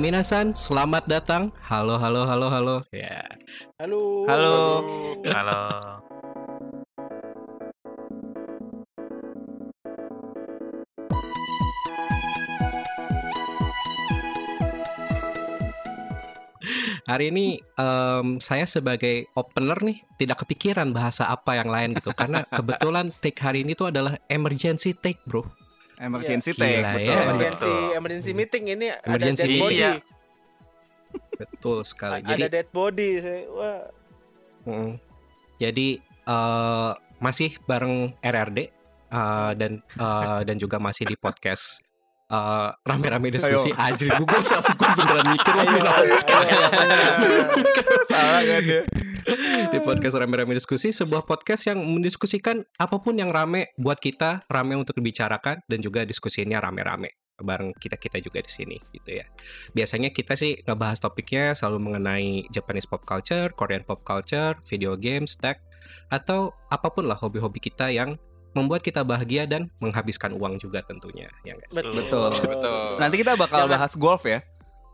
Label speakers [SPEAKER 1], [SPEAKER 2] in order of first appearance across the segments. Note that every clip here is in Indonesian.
[SPEAKER 1] Minasan, selamat datang. Halo, halo, halo, halo. Ya.
[SPEAKER 2] Halo.
[SPEAKER 1] Halo.
[SPEAKER 3] Halo.
[SPEAKER 1] Hari ini em, saya sebagai opener nih tidak kepikiran bahasa apa yang lain gitu karena kebetulan take hari ini tuh adalah emergency take, Bro.
[SPEAKER 4] Emergency
[SPEAKER 1] Iya.
[SPEAKER 4] take,
[SPEAKER 1] Gila
[SPEAKER 4] betul.
[SPEAKER 1] ya.
[SPEAKER 2] Emergency,
[SPEAKER 3] Betul.
[SPEAKER 2] emergency meeting ini ada
[SPEAKER 1] Emergency
[SPEAKER 2] dead body.
[SPEAKER 3] iya.
[SPEAKER 1] Betul sekali.
[SPEAKER 2] Ada dead body. Saya- Wah.
[SPEAKER 1] Mm. Jadi eh, masih bareng RRD eh, dan eh, dan juga masih di podcast eh, rame-rame diskusi anjir gue gue sama gue beneran mikir
[SPEAKER 2] Ayo,
[SPEAKER 1] lagi
[SPEAKER 2] ayo, ayo.
[SPEAKER 4] Salah kan ya?
[SPEAKER 1] di podcast rame-rame diskusi sebuah podcast yang mendiskusikan apapun yang rame buat kita rame untuk dibicarakan dan juga diskusinya rame-rame bareng kita kita juga di sini gitu ya biasanya kita sih ngebahas topiknya selalu mengenai Japanese pop culture, Korean pop culture, video games, tech atau apapun lah hobi-hobi kita yang membuat kita bahagia dan menghabiskan uang juga tentunya ya nggak sih?
[SPEAKER 2] Betul.
[SPEAKER 4] Betul.
[SPEAKER 3] Betul.
[SPEAKER 4] Nanti kita bakal
[SPEAKER 2] Jangan.
[SPEAKER 4] bahas golf ya.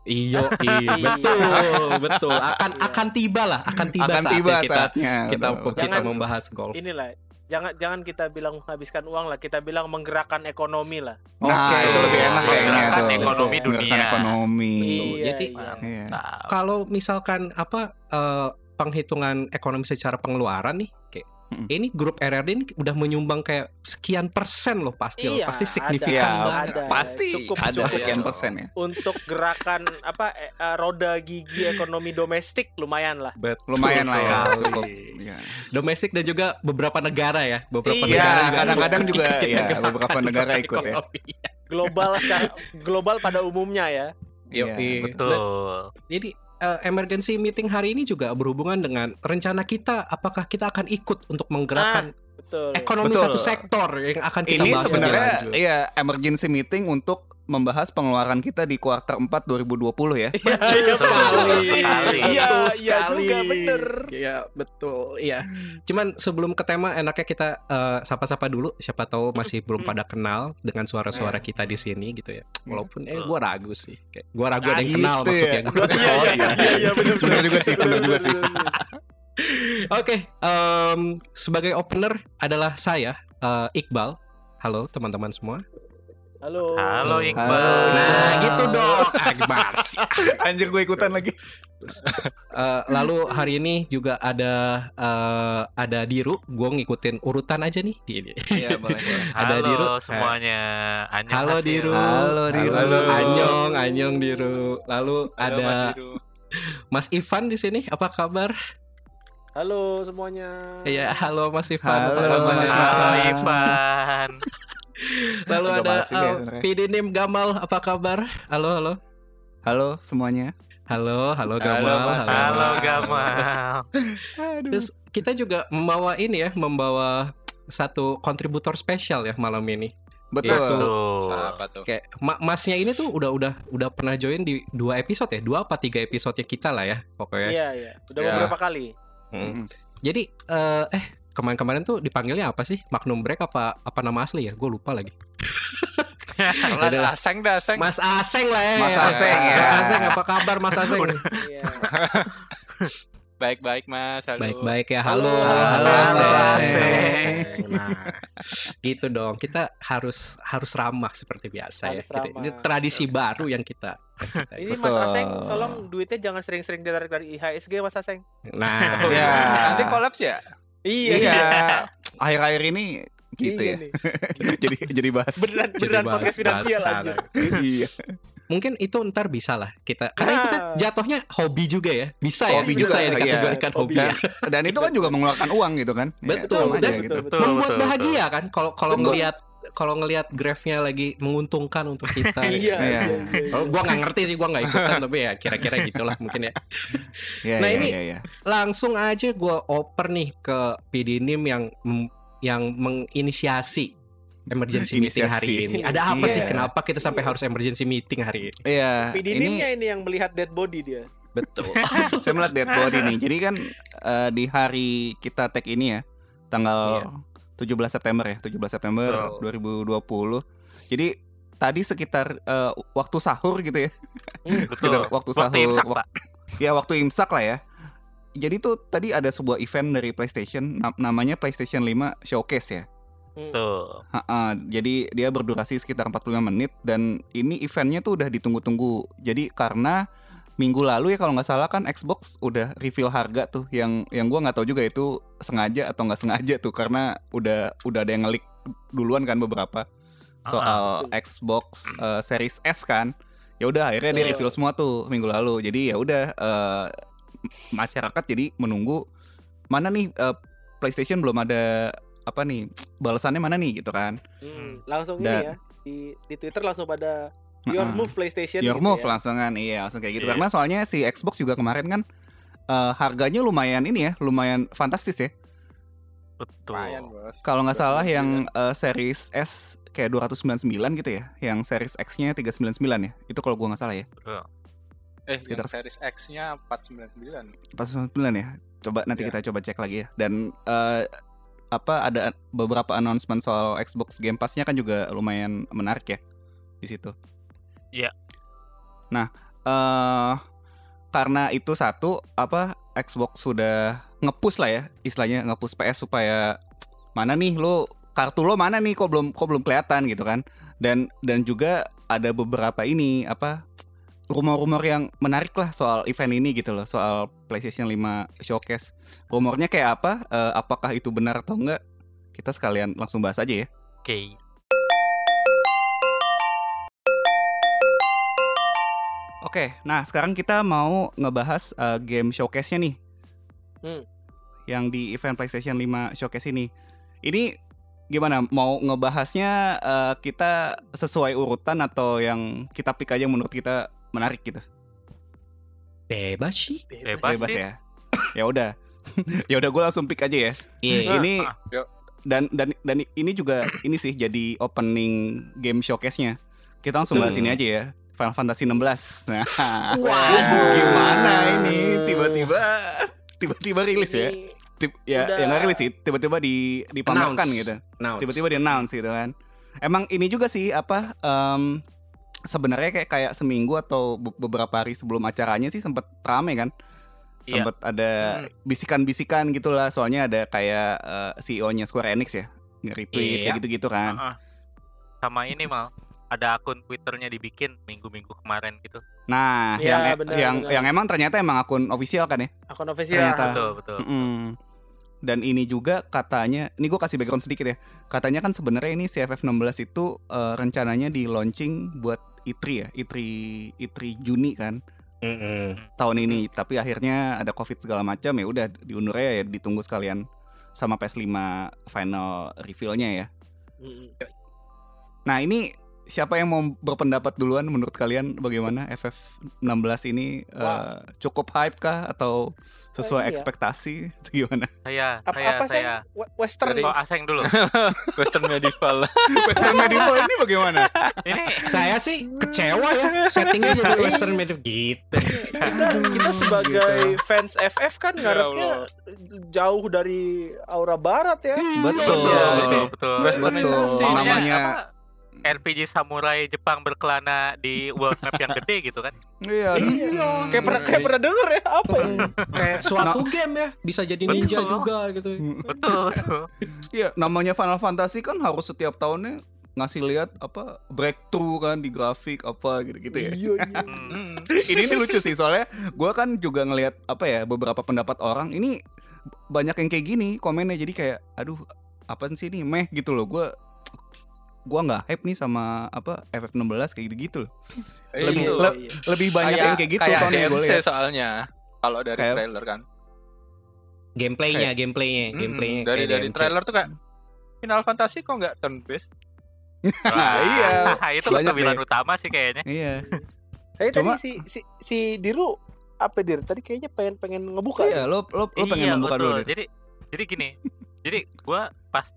[SPEAKER 1] Iyo, iyo,
[SPEAKER 4] iya,
[SPEAKER 1] betul, betul. Iya. Akan akan tiba lah, akan tiba
[SPEAKER 4] Akan
[SPEAKER 1] saatnya
[SPEAKER 4] tiba
[SPEAKER 1] kita
[SPEAKER 4] saatnya.
[SPEAKER 1] kita
[SPEAKER 4] Betul,
[SPEAKER 1] kita
[SPEAKER 2] Jangan-
[SPEAKER 1] membahas golf.
[SPEAKER 2] Inilah. Jangan jangan kita bilang menghabiskan uang lah, kita bilang menggerakkan ekonomi lah.
[SPEAKER 4] Nah,
[SPEAKER 1] Oke.
[SPEAKER 4] itu lebih enak
[SPEAKER 1] Betul.
[SPEAKER 4] kayaknya
[SPEAKER 3] Gerakan
[SPEAKER 4] tuh.
[SPEAKER 3] ekonomi
[SPEAKER 4] Betul. Gerakan
[SPEAKER 3] dunia.
[SPEAKER 4] ekonomi.
[SPEAKER 1] Iya. Jadi,
[SPEAKER 4] Iya.
[SPEAKER 3] Mantap.
[SPEAKER 1] kalau misalkan apa eh, penghitungan ekonomi secara pengeluaran nih kayak
[SPEAKER 4] Mm-mm.
[SPEAKER 1] ini grup RRD ini udah menyumbang kayak sekian persen loh pasti loh
[SPEAKER 2] Iya,
[SPEAKER 1] pasti
[SPEAKER 2] ada.
[SPEAKER 1] signifikan
[SPEAKER 4] Iya,
[SPEAKER 1] banget.
[SPEAKER 2] Ada.
[SPEAKER 4] Pasti
[SPEAKER 2] Cukup,
[SPEAKER 4] ada
[SPEAKER 2] cukup.
[SPEAKER 4] sekian persen ya.
[SPEAKER 2] Untuk gerakan apa eh, eh, roda gigi ekonomi domestik lumayan lah.
[SPEAKER 1] Betul
[SPEAKER 4] Lumayan lah ya.
[SPEAKER 1] sekali.
[SPEAKER 4] Cukup. Iya.
[SPEAKER 1] Domestik dan juga beberapa negara ya, beberapa
[SPEAKER 2] Iya,
[SPEAKER 1] negara juga
[SPEAKER 4] kadang-kadang
[SPEAKER 1] ikut-
[SPEAKER 4] juga,
[SPEAKER 1] ikut
[SPEAKER 4] iya,
[SPEAKER 1] negara-
[SPEAKER 4] beberapa negara ikut ya.
[SPEAKER 1] ekonomi.
[SPEAKER 2] Global secara- global pada umumnya ya.
[SPEAKER 1] Yoi.
[SPEAKER 4] Iya,
[SPEAKER 1] Dan-
[SPEAKER 3] Betul.
[SPEAKER 1] Jadi eh, emergency meeting hari ini juga berhubungan dengan rencana kita apakah kita akan ikut untuk
[SPEAKER 2] Ah,
[SPEAKER 1] menggerakkan
[SPEAKER 2] Betul.
[SPEAKER 1] ekonomi
[SPEAKER 4] Betul.
[SPEAKER 1] satu sektor yang akan kita
[SPEAKER 4] Ini
[SPEAKER 1] bahas lebih
[SPEAKER 4] sebenarnya
[SPEAKER 1] lanjut.
[SPEAKER 4] iya emergency meeting untuk membahas pengeluaran kita di kuarter 4 2020
[SPEAKER 2] Iya,
[SPEAKER 4] ya.
[SPEAKER 2] iya,
[SPEAKER 3] Betul
[SPEAKER 2] betul
[SPEAKER 3] sekali.
[SPEAKER 2] Iya,
[SPEAKER 1] Betul
[SPEAKER 2] iya juga
[SPEAKER 1] sekali.
[SPEAKER 2] bener.
[SPEAKER 1] Iya, betul. Iya. Cuman sebelum ke tema enaknya kita eh, sapa-sapa dulu siapa tahu masih belum pada kenal dengan suara-suara kita di sini gitu ya. Walaupun eh gua ragu sih. Kayak gua ragu ada yang
[SPEAKER 4] Gitu
[SPEAKER 1] kenal
[SPEAKER 4] ya.
[SPEAKER 1] maksudnya. Gua-
[SPEAKER 2] Iya,
[SPEAKER 4] Oh,
[SPEAKER 2] iya, iya, iya, bener,
[SPEAKER 4] Bener juga sih, bener juga sih.
[SPEAKER 1] Oke, em, sebagai opener adalah saya eh, Iqbal. Halo teman-teman semua.
[SPEAKER 2] Halo.
[SPEAKER 3] Halo
[SPEAKER 4] Halo.
[SPEAKER 3] Iqbal.
[SPEAKER 1] Nah, gitu dong. Akbar.
[SPEAKER 4] Anjir gue ikutan lagi.
[SPEAKER 1] Eh, lalu hari ini juga ada eh, ada Diru. Gue ngikutin urutan aja nih di ini.
[SPEAKER 4] Iya, boleh. boleh.
[SPEAKER 1] Ada
[SPEAKER 3] Halo
[SPEAKER 1] Diru.
[SPEAKER 3] semuanya. Annyeonghaseyo.
[SPEAKER 1] Halo Diru.
[SPEAKER 4] Halo, Diru.
[SPEAKER 1] Halo. Anyong, Anyong Diru. Lalu ada Mas Ivan di sini. Apa kabar?
[SPEAKER 2] Halo semuanya.
[SPEAKER 4] Iya.
[SPEAKER 1] Ya, halo Mas Ivan. apa
[SPEAKER 4] Halo,
[SPEAKER 1] kabar?
[SPEAKER 4] Mas
[SPEAKER 3] Halo
[SPEAKER 4] Ivan.
[SPEAKER 3] Ivan.
[SPEAKER 1] Lalu
[SPEAKER 4] Udah
[SPEAKER 1] ada
[SPEAKER 4] balas juga ya
[SPEAKER 1] eh,
[SPEAKER 4] sebenarnya.
[SPEAKER 1] PD Nim Gamal. Apa kabar? Halo, halo.
[SPEAKER 4] Halo semuanya.
[SPEAKER 1] Halo, halo Gamal.
[SPEAKER 3] Halo Gamal.
[SPEAKER 1] Terus kita juga membawa ini ya, membawa satu kontributor spesial ya malam ini.
[SPEAKER 4] Betul.
[SPEAKER 3] Tuh.
[SPEAKER 1] Kayak ma- masnya ini tuh udah udah udah pernah join di dua episode ya, dua apa tiga episode kita lah ya pokoknya.
[SPEAKER 2] Iya, iya. Udah
[SPEAKER 3] Ya.
[SPEAKER 2] beberapa kali.
[SPEAKER 1] Mm.
[SPEAKER 4] Mm.
[SPEAKER 1] Jadi eh, eh kemarin-kemarin tuh dipanggilnya apa sih? Magnum Break apa apa nama asli ya? Gue lupa lagi.
[SPEAKER 5] Lan
[SPEAKER 1] Yaudah lah.
[SPEAKER 5] aseng dah aseng.
[SPEAKER 1] Mas Aseng lah ya.
[SPEAKER 4] Mas Aseng, ya.
[SPEAKER 1] Mas Aseng apa kabar Mas Aseng?
[SPEAKER 2] Iya.
[SPEAKER 5] Baik-baik Mas. Halo.
[SPEAKER 1] Baik-baik ya. Halo.
[SPEAKER 2] Halo, Mas
[SPEAKER 4] Aseng.
[SPEAKER 1] Nah, gitu dong. Kita harus harus ramah seperti biasa ya.
[SPEAKER 2] Harus
[SPEAKER 1] Kita-
[SPEAKER 2] ramah. Iya.
[SPEAKER 1] ini tradisi baru yang kita.
[SPEAKER 2] Ini Mas
[SPEAKER 4] Betul.
[SPEAKER 2] Aseng, tolong duitnya jangan sering-sering ditarik dari IHSG Mas Aseng.
[SPEAKER 1] Nah,
[SPEAKER 4] Iya.
[SPEAKER 5] Nanti kolaps ya?
[SPEAKER 4] Iya. Akhir-akhir ini gitu
[SPEAKER 2] iya
[SPEAKER 4] ya.
[SPEAKER 2] nih.
[SPEAKER 4] jadi jadi bahas.
[SPEAKER 2] Beneran
[SPEAKER 1] jadi
[SPEAKER 2] beneran
[SPEAKER 1] bahas-
[SPEAKER 2] podcast finansial
[SPEAKER 1] bahas sana.
[SPEAKER 2] aja.
[SPEAKER 4] iya.
[SPEAKER 1] Mungkin itu ntar bisa lah kita. Karena itu kan
[SPEAKER 2] Nah.
[SPEAKER 1] jatuhnya hobi juga ya. Bisa ya.
[SPEAKER 4] Hobi
[SPEAKER 1] bisa
[SPEAKER 4] juga,
[SPEAKER 1] ya
[SPEAKER 4] iya.
[SPEAKER 1] dikategorikan hobi.
[SPEAKER 4] Dan,
[SPEAKER 1] ya.
[SPEAKER 4] dan itu kan juga mengeluarkan uang gitu kan. Iya,
[SPEAKER 1] Betul,
[SPEAKER 4] sama aja
[SPEAKER 1] betul,
[SPEAKER 4] gitu.
[SPEAKER 2] betul.
[SPEAKER 3] Betul,
[SPEAKER 1] Membuat
[SPEAKER 3] betul,
[SPEAKER 1] bahagia kan kalau kalau
[SPEAKER 4] Betul.
[SPEAKER 1] ngelihat kalau ngelihat grafnya lagi menguntungkan untuk kita. ya.
[SPEAKER 2] Iya.
[SPEAKER 4] Iya.
[SPEAKER 2] iya, iya.
[SPEAKER 1] Kalau gua nggak ngerti sih gua nggak ikutan tapi ya kira-kira gitulah mungkin ya.
[SPEAKER 4] Iya,
[SPEAKER 1] Nah,
[SPEAKER 4] iya,
[SPEAKER 1] ini-
[SPEAKER 4] iya, iya.
[SPEAKER 1] langsung aja gua oper nih ke PD Nim yang yang menginisiasi emergency meeting
[SPEAKER 4] Inisiasi.
[SPEAKER 1] hari ini. Ada apa sih?
[SPEAKER 4] Iya.
[SPEAKER 1] Kenapa kita sampai harus emergency meeting hari ini?
[SPEAKER 4] Iya, ini
[SPEAKER 2] Pidinimnya ini yang melihat dead body dia.
[SPEAKER 1] Betul.
[SPEAKER 4] saya melihat dead body nih. Jadi kan eh, di hari kita tag ini ya, tanggal 17 September ya, 17 September 2020. Jadi tadi sekitar eh, waktu sahur gitu ya.
[SPEAKER 3] Betul.
[SPEAKER 4] Sekitar waktu sahur.
[SPEAKER 3] Waktu imsak,
[SPEAKER 4] wak-
[SPEAKER 3] Pak.
[SPEAKER 4] Ya waktu imsak lah ya. Jadi tuh tadi ada sebuah event dari PlayStation nam- namanya PlayStation 5 Showcase ya.
[SPEAKER 3] Tuh.
[SPEAKER 4] Ha-ha, jadi dia berdurasi sekitar 45 menit dan ini eventnya tuh udah ditunggu-tunggu. Jadi karena minggu lalu ya kalau nggak salah kan Xbox udah reveal harga tuh yang yang gua nggak tahu juga itu sengaja atau nggak sengaja tuh karena udah udah ada yang ngelik duluan kan beberapa soal Xbox eh, Series S kan. Ya udah akhirnya dia
[SPEAKER 2] Betul.
[SPEAKER 4] reveal semua tuh minggu lalu. Jadi ya udah eh, masyarakat jadi menunggu mana nih eh, PlayStation belum ada apa nih balasannya mana nih gitu kan.
[SPEAKER 2] Hmm, langsung
[SPEAKER 4] Dan-
[SPEAKER 2] ini ya di di Twitter langsung pada your
[SPEAKER 4] Heeh.
[SPEAKER 2] move PlayStation
[SPEAKER 4] Your
[SPEAKER 2] gitu
[SPEAKER 4] move
[SPEAKER 2] ya.
[SPEAKER 4] langsungan, iya langsung kayak gitu.
[SPEAKER 3] Iya.
[SPEAKER 4] Karena soalnya si Xbox juga kemarin kan eh, harganya lumayan ini ya, lumayan fantastis ya.
[SPEAKER 5] Lumayan,
[SPEAKER 3] Betul.
[SPEAKER 5] bos.
[SPEAKER 4] Kalau nggak salah
[SPEAKER 5] Iya.
[SPEAKER 4] yang eh, series S kayak 299 gitu ya, yang series X-nya 399 ya. Itu kalau gua nggak salah ya,
[SPEAKER 3] Betul.
[SPEAKER 5] eh,
[SPEAKER 4] sekitar-
[SPEAKER 5] yang series X-nya 499.
[SPEAKER 4] 499 ya. Coba nanti
[SPEAKER 5] Iya.
[SPEAKER 4] kita coba cek lagi ya. Dan eh, apa ada beberapa announcement soal Xbox Game Pass-nya kan juga lumayan menarik ya di situ.
[SPEAKER 3] Iya.
[SPEAKER 4] Nah, eh karena itu satu apa Xbox sudah ngepush lah ya istilahnya ngepush PS supaya mana nih lo kartu lo mana nih kok belum kok belum kelihatan gitu kan dan dan juga ada beberapa ini apa rumor-rumor yang menarik lah soal event ini gitu loh soal PlayStation 5 showcase rumornya kayak apa Eh, apakah itu benar atau enggak kita sekalian langsung bahas aja ya
[SPEAKER 3] Oke.
[SPEAKER 4] Oke, nah sekarang kita mau ngebahas uh, game showcase-nya nih.
[SPEAKER 2] Hmm.
[SPEAKER 4] Yang di event PlayStation 5 showcase ini. Ini gimana mau ngebahasnya uh, kita sesuai urutan atau yang kita pick aja yang menurut kita menarik gitu.
[SPEAKER 1] Bebas sih.
[SPEAKER 2] Iya,
[SPEAKER 3] Bebas,
[SPEAKER 4] Bebas
[SPEAKER 3] sih.
[SPEAKER 4] ya. ya udah. ya udah gue langsung pick aja ya.
[SPEAKER 1] Iya.
[SPEAKER 4] Ini
[SPEAKER 5] Yuk.
[SPEAKER 4] dan dan dan ini juga ini sih jadi opening game showcase-nya. Kita langsung bahas
[SPEAKER 1] Betul.
[SPEAKER 4] ini aja ya. Final Fantasy 16. Nah.
[SPEAKER 2] Waduh.
[SPEAKER 4] gimana ini tiba-tiba tiba-tiba rilis ya
[SPEAKER 2] Ini-
[SPEAKER 4] Tip- ya
[SPEAKER 2] Udah.
[SPEAKER 4] yang nggak rilis sih tiba-tiba di dipamerkan
[SPEAKER 1] Announce.
[SPEAKER 4] gitu
[SPEAKER 1] Nah,
[SPEAKER 4] tiba-tiba di announce gitu kan emang ini juga sih apa em, sebenarnya kayak kayak seminggu atau be- beberapa hari sebelum acaranya sih sempet rame kan
[SPEAKER 3] Iya.
[SPEAKER 4] sempet ada
[SPEAKER 3] Hmm.
[SPEAKER 4] bisikan-bisikan gitulah soalnya ada kayak eh, CEO-nya Square Enix ya nge-retweet kayak
[SPEAKER 1] Iya.
[SPEAKER 4] gitu-gitu kan
[SPEAKER 3] Heeh. Sama ini mal. Ada akun Twitternya dibikin minggu-minggu kemarin gitu.
[SPEAKER 4] nah
[SPEAKER 2] Iya,
[SPEAKER 4] yang e-
[SPEAKER 2] benar,
[SPEAKER 4] yang
[SPEAKER 2] benar.
[SPEAKER 4] yang emang ternyata emang akun official kan ya
[SPEAKER 2] akun official
[SPEAKER 4] Ternyata.
[SPEAKER 3] Betul, betul.
[SPEAKER 4] Mm-mm. Dan ini juga katanya, ini gue kasih background sedikit ya. Katanya kan sebenarnya ini CFF 16 itu eh, rencananya di launching buat E3 ya, E3 E3 Juni kan
[SPEAKER 1] Mm-mm.
[SPEAKER 4] tahun ini. Tapi akhirnya ada Covid segala macam ya udah diundur aja ya ditunggu sekalian sama PS5 final reveal-nya ya.
[SPEAKER 2] Mm-mm.
[SPEAKER 4] Nah, ini siapa yang mau berpendapat duluan menurut kalian bagaimana FF 16 ini eh,
[SPEAKER 2] Wah.
[SPEAKER 4] cukup hype kah atau sesuai
[SPEAKER 2] iya.
[SPEAKER 4] ekspektasi Itu gimana?
[SPEAKER 3] Saya,
[SPEAKER 2] apa,
[SPEAKER 3] saya,
[SPEAKER 2] apa sih
[SPEAKER 3] saya.
[SPEAKER 2] We- western
[SPEAKER 3] Oh, Aseng dulu.
[SPEAKER 5] Western medieval.
[SPEAKER 4] Western medieval ini bagaimana?
[SPEAKER 3] ini
[SPEAKER 1] Saya sih kecewa ya settingnya jadi
[SPEAKER 5] Iya.
[SPEAKER 1] western medieval gitu.
[SPEAKER 2] kita kita sebagai fans FF kan
[SPEAKER 5] Ya
[SPEAKER 2] ngarepnya jauh dari aura barat ya
[SPEAKER 4] Hmm, Betul.
[SPEAKER 3] Iya,
[SPEAKER 2] Iya.
[SPEAKER 3] betul, betul.
[SPEAKER 4] Betul.
[SPEAKER 3] Maunya
[SPEAKER 4] Namanya-
[SPEAKER 3] apa? RPG samurai Jepang berkelana di world map yang gede gitu kan.
[SPEAKER 4] Iya.
[SPEAKER 1] Iya.
[SPEAKER 2] kayak pernah kayak pernah denger ya apa ya?
[SPEAKER 1] Kayak suatu game ya bisa jadi ninja
[SPEAKER 3] Betul.
[SPEAKER 1] juga gitu.
[SPEAKER 3] Betul.
[SPEAKER 4] Iya, namanya Final Fantasy kan harus setiap tahunnya ngasih lihat apa breakthrough kan di grafik apa gitu-gitu ya.
[SPEAKER 2] Iya, iya.
[SPEAKER 3] Hmm.
[SPEAKER 4] ini ini lucu sih soalnya gua kan juga ngelihat apa ya beberapa pendapat orang ini banyak yang kayak gini komennya jadi kayak aduh apa sih ini meh gitu loh gua gua nggak hype nih sama apa FF16 kayak gitu-gitu loh. Lebih-
[SPEAKER 5] Iya.
[SPEAKER 4] le- Lebih banyak yang kayak gitu
[SPEAKER 5] kayak
[SPEAKER 4] tahun yang gua
[SPEAKER 5] DLC
[SPEAKER 4] lihat.
[SPEAKER 5] soalnya kalau dari
[SPEAKER 4] Kayak-
[SPEAKER 5] trailer kan
[SPEAKER 1] Gameplaynya, gameplaynya,
[SPEAKER 5] Mm-mm,
[SPEAKER 1] gameplaynya
[SPEAKER 5] Hmm, dari
[SPEAKER 1] kayak
[SPEAKER 5] dari
[SPEAKER 1] DMC.
[SPEAKER 5] trailer tuh kayak Final Fantasy kok nggak turn based
[SPEAKER 4] Nah, iya.
[SPEAKER 3] Ah, itu
[SPEAKER 4] Banyak
[SPEAKER 3] kebilan utama sih kayaknya.
[SPEAKER 4] Iya.
[SPEAKER 2] Tapi tadi
[SPEAKER 4] Cuma-
[SPEAKER 2] si si si Diru apa Dir tadi kayaknya pengen pengen ngebuka ya?
[SPEAKER 4] Iya, lo lo lo pengen
[SPEAKER 3] Iya,
[SPEAKER 4] membuka
[SPEAKER 3] betul.
[SPEAKER 4] dulu. Dit.
[SPEAKER 3] Jadi jadi gini. jadi gua pas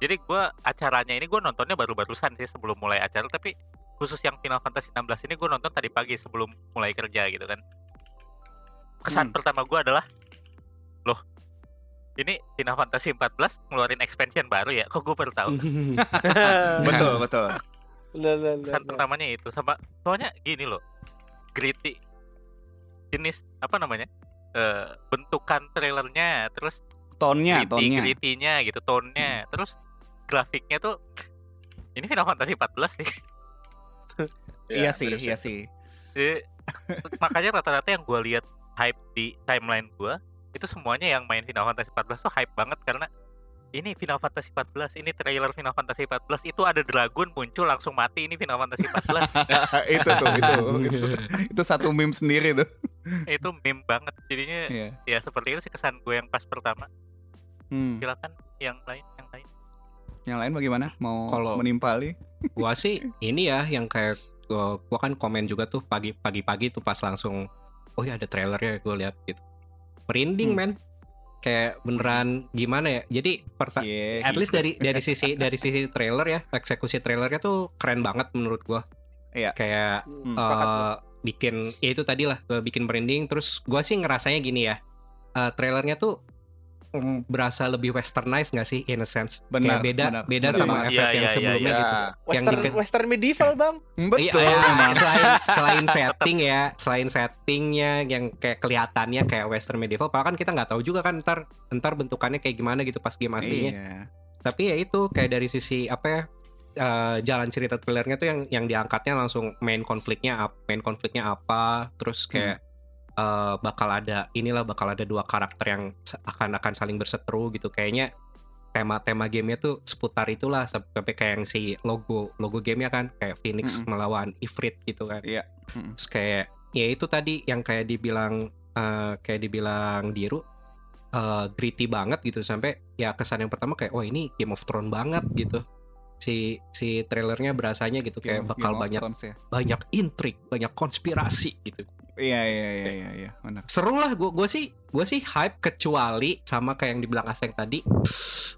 [SPEAKER 3] jadi gua acaranya ini gua nontonnya baru-barusan sih sebelum mulai acara tapi khusus yang Final Fantasy 16 ini gua nonton tadi pagi sebelum mulai kerja gitu kan.
[SPEAKER 4] Hmm.
[SPEAKER 3] Kesan pertama gua adalah loh ini Final Fantasy 14 ngeluarin expansion baru ya. Kok gua baru tahu?
[SPEAKER 1] Mhm.
[SPEAKER 4] Betul, betul.
[SPEAKER 2] Lah, lah, lah,
[SPEAKER 3] kesan
[SPEAKER 2] lah.
[SPEAKER 3] pertamanya itu sama soalnya gini loh gritty jenis apa namanya eh, bentukan trailernya terus
[SPEAKER 4] Tonnya,
[SPEAKER 3] gritty
[SPEAKER 4] Ya, tonnya.
[SPEAKER 3] gritty-nya gitu tone-nya terus grafiknya tuh ini Final Fantasy 14 nih
[SPEAKER 5] Ya,
[SPEAKER 4] Iya sih, iya sih.
[SPEAKER 3] Jadi, makanya rata-rata yang gua lihat hype di timeline gua itu semuanya yang main Final Fantasy 14 tuh hype banget karena ini Final Fantasy 14, ini trailer Final Fantasy 14 itu ada dragon muncul langsung mati ini Final Fantasy 14
[SPEAKER 4] itu tuh, itu, itu, itu satu meme sendiri tuh.
[SPEAKER 3] itu meme banget jadinya
[SPEAKER 4] Iya.
[SPEAKER 3] ya seperti itu sih kesan gue yang pas pertama
[SPEAKER 4] Hmm.
[SPEAKER 3] silakan yang lain yang lain
[SPEAKER 4] Yang lain bagaimana? Mau
[SPEAKER 1] Kalau-
[SPEAKER 4] menimpali?
[SPEAKER 1] gua sih ini ya yang kayak uh, gua kan komen juga tuh pagi pagi-pagi tuh pas langsung oh ya ada trailernya gue lihat gitu merinding
[SPEAKER 4] Hmm.
[SPEAKER 1] men kayak beneran gimana ya jadi perta-
[SPEAKER 5] Iya,
[SPEAKER 4] Yeah.
[SPEAKER 1] at least dari dari sisi dari sisi trailer ya eksekusi trailernya tuh keren banget menurut gua
[SPEAKER 4] Iya.
[SPEAKER 1] kayak
[SPEAKER 2] Hmm.
[SPEAKER 4] Ah,
[SPEAKER 5] Sepakat gua.
[SPEAKER 1] eh, bikin ya itu tadi lah eh, bikin branding terus gua sih ngerasanya gini ya eh, trailernya tuh mm, berasa lebih westernized nggak sih in a sense
[SPEAKER 4] Benar,
[SPEAKER 1] kayak beda
[SPEAKER 4] benar,
[SPEAKER 1] beda
[SPEAKER 4] benar
[SPEAKER 1] sama FF
[SPEAKER 3] banget. Iya,
[SPEAKER 1] yang
[SPEAKER 3] iya, iya,
[SPEAKER 1] sebelumnya
[SPEAKER 5] iya.
[SPEAKER 1] gitu yang
[SPEAKER 2] Western
[SPEAKER 1] bikin-
[SPEAKER 2] Western medieval, Bang.
[SPEAKER 1] Iya,
[SPEAKER 4] Hmm, Betul.
[SPEAKER 1] iya,
[SPEAKER 4] memang.
[SPEAKER 1] selain selain setting ya, selain settingnya yang kayak kelihatannya kayak western medieval, padahal kan kita nggak tahu juga kan ntar ntar bentukannya kayak gimana gitu pas game aslinya.
[SPEAKER 4] Iya.
[SPEAKER 1] Tapi ya itu kayak dari sisi apa ya eh, jalan cerita trailernya tuh yang yang diangkatnya langsung main konfliknya apa, main konfliknya apa, terus kayak eh, bakal ada inilah bakal ada dua karakter yang se- akan-akan saling berseteru gitu kayaknya tema-tema gamenya tuh seputar itulah sampai kayak yang si logo logo gamenya kan kayak Phoenix melawan Ifrit gitu kan
[SPEAKER 4] Iya. Mm-mm.
[SPEAKER 1] terus kayak ya itu tadi yang kayak dibilang eh, kayak dibilang Diru eh, gritty banget gitu sampai ya kesan yang pertama kayak oh ini Game of Thrones banget gitu si si trailernya berasanya gitu kayak
[SPEAKER 4] Game-
[SPEAKER 1] bakal
[SPEAKER 4] Game of
[SPEAKER 1] banyak
[SPEAKER 4] Thrones ya.
[SPEAKER 1] banyak intrik banyak konspirasi gitu
[SPEAKER 4] Iya, iya, iya, iya, iya. Benar.
[SPEAKER 1] seru lah gue sih gue sih hype kecuali sama kayak yang dibilang Aseng tadi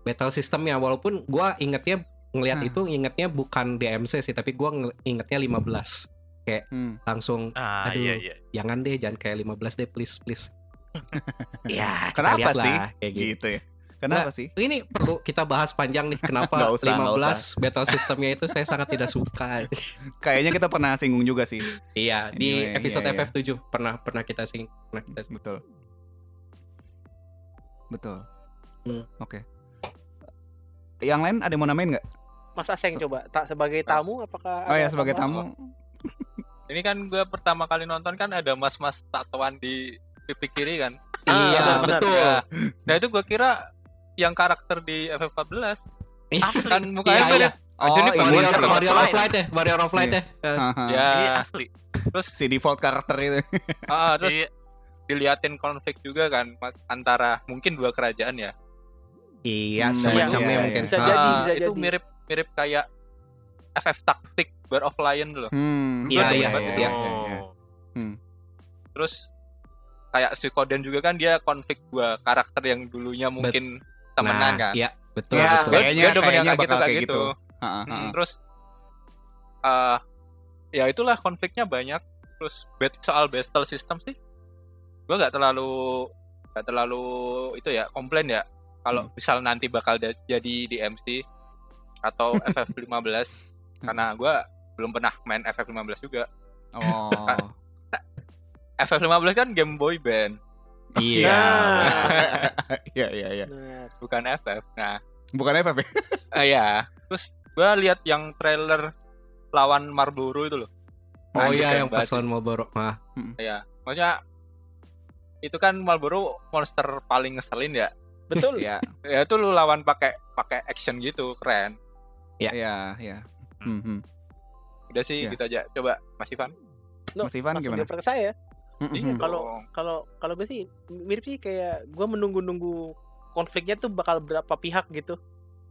[SPEAKER 1] battle sistemnya walaupun gue ingetnya ngelihat
[SPEAKER 4] Hah.
[SPEAKER 1] itu ingetnya bukan DMC sih tapi gue ingetnya 15
[SPEAKER 4] Hmm.
[SPEAKER 1] langsung
[SPEAKER 3] ah
[SPEAKER 1] Aduh.
[SPEAKER 3] iya iya
[SPEAKER 1] jangan deh jangan kayak 15 deh please please ya kita
[SPEAKER 4] Kenapa
[SPEAKER 1] lihat
[SPEAKER 4] sih?
[SPEAKER 1] lah, kayak gitu.
[SPEAKER 4] Gitu ya. Kenapa sih?
[SPEAKER 1] ini perlu kita bahas panjang nih kenapa
[SPEAKER 4] Nggak usah, nggak
[SPEAKER 1] 15 battle sistemnya itu saya sangat tidak suka
[SPEAKER 4] Kayaknya kita pernah singgung juga sih.
[SPEAKER 1] iya di
[SPEAKER 4] Anyway,
[SPEAKER 1] episode
[SPEAKER 4] iya, iya.
[SPEAKER 1] FF7 pernah pernah kita sing pernah kita sing-
[SPEAKER 4] Betul. Betul.
[SPEAKER 1] Hmm.
[SPEAKER 4] Oke. Yang lain ada yang mau namain nggak?
[SPEAKER 2] Mas Aseng
[SPEAKER 4] Se-
[SPEAKER 2] coba ta- sebagai tamu apakah
[SPEAKER 4] Oh
[SPEAKER 2] ada
[SPEAKER 4] ya sebagai
[SPEAKER 2] tambahan?
[SPEAKER 4] tamu.
[SPEAKER 5] Ini kan gue pertama kali nonton kan ada mas-mas tatoan di pipi kiri kan.
[SPEAKER 2] Ah,
[SPEAKER 1] iya
[SPEAKER 2] benar,
[SPEAKER 1] betul
[SPEAKER 5] Nah, nah itu gue kira yang karakter di FF14 kan mukanya
[SPEAKER 1] Iya,
[SPEAKER 5] beda.
[SPEAKER 4] Oh,
[SPEAKER 5] Jadi
[SPEAKER 4] iya
[SPEAKER 1] Warrior,
[SPEAKER 4] sih.
[SPEAKER 5] Warrior
[SPEAKER 1] Warrior
[SPEAKER 3] of
[SPEAKER 1] of Light ya, Warrior of Light ya. Eh,
[SPEAKER 4] Haha.
[SPEAKER 5] Ya,
[SPEAKER 3] Iya, asli
[SPEAKER 5] terus
[SPEAKER 4] Si default karakter itu.
[SPEAKER 5] ah, terus
[SPEAKER 3] iya
[SPEAKER 5] diliatin konflik juga kan mas- antara mungkin dua kerajaan ya.
[SPEAKER 1] Iya,
[SPEAKER 4] Hmm,
[SPEAKER 1] semacamnya
[SPEAKER 4] iya, iya.
[SPEAKER 1] mungkin.
[SPEAKER 2] Bisa
[SPEAKER 1] Ah,
[SPEAKER 2] jadi,
[SPEAKER 5] Ah,
[SPEAKER 2] bisa
[SPEAKER 5] itu
[SPEAKER 2] jadi.
[SPEAKER 5] mirip mirip kayak FF Tactic Bird of Lion loh.
[SPEAKER 4] Hmm.
[SPEAKER 1] Iya,
[SPEAKER 4] betul,
[SPEAKER 1] iya,
[SPEAKER 4] betul.
[SPEAKER 1] iya,
[SPEAKER 3] oh
[SPEAKER 5] Terus kayak Suikoden juga kan dia konflik dua karakter yang dulunya mungkin
[SPEAKER 1] nah,
[SPEAKER 5] temenan kan.
[SPEAKER 1] Iya, betul,
[SPEAKER 4] Ya,
[SPEAKER 1] betul.
[SPEAKER 5] Gua-
[SPEAKER 4] Kayaknya-
[SPEAKER 5] gua demen yang
[SPEAKER 4] kayaknya
[SPEAKER 5] kayak
[SPEAKER 4] bakal kayak gitu.
[SPEAKER 5] gitu.
[SPEAKER 4] Haha,
[SPEAKER 5] Mm,
[SPEAKER 4] haha.
[SPEAKER 5] terus eh ya itulah konfliknya banyak. Terus bet soal battle system sih, gue nggak terlalu nggak terlalu itu ya komplain ya. Kalau
[SPEAKER 1] Hmm.
[SPEAKER 5] misal nanti bakal da- jadi DMC atau FF15
[SPEAKER 1] Hmm.
[SPEAKER 5] karena gue belum pernah main FF15 juga.
[SPEAKER 4] Oh.
[SPEAKER 5] FF15 kan game boy band,
[SPEAKER 1] Iya.
[SPEAKER 4] Ya. Iya, iya, iya.
[SPEAKER 2] Nah, Benar.
[SPEAKER 5] bukan FF. Nah,
[SPEAKER 4] Bukan FF ya?
[SPEAKER 5] eh, ya. Terus gue lihat yang trailer lawan Marlboro itu loh.
[SPEAKER 1] Oh iya, yang
[SPEAKER 5] Anjir, keren
[SPEAKER 1] pas lawan Marlboro. Mah,
[SPEAKER 5] Iya, maksudnya itu kan Marlboro monster paling ngeselin ya.
[SPEAKER 2] Betul.
[SPEAKER 4] Iya.
[SPEAKER 5] Ya itu lu lawan pakai pakai action gitu, keren.
[SPEAKER 1] Ya.
[SPEAKER 4] Iya, iya. Hmm, hmm.
[SPEAKER 5] Udah sih
[SPEAKER 4] Iya.
[SPEAKER 5] gitu aja. Coba Mas Ivan.
[SPEAKER 2] No,
[SPEAKER 4] Mas Ivan
[SPEAKER 2] langsung
[SPEAKER 4] kan gimana?
[SPEAKER 2] dioper ke saya.
[SPEAKER 4] Hmm,
[SPEAKER 5] Iya
[SPEAKER 4] hmm.
[SPEAKER 2] Kalau-
[SPEAKER 5] dong.
[SPEAKER 2] Kalau kalau gue sih mirip sih kayak gue menunggu-nunggu konfliknya tuh bakal berapa pihak gitu.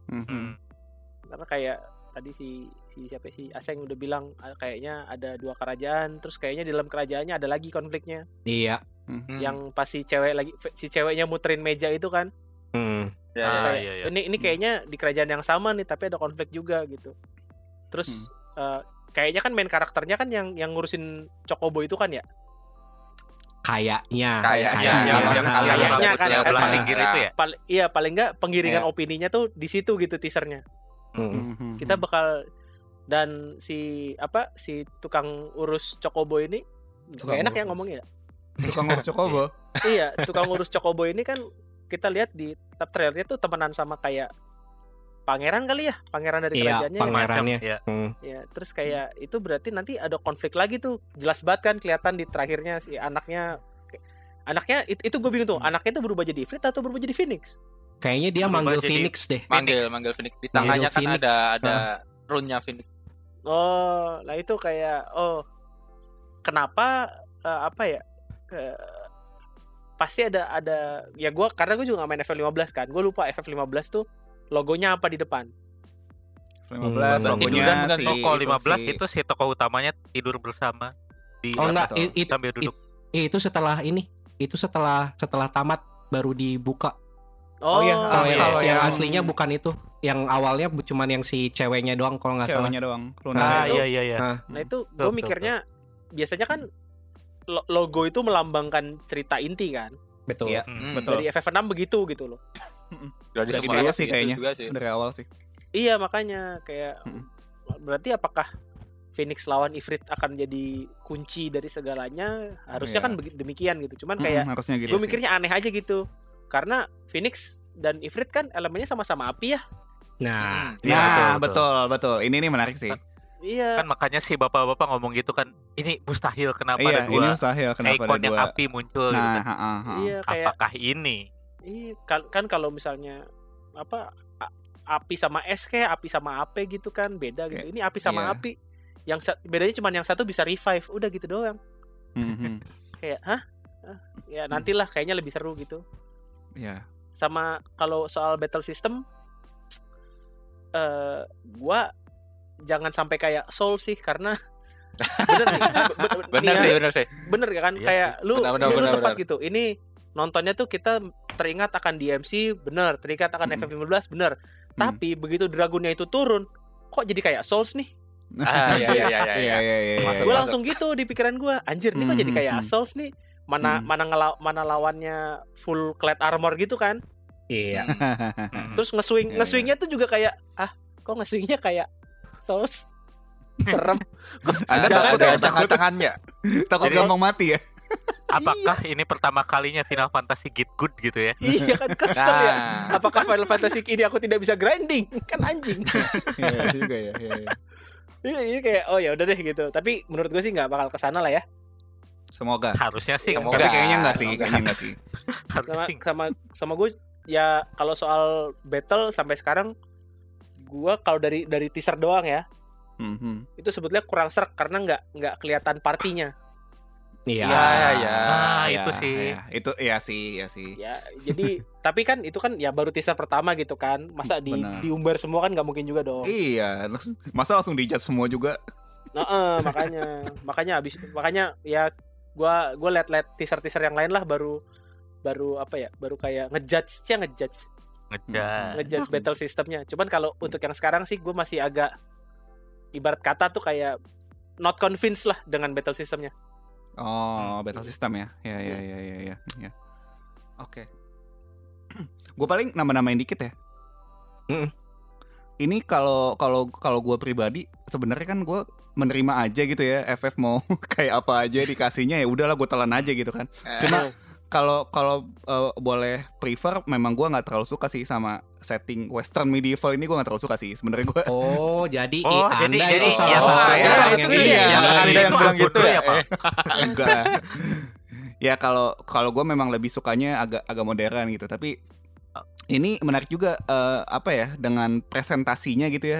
[SPEAKER 4] Hmm, hmm.
[SPEAKER 3] Hmm.
[SPEAKER 2] Karena kayak tadi si si siapa sih Aseng udah bilang ah, kayaknya ada dua kerajaan terus kayaknya di dalam kerajaannya ada lagi konfliknya
[SPEAKER 1] iya.
[SPEAKER 5] Hmm,
[SPEAKER 2] yang pas si cewek lagi si ceweknya muterin meja itu kan
[SPEAKER 1] Hmm.
[SPEAKER 5] ya, ya.
[SPEAKER 3] Ah,
[SPEAKER 2] Kayak,
[SPEAKER 3] iya, iya.
[SPEAKER 2] ini ini kayaknya di kerajaan yang sama nih tapi ada konflik juga gitu terus eh, kayaknya kan main karakternya kan yang yang ngurusin Chocobo itu kan ya
[SPEAKER 1] Kayaknya.
[SPEAKER 5] Kayaknya.
[SPEAKER 3] Iya,
[SPEAKER 1] Kayaknya.
[SPEAKER 5] Yang- yang
[SPEAKER 1] Kayaknya.
[SPEAKER 3] Yang
[SPEAKER 2] kayaknya kan,
[SPEAKER 3] rambutnya
[SPEAKER 2] kan,
[SPEAKER 3] belah
[SPEAKER 1] kan.
[SPEAKER 3] pinggir itu ya
[SPEAKER 2] Pal- iya paling nggak penggiringan
[SPEAKER 4] Iya.
[SPEAKER 2] opininya tuh di situ gitu teasernya
[SPEAKER 1] Hmm.
[SPEAKER 4] Hmm, hmm,
[SPEAKER 2] kita
[SPEAKER 4] hmm.
[SPEAKER 2] bakal dan si apa si tukang urus Chocobo ini nggak
[SPEAKER 4] Tukang
[SPEAKER 2] enak ya
[SPEAKER 4] urus.
[SPEAKER 2] ngomongnya ya?
[SPEAKER 4] Tukang urus Chocobo.
[SPEAKER 2] iya tukang urus Chocobo ini kan kita lihat di tab trailernya tuh temenan sama kayak pangeran kali ya pangeran
[SPEAKER 1] Iya,
[SPEAKER 2] dari kerajaannya ya.
[SPEAKER 1] pangeran.
[SPEAKER 3] Macam,
[SPEAKER 1] Pangerannya.
[SPEAKER 3] ya.
[SPEAKER 1] Hmm.
[SPEAKER 2] Ya, terus kayak
[SPEAKER 3] Hmm.
[SPEAKER 2] itu berarti nanti ada konflik lagi tuh. Jelas banget kan kelihatan di terakhirnya si anaknya anaknya it- itu gue bingung tuh.
[SPEAKER 3] Hmm.
[SPEAKER 2] Anaknya itu berubah jadi Ifrit atau berubah jadi Phoenix?
[SPEAKER 1] Kayaknya dia
[SPEAKER 3] Berubah
[SPEAKER 1] manggil
[SPEAKER 3] jadi-
[SPEAKER 1] Phoenix deh.
[SPEAKER 5] manggil manggil Phoenix di
[SPEAKER 1] Manggil
[SPEAKER 5] tangannya kan
[SPEAKER 1] Phoenix.
[SPEAKER 5] ada ada runnya Phoenix
[SPEAKER 2] Oh, lah itu kayak oh kenapa eh, apa ya? Ke- pasti ada ada ya gue karena gue juga gak main FF15 kan. Gue lupa FF15 tuh logonya apa di depan.
[SPEAKER 4] 15
[SPEAKER 1] Hmm,
[SPEAKER 3] Tidur
[SPEAKER 4] logonya
[SPEAKER 3] dan
[SPEAKER 4] si
[SPEAKER 3] toko 15
[SPEAKER 4] si-
[SPEAKER 3] itu si toko utamanya tidur bersama di
[SPEAKER 1] Oh enggak, i- i-
[SPEAKER 3] sambil duduk.
[SPEAKER 1] i- Ya, itu setelah ini. Itu setelah setelah tamat baru dibuka.
[SPEAKER 4] Oh, iya,
[SPEAKER 1] Kalau
[SPEAKER 3] iya,
[SPEAKER 1] yang,
[SPEAKER 4] kalau
[SPEAKER 1] yang
[SPEAKER 4] yang-
[SPEAKER 1] aslinya bukan itu. Yang awalnya bu- cuman yang si ceweknya doang kalau nggak salah.
[SPEAKER 4] ceweknya doang. Luna.
[SPEAKER 3] Ah,
[SPEAKER 2] itu-
[SPEAKER 3] iya iya iya.
[SPEAKER 1] Ah.
[SPEAKER 2] Nah itu
[SPEAKER 3] Betul,
[SPEAKER 2] gue
[SPEAKER 3] betul,
[SPEAKER 2] mikirnya biasanya kan lo- logo itu melambangkan cerita inti kan.
[SPEAKER 1] Betul.
[SPEAKER 4] Iya.
[SPEAKER 3] Hmm.
[SPEAKER 4] Betul.
[SPEAKER 2] Dari FF6 begitu gitu loh.
[SPEAKER 4] Dari
[SPEAKER 5] semua
[SPEAKER 4] dulu
[SPEAKER 5] anak
[SPEAKER 4] sih
[SPEAKER 5] gitu
[SPEAKER 4] kayaknya. Nah.
[SPEAKER 5] juga sih.
[SPEAKER 4] Dari awal sih.
[SPEAKER 2] Iya makanya kayak
[SPEAKER 4] Mm.
[SPEAKER 2] berarti apakah Phoenix lawan Ifrit akan jadi kunci dari segalanya? Harusnya
[SPEAKER 4] Iya.
[SPEAKER 2] kan begi- demikian gitu. Cuman
[SPEAKER 4] Mm-mm,
[SPEAKER 2] kayak
[SPEAKER 4] harusnya gitu.
[SPEAKER 2] gue
[SPEAKER 4] sih.
[SPEAKER 2] mikirnya aneh aja gitu. Karena Phoenix dan Ifrit kan elemennya sama-sama api ya.
[SPEAKER 5] Hmm,
[SPEAKER 1] Nah,
[SPEAKER 3] Iya,
[SPEAKER 4] Nah, betul, betul. Ini nih menarik sih.
[SPEAKER 2] Iya.
[SPEAKER 3] Kan makanya si bapak-bapak ngomong gitu kan, ini mustahil kenapa ada
[SPEAKER 4] Iya, ini
[SPEAKER 3] dua
[SPEAKER 4] mustahil kenapa ada
[SPEAKER 3] ikon yang
[SPEAKER 4] dua.
[SPEAKER 3] api muncul gitu kan.
[SPEAKER 4] Nah, ha, ha, ha.
[SPEAKER 2] iya kayak
[SPEAKER 3] Apakah ini?
[SPEAKER 2] iya, kal- kan kalau misalnya apa a- api sama es kayak api sama ape gitu kan beda gitu. Ini api sama
[SPEAKER 4] iya.
[SPEAKER 2] api. Yang sa- bedanya cuma yang satu bisa revive, udah gitu doang.
[SPEAKER 4] Mhm.
[SPEAKER 2] Kayak hah? Hah? Ya
[SPEAKER 5] Hmm.
[SPEAKER 2] nantilah kayaknya lebih seru gitu.
[SPEAKER 4] Iya.
[SPEAKER 2] sama kalau soal battle system eh gua jangan sampai kayak soul sih karena bener nih, be- be-
[SPEAKER 5] benar
[SPEAKER 2] nih
[SPEAKER 5] sih
[SPEAKER 2] ya,
[SPEAKER 5] bener sih
[SPEAKER 2] bener kan
[SPEAKER 3] Iya
[SPEAKER 2] kayak lu
[SPEAKER 5] Benar, benar,
[SPEAKER 2] lu
[SPEAKER 5] benar,
[SPEAKER 2] tepat
[SPEAKER 5] benar.
[SPEAKER 2] gitu ini nontonnya tuh kita teringat akan DMC bener teringat
[SPEAKER 5] Hmm.
[SPEAKER 2] akan
[SPEAKER 4] Mm-mm.
[SPEAKER 2] FF15 bener tapi begitu dragonnya itu turun kok jadi kayak souls nih
[SPEAKER 5] ah iya iya iya iya,
[SPEAKER 4] Iya,
[SPEAKER 5] iya.
[SPEAKER 4] iya, iya, iya.
[SPEAKER 5] Masuk,
[SPEAKER 2] gue
[SPEAKER 5] Iya.
[SPEAKER 2] langsung gitu di pikiran gue anjir nih kok jadi
[SPEAKER 4] Mhm,
[SPEAKER 2] kayak
[SPEAKER 4] mhm.
[SPEAKER 2] souls nih mana
[SPEAKER 4] Mhm.
[SPEAKER 2] mana ngela- mana lawannya full clad armor gitu kan
[SPEAKER 1] iya.
[SPEAKER 3] Hmm.
[SPEAKER 2] Terus nge-swing,
[SPEAKER 4] Iya,
[SPEAKER 2] nge-swingnya tuh juga kayak ah, kok nge-swingnya kayak saus serem.
[SPEAKER 4] Anda
[SPEAKER 2] Jangan
[SPEAKER 4] takut
[SPEAKER 5] ada Nah.
[SPEAKER 4] ya, takut,
[SPEAKER 5] tangan-tangannya
[SPEAKER 4] takut
[SPEAKER 3] Jadi-
[SPEAKER 4] gampang mati ya.
[SPEAKER 3] apakah ini pertama kalinya Final Fantasy Get Good gitu ya?
[SPEAKER 2] iya kan kesel ya.
[SPEAKER 5] nah
[SPEAKER 2] Apakah Final Fantasy ini aku tidak bisa grinding? Kan anjing.
[SPEAKER 4] Iya juga ya, iya, iya.
[SPEAKER 2] Iya iya kayak oh ya udah deh gitu. Tapi menurut gue sih nggak bakal kesana lah ya.
[SPEAKER 4] Semoga.
[SPEAKER 3] Harusnya sih,
[SPEAKER 5] Iya,
[SPEAKER 3] enggak.
[SPEAKER 4] Tapi kayaknya enggak sih,
[SPEAKER 5] Semoga.
[SPEAKER 4] kayaknya enggak sih.
[SPEAKER 2] Sama
[SPEAKER 3] harusnya sih.
[SPEAKER 2] sama sama gue ya kalau soal battle sampai sekarang gue kalau dari dari teaser doang ya
[SPEAKER 4] Mhm.
[SPEAKER 2] itu sebetulnya kurang serak karena nggak nggak kelihatan partinya
[SPEAKER 1] Iya.
[SPEAKER 5] Iya, iya.
[SPEAKER 3] Ya. Ah,
[SPEAKER 4] Iya,
[SPEAKER 3] itu sih.
[SPEAKER 4] iya. Itu iya sih, iya sih.
[SPEAKER 2] ya jadi tapi kan itu kan ya baru teaser pertama gitu kan masa di,
[SPEAKER 4] Benar.
[SPEAKER 2] diumbar semua kan nggak mungkin juga dong
[SPEAKER 4] Iya, langsung- masa langsung dijat semua juga.
[SPEAKER 2] Nah, eh, makanya, makanya abis, makanya ya gua gua liat-liat teaser-teaser yang lain lah baru baru apa ya, baru kayak ngejudge sih ngejudge,
[SPEAKER 3] ngejar.
[SPEAKER 2] ngejudge battle sistemnya. Cuman kalau untuk yang sekarang sih gua masih agak ibarat kata tuh kayak not convinced lah dengan battle sistemnya.
[SPEAKER 3] Hmm.
[SPEAKER 4] Oh, battle system ya. Ya ya ya ya ya. ya. Oke. gue paling nama-namain dikit ya.
[SPEAKER 1] Mm-mm.
[SPEAKER 3] Hmm.
[SPEAKER 4] Ini kalau kalau kalau gue pribadi sebenarnya kan gue menerima aja gitu ya FF mau kayak apa aja dikasihnya ya udahlah gue telan aja gitu kan.
[SPEAKER 5] Eh.
[SPEAKER 4] Cuma kalau kalau eh, boleh prefer memang gue nggak terlalu suka sih sama setting Western medieval ini gue nggak terlalu suka sih sebenarnya gue.
[SPEAKER 1] Oh, jadi i-
[SPEAKER 3] Oh, jadi-
[SPEAKER 1] Anda
[SPEAKER 3] jadi
[SPEAKER 1] itu salah
[SPEAKER 3] ya,
[SPEAKER 1] satu
[SPEAKER 5] oh,
[SPEAKER 1] orang
[SPEAKER 5] iya,
[SPEAKER 1] yang
[SPEAKER 5] betul
[SPEAKER 4] ya.
[SPEAKER 1] iya.
[SPEAKER 4] Yang
[SPEAKER 1] Iya.
[SPEAKER 5] ada yang
[SPEAKER 3] Itu
[SPEAKER 5] bilang
[SPEAKER 3] aku
[SPEAKER 5] gitu
[SPEAKER 3] dulu
[SPEAKER 5] ya,
[SPEAKER 3] Pak?
[SPEAKER 4] enggak ya kalau kalau gue memang lebih sukanya agak agak modern gitu tapi ini menarik juga eh, apa ya dengan presentasinya gitu ya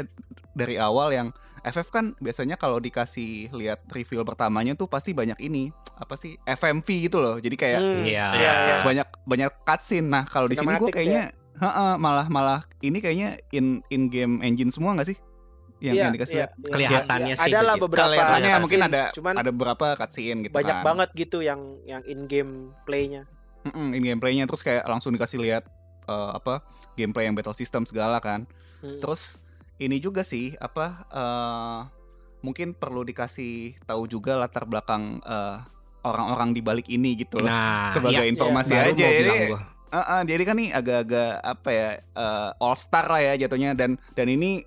[SPEAKER 4] dari awal yang FF kan biasanya kalau dikasih lihat reveal pertamanya tuh pasti banyak ini apa sih FMV gitu loh jadi kayak
[SPEAKER 2] Hmm.
[SPEAKER 1] Iya.
[SPEAKER 2] Iya, iya.
[SPEAKER 4] banyak banyak cutscene nah kalau di sini gue
[SPEAKER 2] Cinematics
[SPEAKER 4] kayaknya
[SPEAKER 2] ya.
[SPEAKER 4] heeh, malah malah ini kayaknya in in game engine semua nggak sih yang,
[SPEAKER 2] Iya,
[SPEAKER 4] yang dikasih
[SPEAKER 2] iya,
[SPEAKER 4] lihat
[SPEAKER 2] iya.
[SPEAKER 1] Kelihatannya sih
[SPEAKER 2] Ada lah
[SPEAKER 1] begitu.
[SPEAKER 2] beberapa
[SPEAKER 4] Kelihatannya
[SPEAKER 2] cutscenes,
[SPEAKER 4] mungkin ada-
[SPEAKER 2] cuman
[SPEAKER 4] ada berapa cutscene gitu
[SPEAKER 2] banyak
[SPEAKER 4] kan.
[SPEAKER 2] banget gitu yang yang in game playnya.
[SPEAKER 4] Mm-mm, in gameplaynya terus kayak langsung dikasih lihat eh, apa gameplay yang battle system segala kan
[SPEAKER 2] Hmm.
[SPEAKER 4] terus ini juga sih apa eh, mungkin perlu dikasih tahu juga latar belakang eh, orang-orang di balik ini gitu loh
[SPEAKER 1] Nah,
[SPEAKER 4] sebagai
[SPEAKER 1] iya.
[SPEAKER 4] informasi
[SPEAKER 1] Baru
[SPEAKER 4] aja
[SPEAKER 1] mau
[SPEAKER 4] jadi
[SPEAKER 1] bilang gua.
[SPEAKER 4] eh, eh, jadi kan ini agak-agak apa ya eh, all star lah ya jatuhnya dan dan ini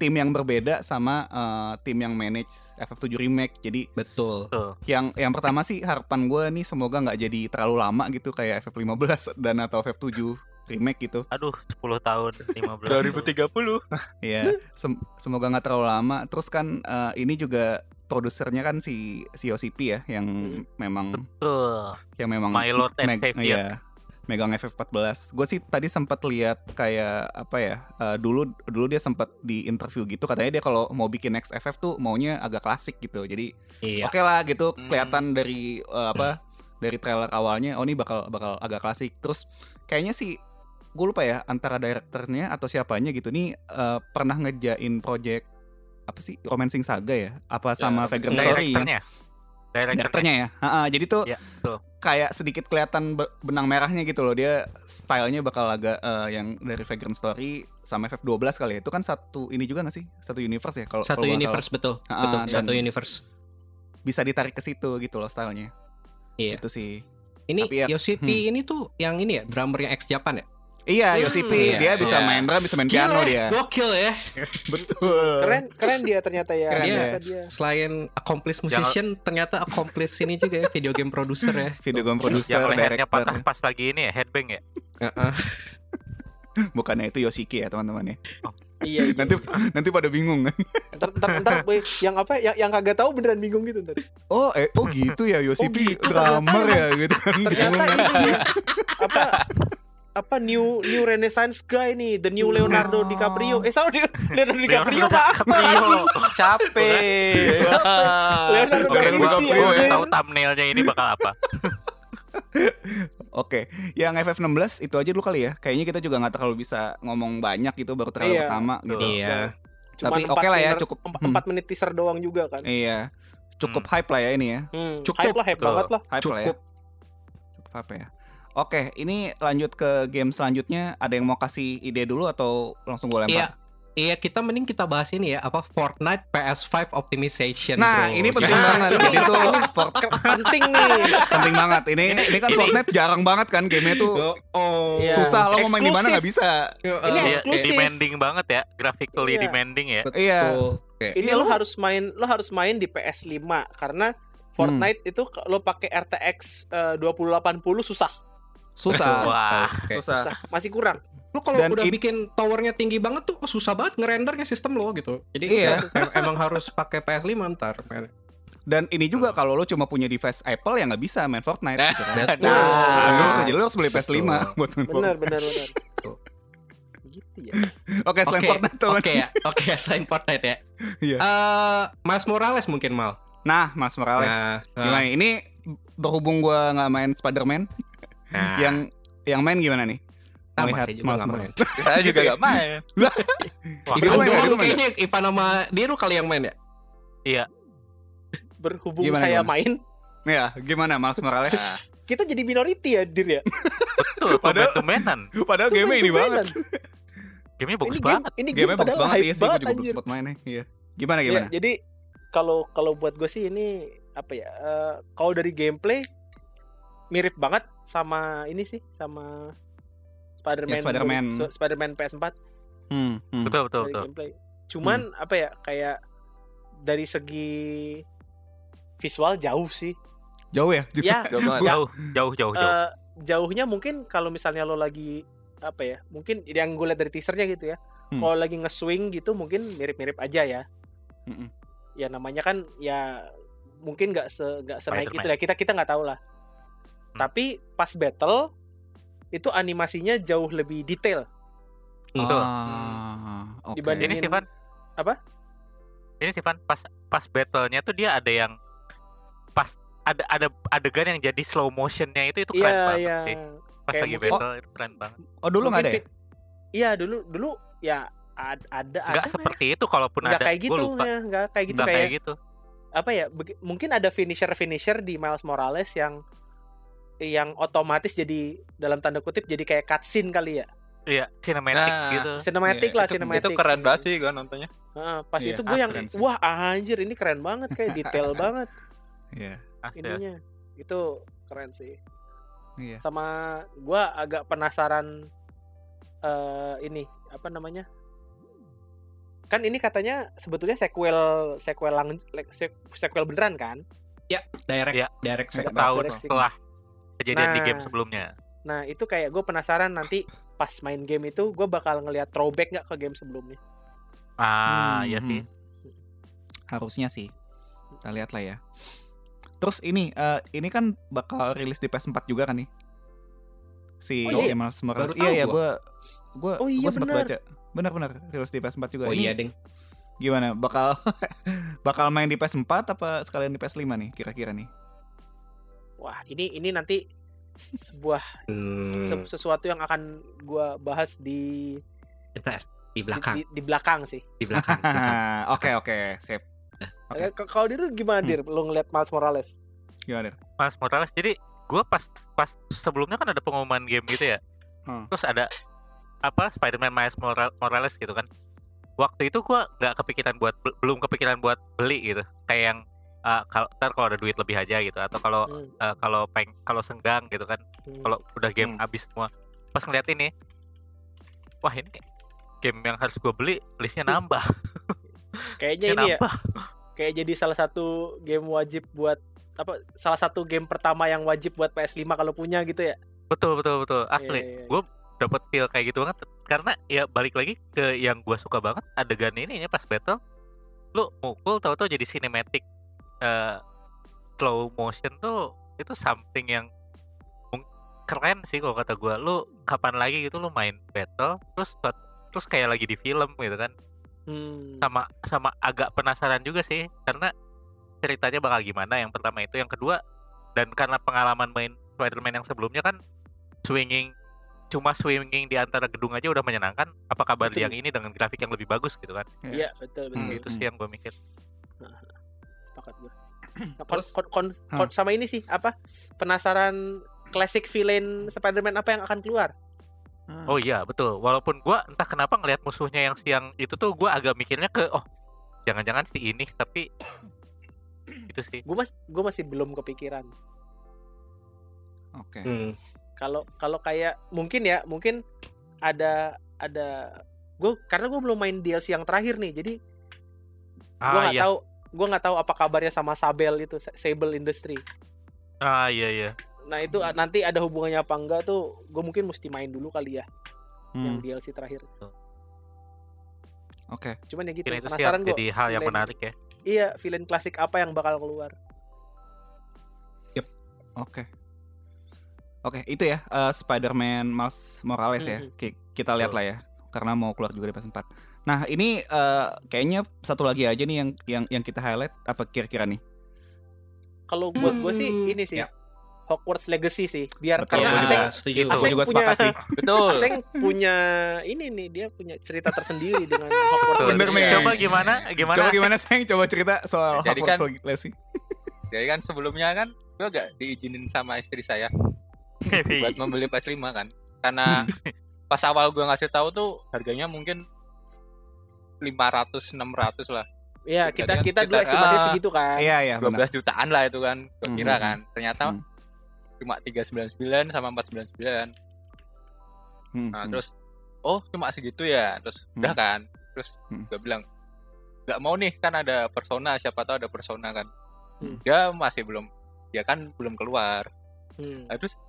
[SPEAKER 4] tim yang berbeda sama eh, tim yang manage FF7 remake. Jadi
[SPEAKER 1] Betul.
[SPEAKER 3] Tuh.
[SPEAKER 4] yang yang pertama sih harapan gue nih semoga nggak jadi terlalu lama gitu kayak FF15 dan atau FF7 remake gitu.
[SPEAKER 3] Aduh, 10 tahun, 15 tahun.
[SPEAKER 5] 2030.
[SPEAKER 4] Ya, sem- semoga nggak terlalu lama. Terus kan eh, ini juga produsernya kan si si OCP ya yang memang
[SPEAKER 3] Betul.
[SPEAKER 4] yang memang
[SPEAKER 3] My Lord and
[SPEAKER 4] meg-
[SPEAKER 3] Savior.
[SPEAKER 4] iya, megang FF14. Gue sih tadi sempat lihat kayak apa ya? eh, dulu dulu dia sempat di interview gitu katanya dia kalau mau bikin next FF tuh maunya agak klasik gitu. Jadi
[SPEAKER 1] Iya.
[SPEAKER 3] Ya.
[SPEAKER 4] oke lah gitu
[SPEAKER 3] Hmm.
[SPEAKER 4] kelihatan dari eh, apa dari trailer awalnya oh ini bakal bakal agak klasik terus kayaknya sih gue lupa ya antara direkturnya atau siapanya gitu nih eh, pernah ngejain project apa sih romancing saga ya apa sama Vagrant Story yang
[SPEAKER 3] Direkturnya. Direkturnya.
[SPEAKER 4] direkturnya ya Ha-ha, jadi tuh
[SPEAKER 3] Iya, betul.
[SPEAKER 4] kayak sedikit kelihatan be- benang merahnya gitu loh dia stylenya bakal agak eh, yang dari Vagrant Story sama FF12 kali ya itu kan satu ini juga gak sih satu universe ya kalau
[SPEAKER 1] Satu
[SPEAKER 4] kalau nggak salah.
[SPEAKER 1] universe betul.
[SPEAKER 4] Ah,
[SPEAKER 1] betul,
[SPEAKER 4] dan-
[SPEAKER 1] satu universe.
[SPEAKER 4] bisa ditarik ke situ gitu loh stylenya
[SPEAKER 1] Iya.
[SPEAKER 4] itu sih
[SPEAKER 1] Ini
[SPEAKER 4] Tapi ya-
[SPEAKER 1] Yoshipi ini tuh yang ini ya, drummernya ex Japan ya?
[SPEAKER 4] Iya,
[SPEAKER 2] Hmm.
[SPEAKER 4] Yosipi
[SPEAKER 1] Iya,
[SPEAKER 4] dia
[SPEAKER 1] iya.
[SPEAKER 4] bisa main drum, bisa main piano
[SPEAKER 1] Gila,
[SPEAKER 4] dia.
[SPEAKER 1] Gokil ya.
[SPEAKER 4] Betul.
[SPEAKER 2] Keren keren dia ternyata ya.
[SPEAKER 4] Keren
[SPEAKER 2] Ternyata
[SPEAKER 4] ya.
[SPEAKER 2] dia.
[SPEAKER 1] Selain accomplished musician, ternyata accomplished ini juga ya, video game producer ya.
[SPEAKER 4] Video game producer,
[SPEAKER 3] Yang lehernya patah
[SPEAKER 4] director.
[SPEAKER 3] pas lagi ini ya, headbang ya.
[SPEAKER 1] Heeh.
[SPEAKER 4] Bukannya itu Yoshiki ya, teman-teman ya.
[SPEAKER 2] Iya. iya.
[SPEAKER 4] Nanti nanti pada bingung kan.
[SPEAKER 2] Ntar ntar, ntar boy, yang apa yang yang kagak tahu beneran bingung gitu ntar.
[SPEAKER 4] Oh, eh, oh gitu ya Yoshiki
[SPEAKER 2] gitu
[SPEAKER 4] drummer
[SPEAKER 2] ternyata
[SPEAKER 4] ya gitu kan.
[SPEAKER 2] Ternyata
[SPEAKER 4] Bingung.
[SPEAKER 2] ini dia, apa apa new new renaissance guy nih the new Leonardo DiCaprio eh sama dia Leonardo DiCaprio
[SPEAKER 3] Leonardo
[SPEAKER 2] pak aktor
[SPEAKER 3] DiCaprio.
[SPEAKER 5] Capek.
[SPEAKER 4] Iya.
[SPEAKER 2] Leonardo Iya,
[SPEAKER 3] Oke,
[SPEAKER 4] Dari
[SPEAKER 3] gua,
[SPEAKER 4] Lucy,
[SPEAKER 3] gua
[SPEAKER 4] anjir.
[SPEAKER 3] tahu thumbnailnya ini bakal apa.
[SPEAKER 4] Oke, ya yang FF16 itu aja dulu kali ya. Kayaknya kita juga nggak terlalu bisa ngomong banyak gitu baru terlalu
[SPEAKER 2] Iya.
[SPEAKER 4] pertama gitu.
[SPEAKER 3] Betul.
[SPEAKER 1] Iya.
[SPEAKER 2] Cuman
[SPEAKER 4] Tapi
[SPEAKER 2] empat
[SPEAKER 4] oke lah ya,
[SPEAKER 2] menit-
[SPEAKER 4] cukup.
[SPEAKER 2] emp-
[SPEAKER 4] Hmm.
[SPEAKER 2] empat menit teaser doang juga kan
[SPEAKER 4] Iya. Cukup hype lah ya ini ya.
[SPEAKER 2] Hmm,
[SPEAKER 1] Cukup.
[SPEAKER 2] hype lah hype
[SPEAKER 3] Betul.
[SPEAKER 2] banget lah
[SPEAKER 4] Hype lah ya.
[SPEAKER 1] Cukup.
[SPEAKER 4] Cukup hype ya. Oke, ini lanjut ke game selanjutnya. Ada yang mau kasih ide dulu atau langsung gue lempar?
[SPEAKER 1] Iya. Iya, kita mending kita bahas ini ya, apa Fortnite PS5 optimization.
[SPEAKER 4] Nah,
[SPEAKER 1] bro.
[SPEAKER 4] ini penting
[SPEAKER 1] Nah,
[SPEAKER 4] banget. Jadi tuh Fort-
[SPEAKER 2] penting nih
[SPEAKER 4] penting banget. Ini ini kan
[SPEAKER 3] Ini-
[SPEAKER 4] Fortnite jarang banget kan gamenya tuh
[SPEAKER 1] Oh.
[SPEAKER 2] Iya.
[SPEAKER 4] susah lo mau main di
[SPEAKER 2] Eksklusif. uh.
[SPEAKER 4] mana nggak bisa.
[SPEAKER 2] Ini
[SPEAKER 3] Dia
[SPEAKER 2] eksklusif.
[SPEAKER 3] demanding banget ya, graphically
[SPEAKER 2] Iya.
[SPEAKER 3] demanding ya.
[SPEAKER 4] Iya.
[SPEAKER 2] ini lo harus main lo harus main di PS5 karena
[SPEAKER 4] Hmm.
[SPEAKER 2] Fortnite itu ke- lo pakai RTX eh, 2080 susah
[SPEAKER 3] Iya.
[SPEAKER 4] Susah.
[SPEAKER 3] Wah,
[SPEAKER 4] Susah.
[SPEAKER 2] susah masih kurang
[SPEAKER 1] Lu kalau
[SPEAKER 4] Dan
[SPEAKER 1] udah
[SPEAKER 4] it-
[SPEAKER 1] bikin towernya tinggi banget tuh susah banget ngerendernya sistem lo gitu. Jadi
[SPEAKER 4] Iya.
[SPEAKER 1] susah, em- emang harus pakai PS5 ntar. men.
[SPEAKER 4] Dan ini juga kalau lo cuma punya device Apple ya nggak bisa main Fortnite
[SPEAKER 1] Nah.
[SPEAKER 4] gitu kan.
[SPEAKER 1] Betul.
[SPEAKER 4] Nah,
[SPEAKER 2] Nah.
[SPEAKER 4] gitu. Jadi lo harus beli PS5 buat main
[SPEAKER 2] bener
[SPEAKER 4] Fortnite.
[SPEAKER 2] bener bener
[SPEAKER 1] Tuh.
[SPEAKER 2] gitu ya
[SPEAKER 4] Oke, selain
[SPEAKER 1] Oke.
[SPEAKER 4] Fortnite teman.
[SPEAKER 1] Oke ya, oke ya, selain Fortnite ya.
[SPEAKER 4] Iya.
[SPEAKER 1] Eh, Mas Morales mungkin mal.
[SPEAKER 4] Nah, Mas Morales.
[SPEAKER 1] Nah, nah,
[SPEAKER 4] Gimana ini berhubung gua nggak main Spider-Man,
[SPEAKER 1] nah,
[SPEAKER 4] yang yang main gimana nih?
[SPEAKER 1] sama
[SPEAKER 4] melihat
[SPEAKER 1] saya juga
[SPEAKER 4] Miles
[SPEAKER 1] nggak main.
[SPEAKER 4] Morales.
[SPEAKER 5] Saya juga gak main.
[SPEAKER 3] wah,
[SPEAKER 4] Itu
[SPEAKER 1] Ivan
[SPEAKER 4] main,
[SPEAKER 1] doang
[SPEAKER 4] itu main.
[SPEAKER 1] kayaknya Ivan sama Diru kali yang main ya.
[SPEAKER 2] berhubung
[SPEAKER 4] Gimana,
[SPEAKER 2] saya
[SPEAKER 4] gimana?
[SPEAKER 2] main
[SPEAKER 4] Ya, gimana Miles Morales?
[SPEAKER 5] Nah,
[SPEAKER 2] kita jadi minority ya dir ya
[SPEAKER 3] betul,
[SPEAKER 4] Padahal-
[SPEAKER 3] pemain-pemainan.
[SPEAKER 4] Padahal game ini banget.
[SPEAKER 3] Gamenya
[SPEAKER 2] ini
[SPEAKER 3] bagus
[SPEAKER 2] game
[SPEAKER 3] banget.
[SPEAKER 2] ini game
[SPEAKER 4] Game-nya bagus
[SPEAKER 2] kan? padahal
[SPEAKER 4] banget
[SPEAKER 2] hype
[SPEAKER 4] iya sih, gua
[SPEAKER 2] banget
[SPEAKER 4] juga baru
[SPEAKER 2] anjir
[SPEAKER 4] sempat mainnya. Iya. Gimana
[SPEAKER 2] Ya,
[SPEAKER 4] gimana?
[SPEAKER 2] jadi kalau kalau buat gue sih ini apa ya? eh, kalau dari gameplay mirip banget sama ini sih sama Spider-Man
[SPEAKER 4] Ya, Spider-Man.
[SPEAKER 2] so- Spider-Man PS4 Iya.
[SPEAKER 4] Hmm, hmm.
[SPEAKER 3] Betul, betul,
[SPEAKER 2] dari
[SPEAKER 3] betul.
[SPEAKER 2] gameplay. Cuman apa ya? Kayak dari segi visual jauh sih.
[SPEAKER 4] Jauh ya?
[SPEAKER 1] Iya.
[SPEAKER 4] Jauh.
[SPEAKER 2] ya,
[SPEAKER 5] Gak banget.
[SPEAKER 3] Jauh, jauh, jauh, jauh.
[SPEAKER 2] eh, jauhnya mungkin kalau misalnya lo lagi apa ya? Mungkin yang gue lihat dari teasernya gitu ya.
[SPEAKER 4] Hmm.
[SPEAKER 2] Kalau lagi nge-swing gitu mungkin mirip-mirip aja ya.
[SPEAKER 4] Mm-mm.
[SPEAKER 2] ya namanya kan ya mungkin nggak se nggak senaik
[SPEAKER 3] Spider-Man.
[SPEAKER 2] itu ya kita kita nggak tahu lah
[SPEAKER 3] Hmm.
[SPEAKER 2] tapi pas battle itu animasinya jauh lebih detail Eh,
[SPEAKER 3] Betul.
[SPEAKER 4] Ah, Oh, oke.
[SPEAKER 2] Dibanding-
[SPEAKER 3] Ini
[SPEAKER 2] Ingin-
[SPEAKER 3] Sivan.
[SPEAKER 2] apa?
[SPEAKER 3] Ini Sivan pas pas battle-nya tuh dia ada yang pas ada ada adegan yang jadi slow motion-nya itu itu keren
[SPEAKER 2] iya
[SPEAKER 3] banget
[SPEAKER 2] iya
[SPEAKER 3] sih. Pas
[SPEAKER 2] Kayak
[SPEAKER 3] lagi
[SPEAKER 2] mungkin-
[SPEAKER 3] battle itu keren banget.
[SPEAKER 4] Oh dulu nggak ada ya?
[SPEAKER 2] Mungkin fi- iya dulu dulu ya ad- ada
[SPEAKER 3] Nggak
[SPEAKER 2] ada lah.
[SPEAKER 3] seperti itu kalaupun
[SPEAKER 2] ya? nggak
[SPEAKER 3] ada.
[SPEAKER 2] kayak
[SPEAKER 3] gua
[SPEAKER 2] gitu
[SPEAKER 3] lupa.
[SPEAKER 2] ya nggak kayak gitu
[SPEAKER 3] Nggak
[SPEAKER 2] kayak,
[SPEAKER 3] kayak gitu.
[SPEAKER 2] apa ya begi- mungkin ada finisher finisher di Miles Morales yang yang otomatis jadi dalam tanda kutip jadi kayak cutscene kali ya
[SPEAKER 3] Iya, cinematic
[SPEAKER 5] Nah,
[SPEAKER 3] gitu.
[SPEAKER 2] cinematic
[SPEAKER 4] Iya,
[SPEAKER 2] lah
[SPEAKER 4] itu-
[SPEAKER 2] cinematic
[SPEAKER 5] Itu keren banget sih gue nontonnya.
[SPEAKER 2] Heeh, pas
[SPEAKER 4] Iya,
[SPEAKER 2] itu gue yang
[SPEAKER 4] keren sih.
[SPEAKER 2] wah anjir ini keren banget kayak detail banget
[SPEAKER 4] Iya.
[SPEAKER 3] Asli.
[SPEAKER 2] ininya itu keren sih
[SPEAKER 4] Iya.
[SPEAKER 2] sama gua agak penasaran eh ini apa namanya kan ini katanya sebetulnya sequel sequel lang, se- sequel beneran kan?
[SPEAKER 1] direct
[SPEAKER 3] Iya.
[SPEAKER 1] direct
[SPEAKER 2] Nggak
[SPEAKER 1] sequel.
[SPEAKER 2] tahu.
[SPEAKER 3] setahun
[SPEAKER 2] Resurrection.
[SPEAKER 3] setelah kejadian di
[SPEAKER 2] Nah.
[SPEAKER 3] game sebelumnya.
[SPEAKER 2] Nah itu kayak gue penasaran nanti pas main game itu gue bakal ngelihat throwback nggak ke game sebelumnya.
[SPEAKER 3] Ah,
[SPEAKER 2] Hmm,
[SPEAKER 3] ya sih.
[SPEAKER 4] Hmm, Harusnya sih. Kita lihat lah ya. Terus ini eh, ini kan bakal rilis di PS4 juga kan nih. Si
[SPEAKER 2] Oh, iya.
[SPEAKER 4] si Miles
[SPEAKER 1] Baru
[SPEAKER 4] Morales.
[SPEAKER 1] tahu
[SPEAKER 4] Iya iya
[SPEAKER 1] gua.
[SPEAKER 4] gua gua
[SPEAKER 2] Oh, iya,
[SPEAKER 4] gua sempat
[SPEAKER 2] benar.
[SPEAKER 4] baca. Benar-benar rilis di PS4 juga.
[SPEAKER 1] Oh
[SPEAKER 4] Ini
[SPEAKER 1] iya deng.
[SPEAKER 4] Gimana? Bakal bakal main di PS4 apa sekalian di PS5 nih kira-kira nih?
[SPEAKER 2] Wah ini ini nanti sebuah
[SPEAKER 1] Hmm,
[SPEAKER 2] se- sesuatu yang akan gue bahas di
[SPEAKER 1] Hmm, bentar. di
[SPEAKER 2] di,
[SPEAKER 1] belakang,
[SPEAKER 2] di- di belakang sih.
[SPEAKER 1] di belakang. di belakang.
[SPEAKER 4] Ah, Oke oke, sip. Oke.
[SPEAKER 2] Eh, k- Kalau dia tuh gimana dir? Lo ngeliat Miles Morales?
[SPEAKER 4] Gimana? Dir?
[SPEAKER 3] Mas Morales. Jadi gua pas pas sebelumnya kan ada pengumuman game gitu ya.
[SPEAKER 4] Hmm.
[SPEAKER 3] Terus ada apa Spider-Man Miles Moral- Morales gitu kan. Waktu itu gua nggak kepikiran buat bel- belum kepikiran buat beli gitu. Kayak yang ah, kalau ntar kalau ada duit lebih aja gitu atau kalau
[SPEAKER 2] Hmm,
[SPEAKER 3] eh, kalau peng kalau senggang gitu kan
[SPEAKER 2] hmm.
[SPEAKER 3] kalau udah game
[SPEAKER 5] Hmm.
[SPEAKER 3] habis semua pas ngeliat ini wah ini game yang harus gue beli listnya nambah
[SPEAKER 2] Kayaknya
[SPEAKER 3] listnya
[SPEAKER 2] ini Iya. ya
[SPEAKER 3] nambah
[SPEAKER 2] kayak jadi salah satu game wajib buat apa salah satu game pertama yang wajib buat PS5 kalau punya gitu ya.
[SPEAKER 3] betul betul betul asli
[SPEAKER 2] Iya, iya, iya.
[SPEAKER 3] gue dapet feel kayak gitu banget karena ya balik lagi ke yang gue suka banget adegan ini ya pas battle lu mukul tau-tau jadi cinematic eh, slow motion tuh itu something yang mung- keren sih kalau kata gue lu kapan lagi gitu lu main battle terus terus kayak lagi di film gitu kan
[SPEAKER 2] Hmm.
[SPEAKER 3] sama sama agak penasaran juga sih karena ceritanya bakal gimana yang pertama itu yang kedua dan karena pengalaman main Spider-Man yang sebelumnya kan swinging cuma swinging di antara gedung aja udah menyenangkan apa kabar
[SPEAKER 2] Betul.
[SPEAKER 3] yang ini dengan grafik yang lebih bagus gitu kan
[SPEAKER 2] Iya, betul betul.
[SPEAKER 4] Hmm.
[SPEAKER 3] itu sih yang gue mikir
[SPEAKER 2] Sepakat gue.
[SPEAKER 4] Terus?
[SPEAKER 2] sama ini sih apa? Penasaran classic villain Spider-Man apa yang akan keluar? Hmm.
[SPEAKER 3] oh iya betul walaupun gua entah kenapa ngelihat musuhnya yang siang itu tuh gua agak mikirnya ke oh jangan-jangan si ini tapi itu sih
[SPEAKER 2] Gue mas gue masih belum kepikiran.
[SPEAKER 4] Oke.
[SPEAKER 1] Hmm,
[SPEAKER 2] Kalau kalau kayak mungkin ya, mungkin ada ada gue karena gue belum main DLC yang terakhir nih. Jadi gue
[SPEAKER 3] ah
[SPEAKER 2] nggak
[SPEAKER 3] iya
[SPEAKER 2] tahu gue nggak tahu apa kabarnya sama Sabel itu Sa- Sable Industry.
[SPEAKER 3] ah iya iya
[SPEAKER 2] Nah itu a- nanti ada hubungannya apa enggak tuh gue mungkin mesti main dulu kali ya yang
[SPEAKER 4] Hmm,
[SPEAKER 2] DLC terakhir.
[SPEAKER 4] Oke.
[SPEAKER 2] Cuman ya gitu
[SPEAKER 3] Mungkin itu sih
[SPEAKER 2] penasaran
[SPEAKER 3] yang
[SPEAKER 2] gue.
[SPEAKER 3] jadi hal yang menarik ya
[SPEAKER 2] Iya villain klasik apa yang bakal keluar?
[SPEAKER 4] Oke. Oke, itu ya eh, Spider-Man Miles Morales ya.
[SPEAKER 2] Mhm.
[SPEAKER 4] Ki- Kita lihat lah ya karena mau keluar juga di PS4. Nah, ini eh, kayaknya satu lagi aja nih yang yang yang kita highlight apa kira-kira nih?
[SPEAKER 2] Kalau buat gue sih
[SPEAKER 1] Hmm,
[SPEAKER 2] ini sih
[SPEAKER 1] ya.
[SPEAKER 2] Hogwarts Legacy sih biar
[SPEAKER 4] Betul,
[SPEAKER 1] ya,
[SPEAKER 2] karena Aseng
[SPEAKER 1] setuju.
[SPEAKER 4] Aku
[SPEAKER 2] Aseng
[SPEAKER 4] juga
[SPEAKER 2] punya-
[SPEAKER 4] sepakat sih.
[SPEAKER 5] Betul.
[SPEAKER 2] Aseng punya ini nih dia punya cerita tersendiri dengan Hogwarts
[SPEAKER 3] Betul.
[SPEAKER 4] Bener
[SPEAKER 2] Legacy.
[SPEAKER 4] nih.
[SPEAKER 3] Coba gimana? Gimana?
[SPEAKER 4] Coba gimana sayang coba cerita soal
[SPEAKER 5] Jadi kan
[SPEAKER 4] Hogwarts Legacy.
[SPEAKER 5] Jadi kan sebelumnya kan gue gak diizinin sama istri saya
[SPEAKER 3] Iya.
[SPEAKER 5] buat membeli PS5 kan. Karena pas awal gue ngasih tahu tuh harganya mungkin 500 600 lah.
[SPEAKER 2] Iya kita
[SPEAKER 5] Jadi kan
[SPEAKER 2] kita dulu
[SPEAKER 5] kita-
[SPEAKER 2] estimasi
[SPEAKER 5] ah.
[SPEAKER 2] segitu kan.
[SPEAKER 4] Iya, iya,
[SPEAKER 5] 12
[SPEAKER 4] benar.
[SPEAKER 5] jutaan lah itu kan. Gue kira
[SPEAKER 4] Mhm.
[SPEAKER 5] kan. Ternyata
[SPEAKER 4] Mhm.
[SPEAKER 5] cuma 399 sama 499.
[SPEAKER 4] Hmm,
[SPEAKER 5] Nah,
[SPEAKER 4] hmm.
[SPEAKER 5] terus oh cuma segitu ya. Terus
[SPEAKER 4] Hmm.
[SPEAKER 5] udah kan. Terus
[SPEAKER 4] Hmm.
[SPEAKER 5] gue bilang nggak mau nih kan ada persona siapa tahu ada persona kan.
[SPEAKER 2] Hmm.
[SPEAKER 5] Dia masih belum dia kan belum keluar.
[SPEAKER 2] Hmm.
[SPEAKER 5] Nah, terus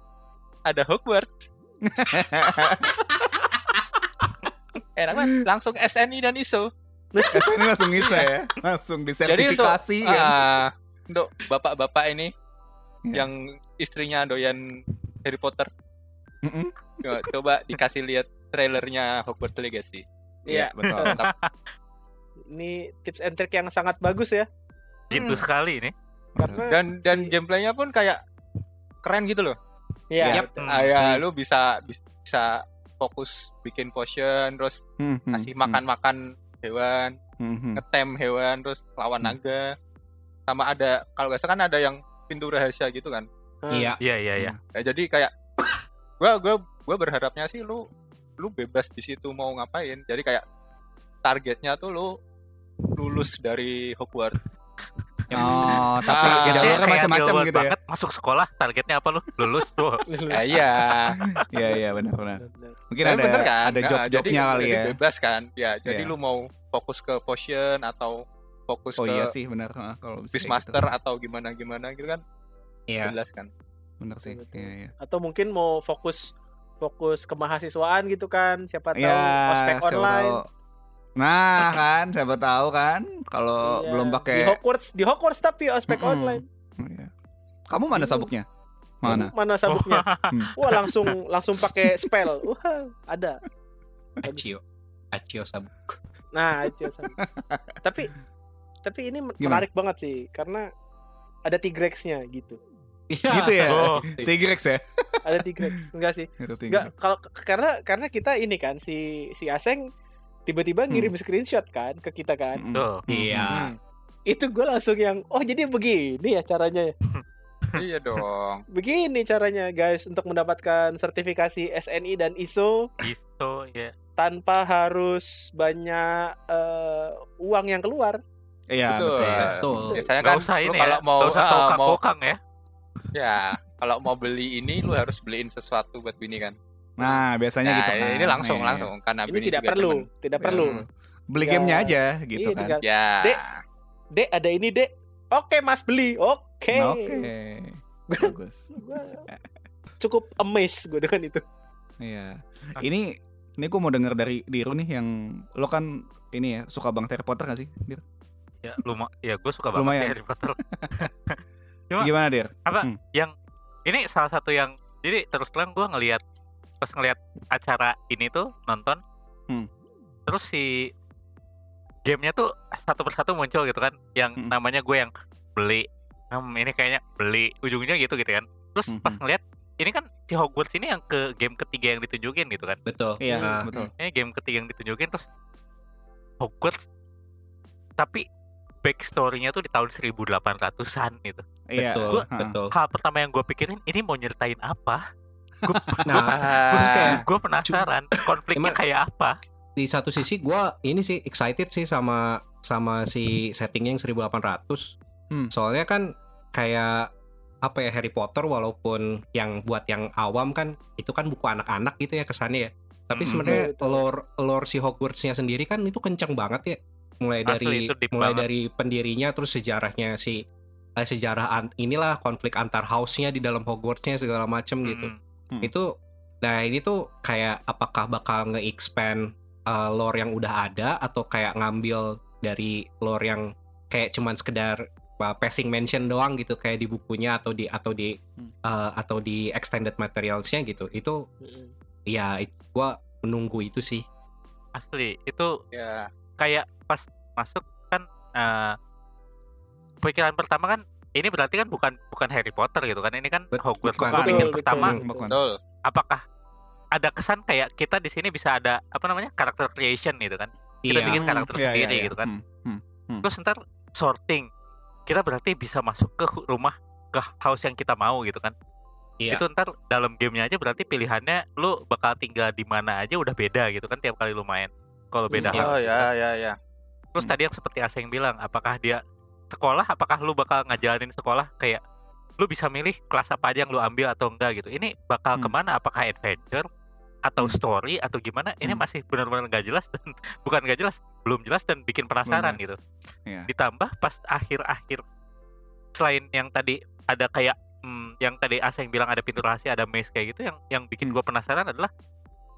[SPEAKER 5] ada Hogwarts. Enak banget, langsung SNI dan ISO.
[SPEAKER 4] Ini langsung ngisa ya. Langsung disertifikasi
[SPEAKER 5] Jadi untuk,
[SPEAKER 4] kan.
[SPEAKER 5] ah, untuk bapak-bapak ini
[SPEAKER 4] Iya.
[SPEAKER 5] yang istrinya doyan Harry Potter, Ah,
[SPEAKER 4] Mm-mm.
[SPEAKER 5] coba, coba dikasih lihat trailernya Hogwarts Legacy.
[SPEAKER 2] Iya.
[SPEAKER 4] betul.
[SPEAKER 5] Mantap.
[SPEAKER 2] Ini tips and trick yang sangat bagus ya.
[SPEAKER 5] Hmm.
[SPEAKER 3] Gitu sekali ini.
[SPEAKER 4] betul.
[SPEAKER 2] Karena
[SPEAKER 5] Dan dan gameplaynya pun kayak keren gitu loh.
[SPEAKER 2] Iya.
[SPEAKER 4] Yap.
[SPEAKER 3] Hmm.
[SPEAKER 2] betul.
[SPEAKER 5] Ah, ya,
[SPEAKER 4] Hmm.
[SPEAKER 5] lu bisa bis- bisa fokus bikin potion, terus
[SPEAKER 4] Hmm, hmm,
[SPEAKER 5] kasih
[SPEAKER 4] hmm,
[SPEAKER 5] makan-makan hewan,
[SPEAKER 4] hmm, hmm.
[SPEAKER 5] ngetem hewan terus lawan
[SPEAKER 4] Hmm.
[SPEAKER 5] naga sama ada kalau nggak salah kan ada yang pintu rahasia gitu kan
[SPEAKER 2] Ah,
[SPEAKER 1] Iya.
[SPEAKER 3] Iya iya iya.
[SPEAKER 5] ya, jadi kayak gua gua gua berharapnya sih lu lu bebas di situ mau ngapain jadi kayak targetnya tuh lu lulus dari Hogwarts
[SPEAKER 4] Oh, tapi
[SPEAKER 5] Ah,
[SPEAKER 3] Targetnya
[SPEAKER 4] jalurnya
[SPEAKER 3] kayak
[SPEAKER 4] macam-macam
[SPEAKER 3] real world
[SPEAKER 4] gitu ya.
[SPEAKER 3] banget, masuk sekolah targetnya apa lu lulus tuh
[SPEAKER 5] Ya, iya.
[SPEAKER 4] Iya, iya benar-benar. Mungkin
[SPEAKER 5] Tapi
[SPEAKER 4] ada
[SPEAKER 5] bener kan?
[SPEAKER 4] ada
[SPEAKER 5] Nah,
[SPEAKER 4] job-jobnya
[SPEAKER 5] jadi-
[SPEAKER 4] kali
[SPEAKER 5] jadi
[SPEAKER 4] ya.
[SPEAKER 5] Bebas kan? Ya, jadi
[SPEAKER 4] Iya.
[SPEAKER 5] lu mau fokus ke potion atau fokus
[SPEAKER 4] Oh
[SPEAKER 5] ke
[SPEAKER 4] iya sih benar Heeh, kalau bisa
[SPEAKER 5] beast
[SPEAKER 4] kayak gitu.
[SPEAKER 5] master atau gimana gimana gitu kan
[SPEAKER 1] Iya.
[SPEAKER 5] jelas kan.
[SPEAKER 4] Bener sih.
[SPEAKER 2] Betul, betul.
[SPEAKER 4] Iya, iya.
[SPEAKER 2] Atau mungkin mau fokus fokus ke mahasiswaan gitu kan? Siapa tahu
[SPEAKER 4] Ya,
[SPEAKER 2] ospek
[SPEAKER 4] siapa
[SPEAKER 2] online.
[SPEAKER 4] tahu. Nah kan, siapa tahu kan kalau
[SPEAKER 2] Iya.
[SPEAKER 4] belum pakai
[SPEAKER 2] di Hogwarts, di Hogwarts tapi ospek
[SPEAKER 4] Mm-mm.
[SPEAKER 2] online.
[SPEAKER 4] Iya. Kamu mana
[SPEAKER 2] Bingung.
[SPEAKER 4] sabuknya? Mana?
[SPEAKER 2] Mana sabuknya?
[SPEAKER 4] Hmm.
[SPEAKER 2] Wah, langsung langsung pakai spell. Wah, ada.
[SPEAKER 1] Acio. Acio sabuk.
[SPEAKER 2] Nah, itu alasan. tapi tapi ini men-
[SPEAKER 4] Gimana?
[SPEAKER 2] menarik banget sih karena ada Tigrex-nya gitu.
[SPEAKER 4] Gitu ya.
[SPEAKER 3] oh
[SPEAKER 4] Tigrex ya?
[SPEAKER 2] Ada Tigrex. Enggak sih.
[SPEAKER 4] Itu
[SPEAKER 2] Enggak
[SPEAKER 4] Tigrex.
[SPEAKER 2] kalau karena karena kita ini kan si si Aseng tiba-tiba
[SPEAKER 4] Hmm.
[SPEAKER 2] ngirim screenshot kan ke kita kan.
[SPEAKER 4] Mm-mm.
[SPEAKER 3] tuh
[SPEAKER 1] Iya.
[SPEAKER 4] Ah.
[SPEAKER 5] Hmm,
[SPEAKER 2] Itu gue langsung yang oh jadi begini ya caranya.
[SPEAKER 5] iya dong.
[SPEAKER 2] Begini caranya guys untuk mendapatkan sertifikasi SNI dan ISO
[SPEAKER 3] iso ya
[SPEAKER 2] tanpa harus banyak eh, uang yang keluar.
[SPEAKER 4] Iya, betul.
[SPEAKER 1] Betul.
[SPEAKER 5] Biasanya
[SPEAKER 3] nggak
[SPEAKER 5] kan
[SPEAKER 3] usah
[SPEAKER 5] lu
[SPEAKER 3] ini
[SPEAKER 5] kalau
[SPEAKER 3] ya
[SPEAKER 5] mau
[SPEAKER 3] nggak usah
[SPEAKER 5] ah,
[SPEAKER 3] kokang
[SPEAKER 5] mau
[SPEAKER 3] kokang ya
[SPEAKER 5] ya kalau mau beli ini lu harus beliin sesuatu buat bini kan.
[SPEAKER 4] Nah, biasanya
[SPEAKER 5] Nah,
[SPEAKER 4] gitu kan.
[SPEAKER 5] ini langsung
[SPEAKER 4] Iya, iya.
[SPEAKER 5] langsung karena
[SPEAKER 2] Ini
[SPEAKER 5] bini
[SPEAKER 2] tidak
[SPEAKER 5] juga Ya.
[SPEAKER 2] perlu,
[SPEAKER 5] demen.
[SPEAKER 2] tidak perlu.
[SPEAKER 4] Hmm. Beli
[SPEAKER 2] Ya.
[SPEAKER 4] gamenya aja gitu
[SPEAKER 2] Iya,
[SPEAKER 4] kan.
[SPEAKER 2] tinggal,
[SPEAKER 5] Ya.
[SPEAKER 2] Dek. Dek ada ini Dek. Oke Mas beli. Oke.
[SPEAKER 4] Nah, Oke. Bagus.
[SPEAKER 2] Gua Cukup amazed gue dengan itu.
[SPEAKER 4] Iya.
[SPEAKER 3] Ah.
[SPEAKER 4] Ini ini gue mau denger dari Diru nih yang lo kan ini ya suka bang Harry Potter gak sih? Dir?
[SPEAKER 3] ya luma ya gue suka banget
[SPEAKER 4] Lumayan.
[SPEAKER 3] sih Harry Potter Cuma-
[SPEAKER 4] Gimana Dir?
[SPEAKER 3] ini salah satu yang jadi terus terang gue ngelihat pas ngelihat acara ini tuh nonton
[SPEAKER 4] Hmm.
[SPEAKER 3] terus si gamenya tuh satu persatu muncul gitu kan yang
[SPEAKER 4] Mm-mm.
[SPEAKER 3] namanya gue yang beli hmm, ini kayaknya beli ujungnya gitu gitu kan terus pas
[SPEAKER 4] Mhm.
[SPEAKER 3] ngelihat ini kan si Hogwarts ini yang ke game ketiga yang ditunjukin gitu kan
[SPEAKER 1] Betul.
[SPEAKER 4] Iya
[SPEAKER 1] Nah,
[SPEAKER 4] betul.
[SPEAKER 3] ini game ketiga yang ditunjukin terus Hogwarts tapi backstory-nya tuh di tahun 1800-an gitu.
[SPEAKER 4] Iya.
[SPEAKER 1] Betul.
[SPEAKER 3] Gua-
[SPEAKER 1] Betul.
[SPEAKER 3] Hal pertama yang gue pikirin ini mau nyeritain apa? Gue
[SPEAKER 1] Nah,
[SPEAKER 5] Ah,
[SPEAKER 3] gue penasaran konfliknya
[SPEAKER 1] Emang-
[SPEAKER 3] kayak apa
[SPEAKER 1] di satu sisi gua ini sih excited sih sama sama si settingnya yang 1800
[SPEAKER 4] Hmm.
[SPEAKER 1] soalnya kan kayak apa ya Harry Potter walaupun yang buat yang awam kan itu kan buku anak-anak gitu ya kesannya ya tapi
[SPEAKER 3] Mm-mm.
[SPEAKER 1] sebenarnya
[SPEAKER 2] Betul, betul.
[SPEAKER 1] lore lore si Hogwartsnya sendiri kan itu kenceng banget ya mulai
[SPEAKER 3] Asli,
[SPEAKER 1] dari
[SPEAKER 3] itu deep
[SPEAKER 1] mulai
[SPEAKER 3] banget.
[SPEAKER 1] dari pendirinya terus sejarahnya si eh, sejarah an- inilah konflik antar house-nya di dalam Hogwartsnya segala macem gitu
[SPEAKER 3] Mm.
[SPEAKER 4] Hmm.
[SPEAKER 1] itu nah ini tuh kayak apakah bakal nge-expand uh, lore yang udah ada atau kayak ngambil dari lore yang kayak cuman sekedar uh, passing mention doang gitu kayak di bukunya atau di atau di
[SPEAKER 4] Hmm.
[SPEAKER 1] uh, atau di extended materialsnya gitu itu ya it- gua menunggu itu sih
[SPEAKER 3] asli itu
[SPEAKER 5] ya.
[SPEAKER 3] kayak pas masuk kan eh, pikiran pertama kan ini berarti kan bukan bukan Harry Potter gitu kan ini kan
[SPEAKER 1] Bet-
[SPEAKER 3] Hogwarts
[SPEAKER 1] bukan.
[SPEAKER 3] gua pikir
[SPEAKER 2] Betul,
[SPEAKER 3] pertama
[SPEAKER 4] Hmm, Bukan.
[SPEAKER 5] Betul.
[SPEAKER 3] apakah ada kesan kayak kita di sini bisa ada apa namanya karakter creation gitu kan Kita
[SPEAKER 1] iya
[SPEAKER 3] bikin karakter
[SPEAKER 4] Iya, iya,
[SPEAKER 3] sendiri
[SPEAKER 4] iya.
[SPEAKER 3] gitu kan.
[SPEAKER 4] Hmm, hmm.
[SPEAKER 3] terus ntar sorting kita berarti bisa masuk ke hu- rumah ke house yang kita mau gitu kan
[SPEAKER 1] Iya.
[SPEAKER 3] itu ntar dalam gamenya aja berarti pilihannya lu bakal tinggal di mana aja udah beda gitu kan tiap kali lu main kalau beda
[SPEAKER 1] Hmm,
[SPEAKER 3] house
[SPEAKER 5] Oh
[SPEAKER 3] gitu
[SPEAKER 5] ya ya ya.
[SPEAKER 3] Terus
[SPEAKER 4] iya, Hmm.
[SPEAKER 3] tadi yang seperti Aseng bilang, apakah dia sekolah, apakah lu bakal ngejalanin sekolah kayak lu bisa milih kelas apa aja yang lu ambil atau enggak gitu. Ini bakal
[SPEAKER 4] Hmm.
[SPEAKER 3] kemana? Apakah adventure atau
[SPEAKER 4] Hmm.
[SPEAKER 3] story atau gimana? Ini
[SPEAKER 4] Hmm.
[SPEAKER 3] masih benar-benar nggak jelas dan bukan nggak jelas, belum jelas dan bikin penasaran gitu.
[SPEAKER 4] Bener. Iya.
[SPEAKER 3] Ditambah pas akhir-akhir selain yang tadi ada kayak hmm, yang tadi Aseng bilang ada pintu rahasia, ada maze kayak gitu, yang yang bikin
[SPEAKER 4] Hmm.
[SPEAKER 3] gua penasaran adalah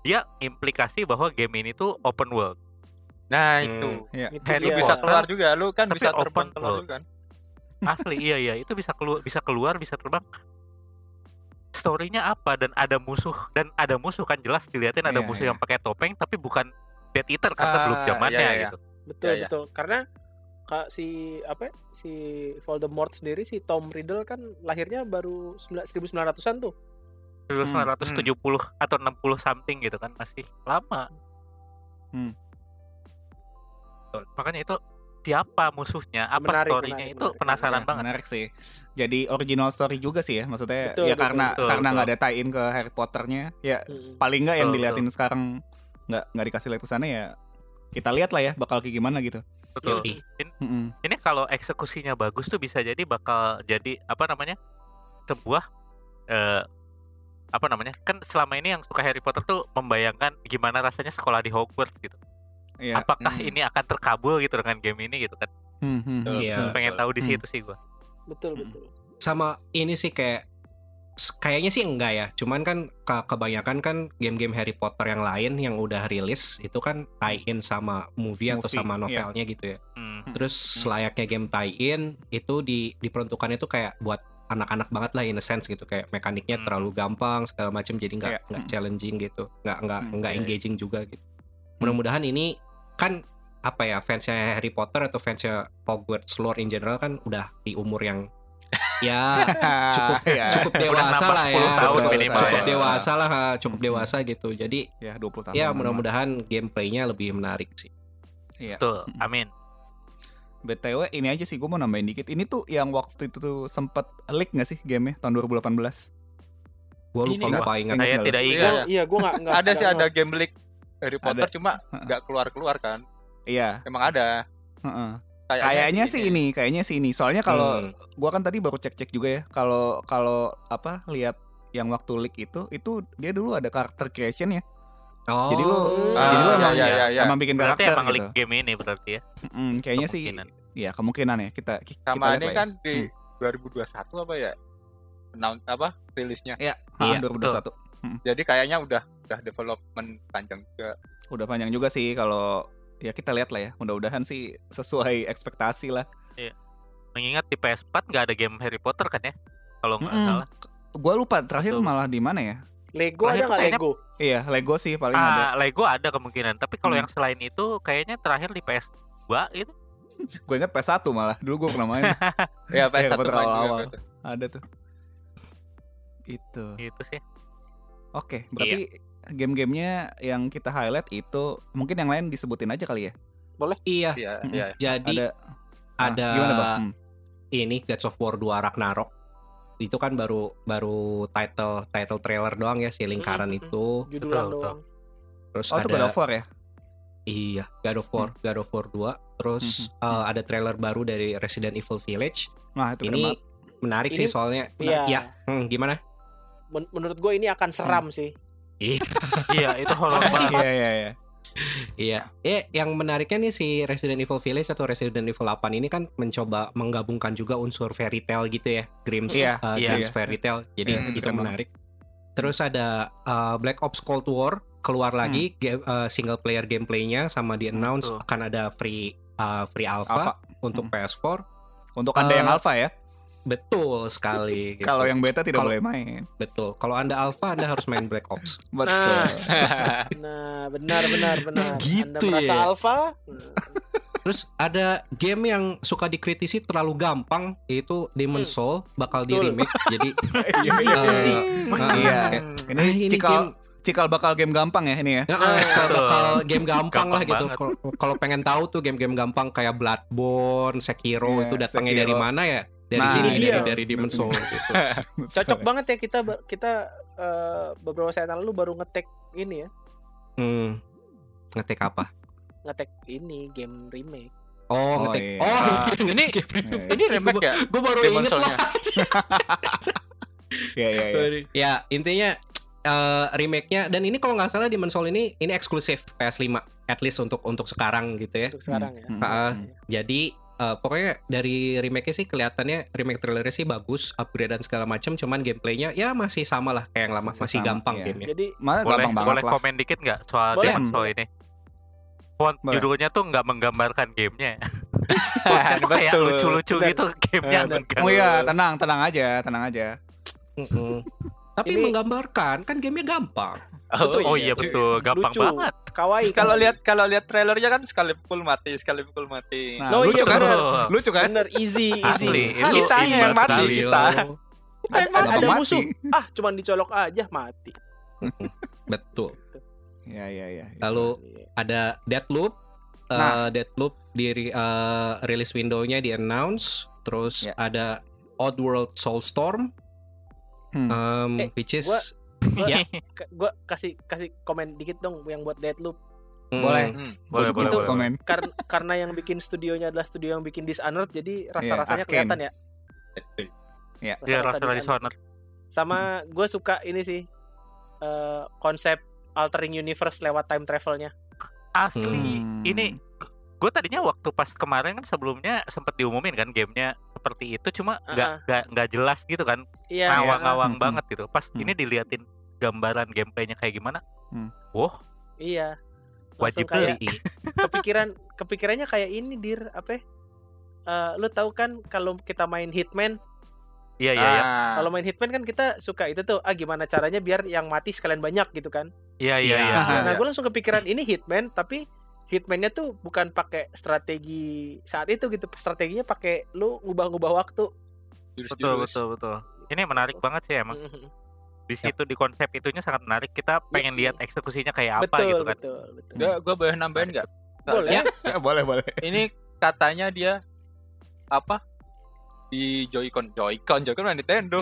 [SPEAKER 3] dia implikasi bahwa game ini tuh open world.
[SPEAKER 5] Nah
[SPEAKER 1] Hmm.
[SPEAKER 5] itu.
[SPEAKER 2] Itu
[SPEAKER 3] Harry
[SPEAKER 5] Lu
[SPEAKER 2] dia.
[SPEAKER 5] bisa
[SPEAKER 3] Potter.
[SPEAKER 5] keluar juga, lu kan
[SPEAKER 3] Tapi
[SPEAKER 5] bisa
[SPEAKER 3] open
[SPEAKER 5] terbang keluar
[SPEAKER 3] world.
[SPEAKER 5] juga kan.
[SPEAKER 4] Hmm,
[SPEAKER 3] asli iya iya itu bisa keluar bisa keluar bisa terbang storynya apa dan ada musuh dan ada musuh kan jelas dilihatin ada
[SPEAKER 4] Iya,
[SPEAKER 3] musuh
[SPEAKER 4] iya.
[SPEAKER 3] yang pakai topeng tapi bukan Death Eater karena
[SPEAKER 5] Ah,
[SPEAKER 3] belum
[SPEAKER 5] iya,
[SPEAKER 3] zamannya
[SPEAKER 5] iya, iya.
[SPEAKER 3] gitu
[SPEAKER 2] Betul
[SPEAKER 5] Ya, ya.
[SPEAKER 2] betul. Karena ka- si apa ya, si Voldemort sendiri si Tom Riddle kan lahirnya baru 1900-an tuh.
[SPEAKER 1] Hmm,
[SPEAKER 3] 1970 atau 60 something gitu kan masih lama
[SPEAKER 4] Hmm.
[SPEAKER 3] Betul. makanya itu siapa musuhnya apa
[SPEAKER 2] Menarik,
[SPEAKER 3] storynya
[SPEAKER 2] menarik,
[SPEAKER 3] itu
[SPEAKER 2] menarik.
[SPEAKER 3] penasaran
[SPEAKER 4] Iya,
[SPEAKER 3] banget
[SPEAKER 4] Menarik sih. Jadi original story juga sih ya, maksudnya
[SPEAKER 2] Betul,
[SPEAKER 4] ya
[SPEAKER 2] betul,
[SPEAKER 4] karena
[SPEAKER 3] betul,
[SPEAKER 4] karena
[SPEAKER 3] betul.
[SPEAKER 4] nggak ada tie-in ke Harry Potternya, ya
[SPEAKER 2] Mm-mm.
[SPEAKER 4] paling nggak yang
[SPEAKER 3] Betul,
[SPEAKER 4] diliatin sekarang nggak nggak dikasih lihat ke sana ya kita lihat lah ya bakal kayak gimana gitu. Hmm,
[SPEAKER 3] betul.
[SPEAKER 1] Yoi.
[SPEAKER 4] Mm-mm.
[SPEAKER 3] Ini kalau eksekusinya bagus tuh bisa jadi bakal jadi apa namanya? sebuah eh apa namanya? Kan selama ini yang suka Harry Potter tuh membayangkan gimana rasanya sekolah di Hogwarts gitu.
[SPEAKER 4] Iya.
[SPEAKER 1] Ya,
[SPEAKER 3] Apakah
[SPEAKER 1] hmm.
[SPEAKER 5] Mm.
[SPEAKER 3] ini akan terkabul gitu dengan game ini gitu kan?
[SPEAKER 4] Hmm, hmm, hmm.
[SPEAKER 1] Iya.
[SPEAKER 3] Pengen tahu di
[SPEAKER 4] Hmm.
[SPEAKER 3] situ sih gua.
[SPEAKER 2] betul
[SPEAKER 4] Mm.
[SPEAKER 2] betul
[SPEAKER 1] sama ini sih kayak s- kayaknya sih enggak ya cuman kan ke- kebanyakan kan game-game Harry Potter yang lain yang udah rilis itu kan tie-in sama movie, atau
[SPEAKER 4] Movie,
[SPEAKER 1] sama
[SPEAKER 4] iya.
[SPEAKER 1] novelnya gitu ya
[SPEAKER 3] Hmm.
[SPEAKER 1] terus layaknya game tie-in itu di diperuntukannya tuh kayak buat anak-anak banget lah in a sense gitu kayak mekaniknya
[SPEAKER 3] Hmm.
[SPEAKER 1] terlalu gampang segala macam jadi nggak
[SPEAKER 4] Iya.
[SPEAKER 1] nggak
[SPEAKER 4] Hmm.
[SPEAKER 1] challenging gitu nggak nggak
[SPEAKER 4] Hmm,
[SPEAKER 1] nggak
[SPEAKER 3] iya, iya.
[SPEAKER 1] engaging juga gitu mudah-mudahan ini kan apa ya fansnya Harry Potter atau fansnya Hogwarts lore in general kan udah di umur yang ya Cukup-
[SPEAKER 4] ya,
[SPEAKER 1] cukup
[SPEAKER 3] Udah
[SPEAKER 1] dewasa
[SPEAKER 3] nambah
[SPEAKER 1] lah ya
[SPEAKER 3] 10 tahun
[SPEAKER 1] Cukup-
[SPEAKER 3] minimal
[SPEAKER 1] cukup
[SPEAKER 3] ya.
[SPEAKER 1] dewasa lah ha, cukup
[SPEAKER 4] Hmm.
[SPEAKER 1] dewasa gitu jadi
[SPEAKER 4] ya 20 tahun.
[SPEAKER 1] ya mudah-mudahan gameplaynya lebih menarik sih
[SPEAKER 3] Betul.
[SPEAKER 4] Mm.
[SPEAKER 3] Amin.
[SPEAKER 4] BTW ini aja sih gue mau nambahin dikit. Ini tuh yang waktu itu tuh sempet leak gak sih gamenya tahun 2018?
[SPEAKER 1] gue
[SPEAKER 5] Ini
[SPEAKER 1] lupa
[SPEAKER 5] nggak-
[SPEAKER 1] lupa ingat
[SPEAKER 3] Saya
[SPEAKER 1] nggak
[SPEAKER 3] tidak
[SPEAKER 5] Iya,
[SPEAKER 2] Gua-
[SPEAKER 3] ingat.
[SPEAKER 5] iya.
[SPEAKER 2] iya gue nggak nggak
[SPEAKER 5] ada sih
[SPEAKER 2] nggak-
[SPEAKER 5] ada game leak Harry Potter cuma
[SPEAKER 4] Heeh.
[SPEAKER 5] nggak keluar keluar kan
[SPEAKER 4] Iya.
[SPEAKER 5] emang ada
[SPEAKER 4] heeh. Kayaknya sih ini, kayaknya sih ini. Soalnya kalau
[SPEAKER 1] Hmm.
[SPEAKER 4] gua kan tadi baru cek-cek juga ya. Kalau kalau apa lihat yang waktu leak itu, itu dia dulu ada karakter creation ya.
[SPEAKER 1] oh,
[SPEAKER 4] Jadi lu-
[SPEAKER 5] Ah,
[SPEAKER 4] Jadi lu
[SPEAKER 5] iya,
[SPEAKER 4] emang-
[SPEAKER 5] iya, iya, iya.
[SPEAKER 4] Emang bikin
[SPEAKER 3] Ya, Berarti
[SPEAKER 4] karakter
[SPEAKER 3] emang
[SPEAKER 4] gitu.
[SPEAKER 3] leak game ini berarti ya.
[SPEAKER 4] Mm, kayaknya sih
[SPEAKER 3] Kemungkinan.
[SPEAKER 4] ya kemungkinan ya kita ki- kita
[SPEAKER 5] sama
[SPEAKER 4] lihat
[SPEAKER 5] ini
[SPEAKER 4] lah ya.
[SPEAKER 5] kan di 2021 apa ya announce apa rilisnya
[SPEAKER 4] Iya,
[SPEAKER 3] Iya,
[SPEAKER 4] ah, 2021.
[SPEAKER 5] jadi kayaknya udah udah development panjang juga
[SPEAKER 4] Udah panjang juga sih kalau ya kita lihat lah ya. Mudah-mudahan sih sesuai ekspektasi lah.
[SPEAKER 3] Mengingat di PS4 nggak ada game Harry Potter kan ya? Kalau nggak
[SPEAKER 4] Mm-mm.
[SPEAKER 3] salah.
[SPEAKER 4] Gua lupa terakhir
[SPEAKER 3] Betul.
[SPEAKER 4] malah di mana ya?
[SPEAKER 2] Lego ada
[SPEAKER 3] Terakhir
[SPEAKER 2] nggak
[SPEAKER 3] kayaknya-
[SPEAKER 2] Lego
[SPEAKER 4] Iya, Lego sih paling ada.
[SPEAKER 3] Ah, Lego ada kemungkinan, tapi kalau
[SPEAKER 4] Hmm.
[SPEAKER 3] yang selain itu kayaknya terakhir di PS2 gitu.
[SPEAKER 4] Gue inget PS1 malah. Dulu gue pernah main.
[SPEAKER 5] ya PS1
[SPEAKER 4] Harry Potter
[SPEAKER 5] main juga, gitu.
[SPEAKER 4] awal-awal.
[SPEAKER 5] PS1.
[SPEAKER 4] ada tuh. Itu.
[SPEAKER 3] Gitu sih.
[SPEAKER 4] Oke, berarti game-gamenya yang kita highlight itu mungkin yang lain disebutin aja kali ya.
[SPEAKER 1] iya
[SPEAKER 5] iya
[SPEAKER 4] Mm-mm.
[SPEAKER 5] iya
[SPEAKER 1] jadi
[SPEAKER 4] ada ah,
[SPEAKER 1] ada
[SPEAKER 4] gimana, Bang? Hmm.
[SPEAKER 1] ini Gods of War 2 Ragnarok itu kan baru baru title title trailer doang ya si lingkaran
[SPEAKER 2] Mm-mm.
[SPEAKER 1] itu
[SPEAKER 2] judulan
[SPEAKER 3] betul.
[SPEAKER 2] doang
[SPEAKER 1] terus
[SPEAKER 4] Oh, itu God
[SPEAKER 1] ada
[SPEAKER 4] of Hmm. War ya?
[SPEAKER 1] iya God of War God of War 2 terus
[SPEAKER 4] Mhm.
[SPEAKER 1] eh, ada trailer baru dari Resident Evil Village
[SPEAKER 4] Nah, itu keren
[SPEAKER 1] ini
[SPEAKER 4] banget.
[SPEAKER 1] menarik
[SPEAKER 2] Ini-
[SPEAKER 1] sih soalnya
[SPEAKER 2] iya
[SPEAKER 1] Menar- ya hmm, gimana
[SPEAKER 2] Men- menurut gue ini akan seram
[SPEAKER 5] Hmm.
[SPEAKER 2] sih
[SPEAKER 3] Iya, itu horor banget.
[SPEAKER 4] Iya, iya, iya.
[SPEAKER 1] Iya. Eh, yang menariknya nih si Resident Evil Village atau Resident Evil 8 ini kan mencoba menggabungkan juga unsur fairy tale gitu ya, Grimm's,
[SPEAKER 4] Iya,
[SPEAKER 1] uh,
[SPEAKER 3] iya,
[SPEAKER 1] Grimm's
[SPEAKER 4] iya.
[SPEAKER 1] fairy tale. Jadi
[SPEAKER 4] Iya,
[SPEAKER 1] itu
[SPEAKER 4] keren banget.
[SPEAKER 1] menarik. Terus ada uh, Black Ops Cold War keluar
[SPEAKER 4] Hmm.
[SPEAKER 1] lagi game- uh, single player gameplaynya sama di announce
[SPEAKER 3] Betul.
[SPEAKER 1] akan ada free uh, free
[SPEAKER 4] Alpha.
[SPEAKER 1] alpha, untuk
[SPEAKER 4] Mm.
[SPEAKER 1] PS4.
[SPEAKER 4] Untuk Anda yang
[SPEAKER 1] Eh,
[SPEAKER 4] alpha ya.
[SPEAKER 1] Betul sekali. gitu.
[SPEAKER 4] Kalau yang beta tidak
[SPEAKER 1] Kalau-
[SPEAKER 4] boleh main.
[SPEAKER 1] betul. Kalau Anda alpha Anda harus main Black Ops.
[SPEAKER 4] Betul.
[SPEAKER 2] nah benar benar benar anda
[SPEAKER 1] Gitu
[SPEAKER 2] merasa
[SPEAKER 1] ya.
[SPEAKER 2] alpha
[SPEAKER 1] Terus ada game yang suka dikritisi terlalu gampang yaitu Demon
[SPEAKER 2] Hmm.
[SPEAKER 1] Soul bakal di
[SPEAKER 2] Betul.
[SPEAKER 1] remake. Jadi
[SPEAKER 4] Iya, iya.
[SPEAKER 1] eh, ah,
[SPEAKER 4] Iya.
[SPEAKER 1] kayak,
[SPEAKER 4] Ini
[SPEAKER 1] "Ah, ini
[SPEAKER 4] cikal
[SPEAKER 1] game
[SPEAKER 4] cikal bakal game gampang ya ini ya.
[SPEAKER 1] Ya, ah, cikal
[SPEAKER 3] Betul.
[SPEAKER 1] bakal game gampang, lah
[SPEAKER 3] Gampang
[SPEAKER 1] gitu.
[SPEAKER 3] banget.
[SPEAKER 1] Kalau- Kalau pengen tahu tuh game-game gampang kayak Bloodborne, Sekiro
[SPEAKER 4] Iya,
[SPEAKER 1] itu datangnya
[SPEAKER 4] Sekiro.
[SPEAKER 1] dari mana ya? Dari
[SPEAKER 4] Nah,
[SPEAKER 1] sini
[SPEAKER 2] ini
[SPEAKER 1] dari,
[SPEAKER 2] dia.
[SPEAKER 1] dari Demon
[SPEAKER 4] Dari
[SPEAKER 1] Soul
[SPEAKER 4] sini.
[SPEAKER 1] gitu.
[SPEAKER 2] cocok banget ya kita ba- kita eh, beberapa saat yang lalu baru ngetek ini ya
[SPEAKER 1] Hmm. Ngetik apa?
[SPEAKER 2] ngetek ini game remake
[SPEAKER 1] Oh,
[SPEAKER 4] Oh,
[SPEAKER 1] ngetik.
[SPEAKER 4] iya.
[SPEAKER 1] Oh,
[SPEAKER 5] Ah,
[SPEAKER 1] ini
[SPEAKER 4] banget.
[SPEAKER 5] ini remake ya
[SPEAKER 1] gue baru
[SPEAKER 5] Demon
[SPEAKER 1] inget
[SPEAKER 5] Soul-nya?
[SPEAKER 1] loh.
[SPEAKER 4] Iya, iya, iya.
[SPEAKER 1] Ya, intinya eh, remake-nya dan ini kalau nggak salah Demon Soul ini ini eksklusif PS5 at least untuk untuk sekarang gitu ya.
[SPEAKER 2] untuk sekarang ya
[SPEAKER 4] Hmm,
[SPEAKER 1] Ah,
[SPEAKER 4] hmm.
[SPEAKER 1] Jadi eh, pokoknya dari remake-nya sih kelihatannya remake trailernya sih bagus, upgrade dan segala macam, cuman gameplaynya ya masih sama lah kayak yang lama,
[SPEAKER 4] Masih
[SPEAKER 1] masih
[SPEAKER 4] sama,
[SPEAKER 1] gampang
[SPEAKER 4] iya.
[SPEAKER 1] gamenya.
[SPEAKER 2] jadi
[SPEAKER 4] Malah
[SPEAKER 3] Boleh
[SPEAKER 4] gampang banget
[SPEAKER 3] boleh
[SPEAKER 4] lah.
[SPEAKER 3] komen dikit nggak soal
[SPEAKER 2] Boleh.
[SPEAKER 3] Demon's Soul ini? Font
[SPEAKER 4] Boleh.
[SPEAKER 3] judulnya tuh nggak menggambarkan gamenya. Fontnya tuh kayak
[SPEAKER 5] Betul.
[SPEAKER 3] lucu-lucu
[SPEAKER 2] Betul.
[SPEAKER 3] gitu gamenya.
[SPEAKER 5] Betul.
[SPEAKER 3] enggak.
[SPEAKER 4] Oh iya, tenang, tenang aja, tenang aja.
[SPEAKER 1] Mm-mm. Tapi
[SPEAKER 2] Ini-
[SPEAKER 1] menggambarkan kan gamenya gampang.
[SPEAKER 3] Oh iya betul, gampang
[SPEAKER 2] lucu
[SPEAKER 3] banget.
[SPEAKER 2] kawaii
[SPEAKER 5] kalau
[SPEAKER 2] kawaii.
[SPEAKER 5] lihat kalau lihat trailernya kan sekali pukul mati sekali pukul mati
[SPEAKER 4] Nah,
[SPEAKER 2] Oh,
[SPEAKER 4] lucu
[SPEAKER 2] iya,
[SPEAKER 4] kan?
[SPEAKER 2] bener.
[SPEAKER 3] Betul.
[SPEAKER 4] Lucu kan?
[SPEAKER 2] bener easy easy
[SPEAKER 3] Asli,
[SPEAKER 2] Ah,
[SPEAKER 3] itu
[SPEAKER 2] kita
[SPEAKER 5] kitanya yang
[SPEAKER 3] imbang
[SPEAKER 5] mati
[SPEAKER 3] sekali.
[SPEAKER 5] kita
[SPEAKER 1] Lo.
[SPEAKER 2] ada,
[SPEAKER 5] Emang
[SPEAKER 2] ada
[SPEAKER 4] mati.
[SPEAKER 2] musuh ah cuman dicolok aja mati
[SPEAKER 1] Betul.
[SPEAKER 4] Iya, iya, iya.
[SPEAKER 1] Lalu ada Deadloop. Eh,
[SPEAKER 4] Nah.
[SPEAKER 1] Deadloop di eh, rilis window-nya di announce, terus
[SPEAKER 4] Ya.
[SPEAKER 1] ada Oddworld Soulstorm
[SPEAKER 4] Hmm.
[SPEAKER 1] um,
[SPEAKER 2] Eh,
[SPEAKER 1] which is
[SPEAKER 2] gua-
[SPEAKER 5] Iya.
[SPEAKER 1] Ya.
[SPEAKER 2] gue kasih kasih komen dikit dong yang buat Deadloop
[SPEAKER 1] mm.
[SPEAKER 4] Boleh.
[SPEAKER 5] Hmm.
[SPEAKER 3] Boleh,
[SPEAKER 4] Gua juga
[SPEAKER 3] boleh,
[SPEAKER 4] harus
[SPEAKER 3] boleh.
[SPEAKER 4] komen.
[SPEAKER 2] Kar- karena yang bikin studionya adalah studio yang bikin Dishonored jadi
[SPEAKER 4] Iya,
[SPEAKER 2] rasa-rasanya
[SPEAKER 4] Arkane.
[SPEAKER 2] kelihatan ya.
[SPEAKER 3] Dia rasa
[SPEAKER 2] Dishonored.
[SPEAKER 3] dari Dishonored.
[SPEAKER 2] Sama gue suka ini sih eh, konsep altering universe lewat time travelnya.
[SPEAKER 3] Asli.
[SPEAKER 2] Hmm.
[SPEAKER 3] Ini gue tadinya waktu pas kemarin kan sebelumnya sempat diumumin kan gamenya seperti itu cuma nggak nggak nggak jelas gitu kan
[SPEAKER 2] Iya.
[SPEAKER 3] ngawang-ngawang
[SPEAKER 4] Hmm, hmm.
[SPEAKER 3] banget gitu pas
[SPEAKER 4] Hmm.
[SPEAKER 3] ini diliatin gambaran gameplaynya kayak gimana
[SPEAKER 4] Hmm.
[SPEAKER 3] wah
[SPEAKER 2] Iya. Langsung
[SPEAKER 3] wajib
[SPEAKER 2] kayak
[SPEAKER 3] beli
[SPEAKER 2] kepikiran kepikirannya kayak ini dir apa? ya? Eh, lu tahu kan kalau kita main Hitman,
[SPEAKER 3] iya iya iya
[SPEAKER 5] Ah,
[SPEAKER 2] kalau main Hitman kan kita suka itu tuh, ah gimana caranya biar yang mati sekalian banyak gitu kan.
[SPEAKER 3] iya iya
[SPEAKER 4] Iya.
[SPEAKER 3] iya
[SPEAKER 5] Ah,
[SPEAKER 2] Nah,
[SPEAKER 5] iya.
[SPEAKER 2] gue langsung kepikiran ini Hitman, tapi Hitman-nya tuh bukan pakai strategi saat itu gitu. Strateginya pakai lu ngubah-ngubah waktu.
[SPEAKER 3] betul
[SPEAKER 5] jurus-jurus.
[SPEAKER 3] betul betul ini menarik banget sih
[SPEAKER 2] Iya.
[SPEAKER 3] emang
[SPEAKER 2] Hmm,
[SPEAKER 3] di situ di konsep itunya sangat menarik kita pengen
[SPEAKER 2] Iya.
[SPEAKER 3] lihat eksekusinya kayak apa
[SPEAKER 2] betul,
[SPEAKER 3] gitu kan
[SPEAKER 2] betul, betul.
[SPEAKER 5] Nggak, gue boleh nambahin nggak? Nggak
[SPEAKER 2] Boleh.
[SPEAKER 5] ada.
[SPEAKER 4] boleh, boleh.
[SPEAKER 5] Ini katanya dia apa di Joy-Con, Joy-Con, Joy-Con main Nintendo.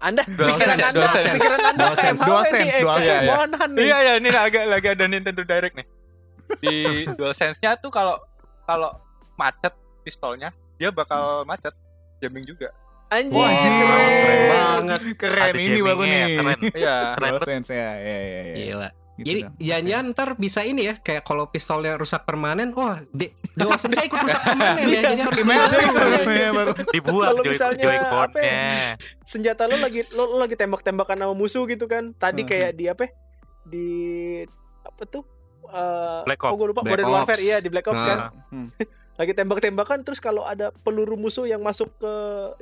[SPEAKER 2] Anda
[SPEAKER 5] Dual
[SPEAKER 2] pikiran
[SPEAKER 5] sense,
[SPEAKER 2] Anda,
[SPEAKER 5] dual sense.
[SPEAKER 2] pikiran Anda
[SPEAKER 4] Dual
[SPEAKER 2] kayak
[SPEAKER 4] sense, dual
[SPEAKER 2] apa
[SPEAKER 4] sense,
[SPEAKER 2] nih? Eh,
[SPEAKER 4] dual
[SPEAKER 5] sense.
[SPEAKER 2] kesombongan nih.
[SPEAKER 5] iya iya ini agak agak ada Nintendo Direct nih. Di DualSense-nya tuh kalau kalau macet pistolnya dia bakal macet jamming juga.
[SPEAKER 2] Anjing.
[SPEAKER 4] Wah, anjir.
[SPEAKER 1] Keren
[SPEAKER 4] banget. Keren
[SPEAKER 3] Ada
[SPEAKER 4] ini baru
[SPEAKER 3] jammingnya,
[SPEAKER 4] nih.
[SPEAKER 3] keren
[SPEAKER 5] Iya.
[SPEAKER 3] Keren banget.
[SPEAKER 4] Sense ya, ya, ya, ya.
[SPEAKER 1] Gila.
[SPEAKER 4] Gitu
[SPEAKER 1] Iya. Jadi
[SPEAKER 4] dong.
[SPEAKER 1] jangan-jangan ntar bisa ini ya kayak kalau pistolnya rusak permanen, wah, de, Dawson saya ikut rusak permanen ya, jadi harus
[SPEAKER 4] Gimana sih
[SPEAKER 1] beli baru.
[SPEAKER 4] programnya Iya, baru? Iya,
[SPEAKER 3] dibuang
[SPEAKER 2] Kalau
[SPEAKER 3] joy
[SPEAKER 2] misalnya, apa ya?
[SPEAKER 3] joyconnya
[SPEAKER 2] Senjata lu lagi lu, lu lagi tembak-tembakan sama musuh gitu kan. Tadi
[SPEAKER 4] Hmm.
[SPEAKER 2] kayak di apa? Di apa tuh? Eh,
[SPEAKER 3] Black
[SPEAKER 2] Oh,
[SPEAKER 3] Ops.
[SPEAKER 2] gue lupa
[SPEAKER 1] Black
[SPEAKER 2] Modern Warfare
[SPEAKER 1] Ops.
[SPEAKER 2] iya di Black Ops kan.
[SPEAKER 3] Nah.
[SPEAKER 4] Hmm.
[SPEAKER 2] Lagi tembak-tembakan terus kalau ada peluru musuh yang masuk ke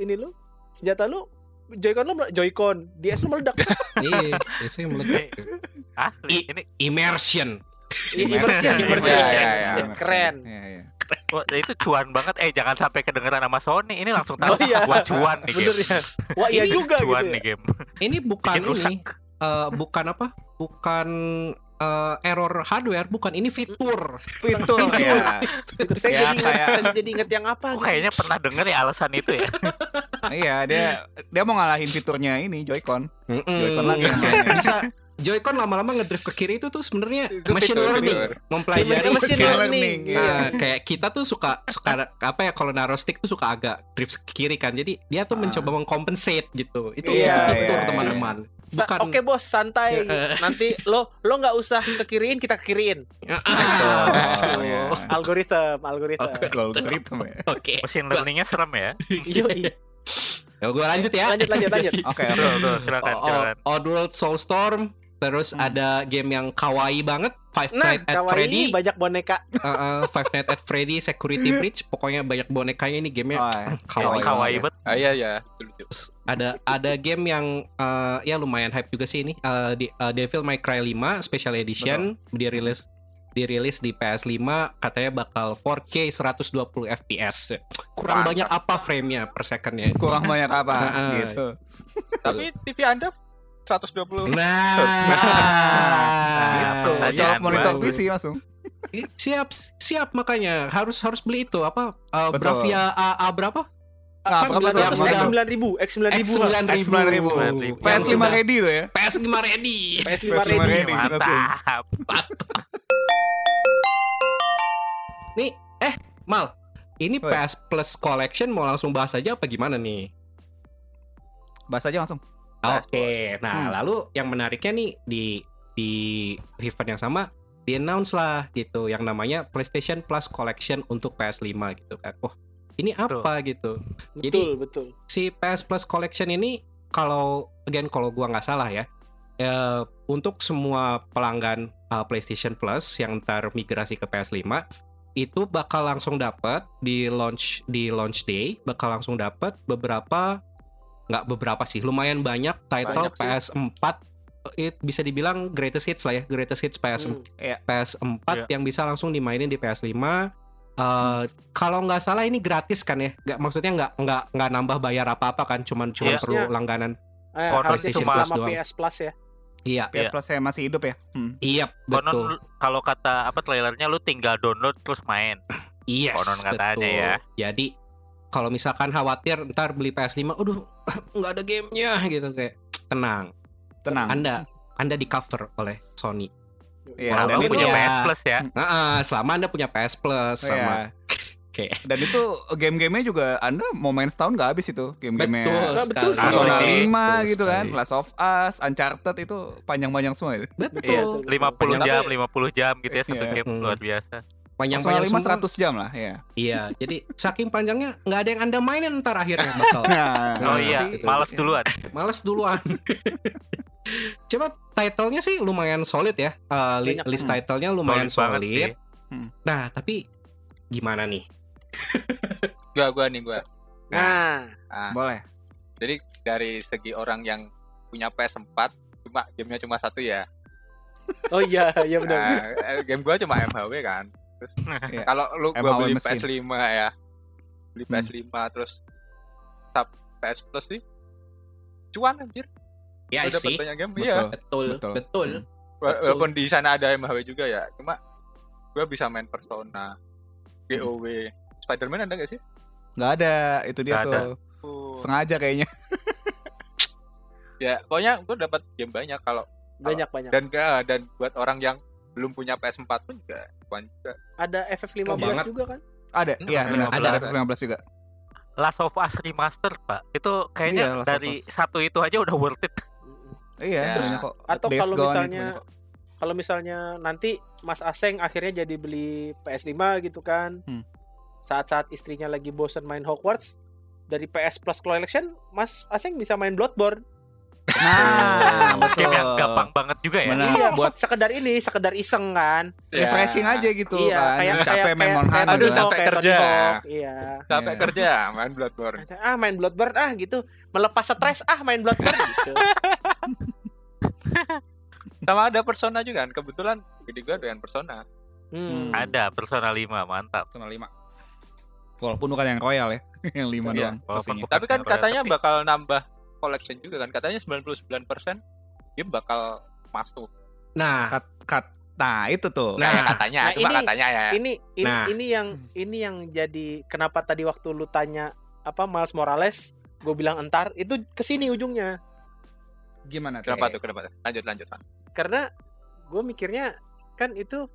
[SPEAKER 2] ini lu, senjata lu Joycon lu mele- Joycon, DS lu meledak.
[SPEAKER 1] Iya, itu yang meledak.
[SPEAKER 3] asli
[SPEAKER 1] I-
[SPEAKER 3] ini
[SPEAKER 1] Immersion.
[SPEAKER 2] I- immersion,
[SPEAKER 3] Immersion,
[SPEAKER 2] immersion.
[SPEAKER 5] iya, iya, iya.
[SPEAKER 2] Immersion. Keren.
[SPEAKER 4] Iya, iya.
[SPEAKER 3] wah, Oh, itu cuan banget eh jangan sampai kedengeran sama Sony ini langsung tahu
[SPEAKER 2] Oh, iya.
[SPEAKER 3] wah cuan nih
[SPEAKER 2] Bener
[SPEAKER 3] game
[SPEAKER 2] ya. Wah, iya
[SPEAKER 3] Ini
[SPEAKER 2] juga
[SPEAKER 3] cuan
[SPEAKER 2] gitu.
[SPEAKER 3] nih
[SPEAKER 2] Ya.
[SPEAKER 3] game
[SPEAKER 1] Ini bukan
[SPEAKER 3] bikin rusak
[SPEAKER 1] ini, eh, bukan apa? Bukan eh, error hardware, bukan ini fitur.
[SPEAKER 4] Fitur
[SPEAKER 2] Iya.
[SPEAKER 4] ya.
[SPEAKER 2] Terus saya
[SPEAKER 4] Ya,
[SPEAKER 2] jadi ingat,
[SPEAKER 4] kayak-
[SPEAKER 2] saya jadi inget yang apa
[SPEAKER 3] Aku
[SPEAKER 2] gitu.
[SPEAKER 3] kayaknya pernah denger ya alasan itu ya.
[SPEAKER 4] Iya, dia dia mau ngalahin fiturnya ini Joy-Con.
[SPEAKER 1] Hmm.
[SPEAKER 4] Joy-Con lagi yang mainnya.
[SPEAKER 1] Bisa Joy-Con lama-lama ngedrift ke kiri itu tuh sebenarnya
[SPEAKER 5] Itu
[SPEAKER 1] machine
[SPEAKER 5] fitur,
[SPEAKER 1] learning,
[SPEAKER 5] fitur.
[SPEAKER 1] mempelajari
[SPEAKER 2] Iya,
[SPEAKER 4] Iya,
[SPEAKER 2] Machine learning,
[SPEAKER 1] Nah, kayak kita tuh suka suka apa ya kalau naro stick tuh suka agak drift ke kiri kan. Jadi dia tuh
[SPEAKER 4] Ah.
[SPEAKER 1] mencoba mengkompensate gitu. Itu
[SPEAKER 2] Iya,
[SPEAKER 1] itu fitur
[SPEAKER 4] iya,
[SPEAKER 1] teman-teman.
[SPEAKER 2] Sa-
[SPEAKER 1] Bukan
[SPEAKER 2] Oke bos, santai.
[SPEAKER 1] Iya.
[SPEAKER 2] Nanti lo lo nggak usah kekiriin, kita kekiriin.
[SPEAKER 4] Oh, iya.
[SPEAKER 2] Algoritma, algoritma.
[SPEAKER 4] Algoritma ya.
[SPEAKER 1] Oke.
[SPEAKER 3] Mesin learningnya serem ya.
[SPEAKER 2] Yoi.
[SPEAKER 1] Ya, gua lanjut ya. Oh,
[SPEAKER 2] Lanjut, lanjut, lanjut.
[SPEAKER 4] Oke, oke.
[SPEAKER 3] Tuh, tuh, silakan,
[SPEAKER 1] O-
[SPEAKER 3] silakan.
[SPEAKER 1] O- Oddworld Soulstorm, terus
[SPEAKER 4] Hmm.
[SPEAKER 1] ada game yang kawaii banget, Five
[SPEAKER 2] Nah,
[SPEAKER 1] Nights at Freddy,
[SPEAKER 2] kawaii banyak boneka.
[SPEAKER 1] Uh, uh, Five Nights at Freddy Security Breach, pokoknya banyak bonekanya ini gamenya
[SPEAKER 4] Oh, iya.
[SPEAKER 1] kawaii.
[SPEAKER 3] Kawaii
[SPEAKER 1] banget.
[SPEAKER 3] bet.
[SPEAKER 5] Ah, iya iya. Betul, betul.
[SPEAKER 1] Terus ada ada game yang uh, ya lumayan hype juga sih ini uh, di, uh, Devil May Cry 5 Special Edition dirilis dirilis di PS5 katanya bakal 4K 120 FPS. Kurang
[SPEAKER 5] Mantap.
[SPEAKER 1] banyak apa frame-nya per second-nya.
[SPEAKER 4] Kurang banyak apa
[SPEAKER 1] Heeh.
[SPEAKER 4] gitu.
[SPEAKER 5] Tapi TV Anda
[SPEAKER 1] Hmm.
[SPEAKER 5] 120
[SPEAKER 1] Nah,
[SPEAKER 4] Gitu.
[SPEAKER 3] pertanyaan
[SPEAKER 4] Colok monitor
[SPEAKER 1] gua.
[SPEAKER 4] PC langsung.
[SPEAKER 1] siap siap makanya harus harus beli itu apa uh,
[SPEAKER 4] Betul.
[SPEAKER 1] Bravia A, A berapa?
[SPEAKER 4] Nah,
[SPEAKER 1] Kan
[SPEAKER 4] berapa tuh?
[SPEAKER 2] 900,
[SPEAKER 1] Berapa?
[SPEAKER 2] X 9000, X 9000.
[SPEAKER 1] X9000.
[SPEAKER 4] X9000.
[SPEAKER 1] Yang
[SPEAKER 4] PS5
[SPEAKER 1] sudah-
[SPEAKER 4] ready tuh ya.
[SPEAKER 1] PS5 ready.
[SPEAKER 2] PS5
[SPEAKER 4] PS5
[SPEAKER 2] ready.
[SPEAKER 4] ready. langsung.
[SPEAKER 3] Mantap.
[SPEAKER 1] Nih, eh Mal, ini
[SPEAKER 4] Oi.
[SPEAKER 1] PS Plus Collection mau langsung bahas aja apa gimana nih?
[SPEAKER 4] Bahas aja langsung.
[SPEAKER 1] Oke, nah
[SPEAKER 4] Hmm.
[SPEAKER 1] lalu yang menariknya nih di di event yang sama di announce lah gitu yang namanya PlayStation Plus Collection untuk PS5 gitu kan. Wah, ini apa gitu? Jadi-
[SPEAKER 2] Betul, betul.
[SPEAKER 1] si PS Plus Collection ini kalau again kalau gua nggak salah ya eh, untuk semua pelanggan eh, PlayStation Plus yang ntar migrasi ke PS5 itu bakal langsung dapat di launch di launch day bakal langsung dapat beberapa nggak beberapa sih lumayan banyak title
[SPEAKER 5] Banyak sih.
[SPEAKER 1] PS4 it bisa dibilang greatest hits lah ya greatest hits PS
[SPEAKER 2] Hmm.
[SPEAKER 1] PS4
[SPEAKER 3] Iya.
[SPEAKER 1] yang bisa langsung dimainin di PS5. Eh, kalau nggak salah ini gratis kan ya? Nggak maksudnya nggak nggak nggak nambah bayar apa-apa kan? Cuman cuman
[SPEAKER 3] Iya.
[SPEAKER 1] perlu
[SPEAKER 2] Iya.
[SPEAKER 1] langganan.
[SPEAKER 2] Eh,
[SPEAKER 3] Konon
[SPEAKER 2] harusnya
[SPEAKER 1] PlayStation
[SPEAKER 2] selama
[SPEAKER 1] Plus doang.
[SPEAKER 2] PS Plus ya.
[SPEAKER 1] Iya,
[SPEAKER 4] PS Plus saya masih hidup ya. Hmm.
[SPEAKER 1] iya
[SPEAKER 3] Konon
[SPEAKER 1] betul.
[SPEAKER 3] lu- kalau kata apa trailernya lu tinggal download terus main.
[SPEAKER 1] Yes,
[SPEAKER 3] konon katanya
[SPEAKER 1] betul.
[SPEAKER 3] ya.
[SPEAKER 1] Jadi kalau misalkan khawatir ntar beli PS5, aduh nggak ada gamenya gitu kayak tenang.
[SPEAKER 4] Tenang.
[SPEAKER 1] Anda Anda di cover oleh Sony. Walaupun
[SPEAKER 4] Iya, dan
[SPEAKER 3] Walaupun
[SPEAKER 4] itu
[SPEAKER 3] punya
[SPEAKER 1] ya.
[SPEAKER 3] PS Plus ya.
[SPEAKER 1] Nah, selama Anda punya PS Plus sama
[SPEAKER 4] Iya. Dan itu game-gamenya juga Anda mau main setahun nggak habis itu game-gamenya.
[SPEAKER 2] Nah, betul sekali.
[SPEAKER 1] Persona
[SPEAKER 4] Persona
[SPEAKER 3] Betul
[SPEAKER 4] 5 gitu kan,
[SPEAKER 1] sekali.
[SPEAKER 4] Last of Us, Uncharted itu panjang-panjang semua itu.
[SPEAKER 3] Iya,
[SPEAKER 1] Betul.
[SPEAKER 3] 50 jam, 50 jam gitu ya satu
[SPEAKER 4] Iya.
[SPEAKER 3] game
[SPEAKER 1] Hmm.
[SPEAKER 3] luar biasa.
[SPEAKER 4] Persona
[SPEAKER 1] Panjang-panjang
[SPEAKER 4] 5
[SPEAKER 1] semua.
[SPEAKER 4] 100 jam lah, ya.
[SPEAKER 1] Iya, jadi saking panjangnya nggak ada yang Anda mainin ntar akhirnya bakal
[SPEAKER 4] Nah,
[SPEAKER 1] Nah,
[SPEAKER 3] Oh iya,
[SPEAKER 1] seperti itu.
[SPEAKER 3] males duluan.
[SPEAKER 1] males duluan. Cuma titlenya sih lumayan solid ya. Eh, li-
[SPEAKER 2] Banyak.
[SPEAKER 1] list
[SPEAKER 4] Hmm.
[SPEAKER 1] titlenya lumayan
[SPEAKER 3] Solid banget
[SPEAKER 1] solid.
[SPEAKER 3] sih. Hmm.
[SPEAKER 1] Nah, tapi gimana nih?
[SPEAKER 5] Gua gua nih gua.
[SPEAKER 2] Nah,
[SPEAKER 5] Nah,
[SPEAKER 4] Boleh.
[SPEAKER 5] jadi dari segi orang yang punya PS4 cuma gamenya cuma satu ya.
[SPEAKER 2] oh iya, iya benar.
[SPEAKER 5] Nah, eh, game gua cuma MHW kan. Terus
[SPEAKER 4] Iya.
[SPEAKER 5] kalau lu gua
[SPEAKER 4] MHW
[SPEAKER 5] beli
[SPEAKER 4] mesin.
[SPEAKER 5] PS5 ya. Beli
[SPEAKER 4] Hmm.
[SPEAKER 5] PS5 terus sub PS Plus sih. Cuan anjir.
[SPEAKER 1] Ya
[SPEAKER 5] Gua dapat
[SPEAKER 1] sih,
[SPEAKER 5] banyak game iya.
[SPEAKER 4] Betul.
[SPEAKER 1] betul,
[SPEAKER 4] Betul.
[SPEAKER 1] betul.
[SPEAKER 4] Hmm.
[SPEAKER 5] Wa- Walaupun di sana ada MHW juga ya. Cuma gua bisa main Persona,
[SPEAKER 4] Hmm.
[SPEAKER 5] GOW, Spider-Man ada nggak sih?
[SPEAKER 4] Nggak ada, itu
[SPEAKER 3] Nggak
[SPEAKER 4] dia
[SPEAKER 3] ada.
[SPEAKER 4] tuh.
[SPEAKER 5] Oh.
[SPEAKER 4] Sengaja kayaknya.
[SPEAKER 5] Ya, pokoknya gua dapat game banyak kalau
[SPEAKER 2] Banyak banyak.
[SPEAKER 5] dan eh, dan buat orang yang belum punya PS4 pun juga cuan juga.
[SPEAKER 2] Ada FF15
[SPEAKER 1] Banget.
[SPEAKER 2] juga kan?
[SPEAKER 4] Ada,
[SPEAKER 5] Hmm,
[SPEAKER 4] iya benar. Ada
[SPEAKER 5] 15.
[SPEAKER 4] FF15 juga.
[SPEAKER 3] Last of Us remaster, Pak. Itu
[SPEAKER 4] Iya,
[SPEAKER 3] kayaknya
[SPEAKER 4] Last of
[SPEAKER 3] dari
[SPEAKER 4] Us.
[SPEAKER 3] satu itu aja udah worth it.
[SPEAKER 4] Iya,
[SPEAKER 5] Ya.
[SPEAKER 4] banyak kok.
[SPEAKER 2] Atau
[SPEAKER 4] Days
[SPEAKER 2] kalau
[SPEAKER 4] Gone itu
[SPEAKER 2] misalnya-
[SPEAKER 4] banyak kok.
[SPEAKER 2] Kalau misalnya nanti Mas Aseng akhirnya jadi beli PS5 gitu kan.
[SPEAKER 4] Hmm.
[SPEAKER 2] Saat-saat istrinya lagi bosen main Hogwarts dari PS Plus Collection, Mas Aseng bisa main Bloodborne.
[SPEAKER 4] Nah, betul.
[SPEAKER 3] Game yang gampang banget juga ya.
[SPEAKER 4] Benar. Nah,
[SPEAKER 2] iya,
[SPEAKER 4] buat-
[SPEAKER 2] buat sekedar ini, sekedar iseng kan.
[SPEAKER 5] Ya,
[SPEAKER 4] refreshing aja gitu
[SPEAKER 2] iya,
[SPEAKER 4] kan.
[SPEAKER 2] kayak
[SPEAKER 4] capek
[SPEAKER 2] kayak
[SPEAKER 4] main Monhan
[SPEAKER 2] kayak
[SPEAKER 5] Aduh,
[SPEAKER 4] gitu
[SPEAKER 2] Tony
[SPEAKER 4] kan.
[SPEAKER 2] Hawk,
[SPEAKER 5] capek
[SPEAKER 2] kayak Tony
[SPEAKER 5] kerja.
[SPEAKER 2] Hawk, Iya.
[SPEAKER 5] Capek
[SPEAKER 4] Iya.
[SPEAKER 5] kerja main Bloodborne.
[SPEAKER 2] Ah main Bloodborne ah gitu. Melepas stres ah main Bloodborne gitu.
[SPEAKER 5] Sama ada Persona juga kan. Kebetulan gede gua doyan Persona.
[SPEAKER 2] Hmm.
[SPEAKER 4] Hmm.
[SPEAKER 3] Ada Persona 5, mantap.
[SPEAKER 4] Persona 5. Walaupun bukan yang royal ya, yang 5
[SPEAKER 5] Iya,
[SPEAKER 4] doang
[SPEAKER 3] walaupun
[SPEAKER 4] pastinya.
[SPEAKER 3] bukan.
[SPEAKER 5] Tapi kan
[SPEAKER 3] Royal,
[SPEAKER 5] katanya
[SPEAKER 3] tapi-
[SPEAKER 5] bakal nambah collection juga kan. Katanya 99% game bakal masuk.
[SPEAKER 1] Nah,
[SPEAKER 4] Kat, kat. Nah, itu tuh.
[SPEAKER 1] Nah,
[SPEAKER 5] Kayak katanya,
[SPEAKER 2] nah
[SPEAKER 5] cuma
[SPEAKER 2] ini-
[SPEAKER 5] katanya ya.
[SPEAKER 2] Ini ini
[SPEAKER 1] Nah.
[SPEAKER 2] ini yang ini yang jadi kenapa tadi waktu lu tanya apa Miles Morales, gue bilang entar itu kesini ujungnya.
[SPEAKER 4] gimana
[SPEAKER 5] Kenapa tuh? Iya, Kenapa tuh? Lanjut lanjut. Pan.
[SPEAKER 2] Karena gue mikirnya kan itu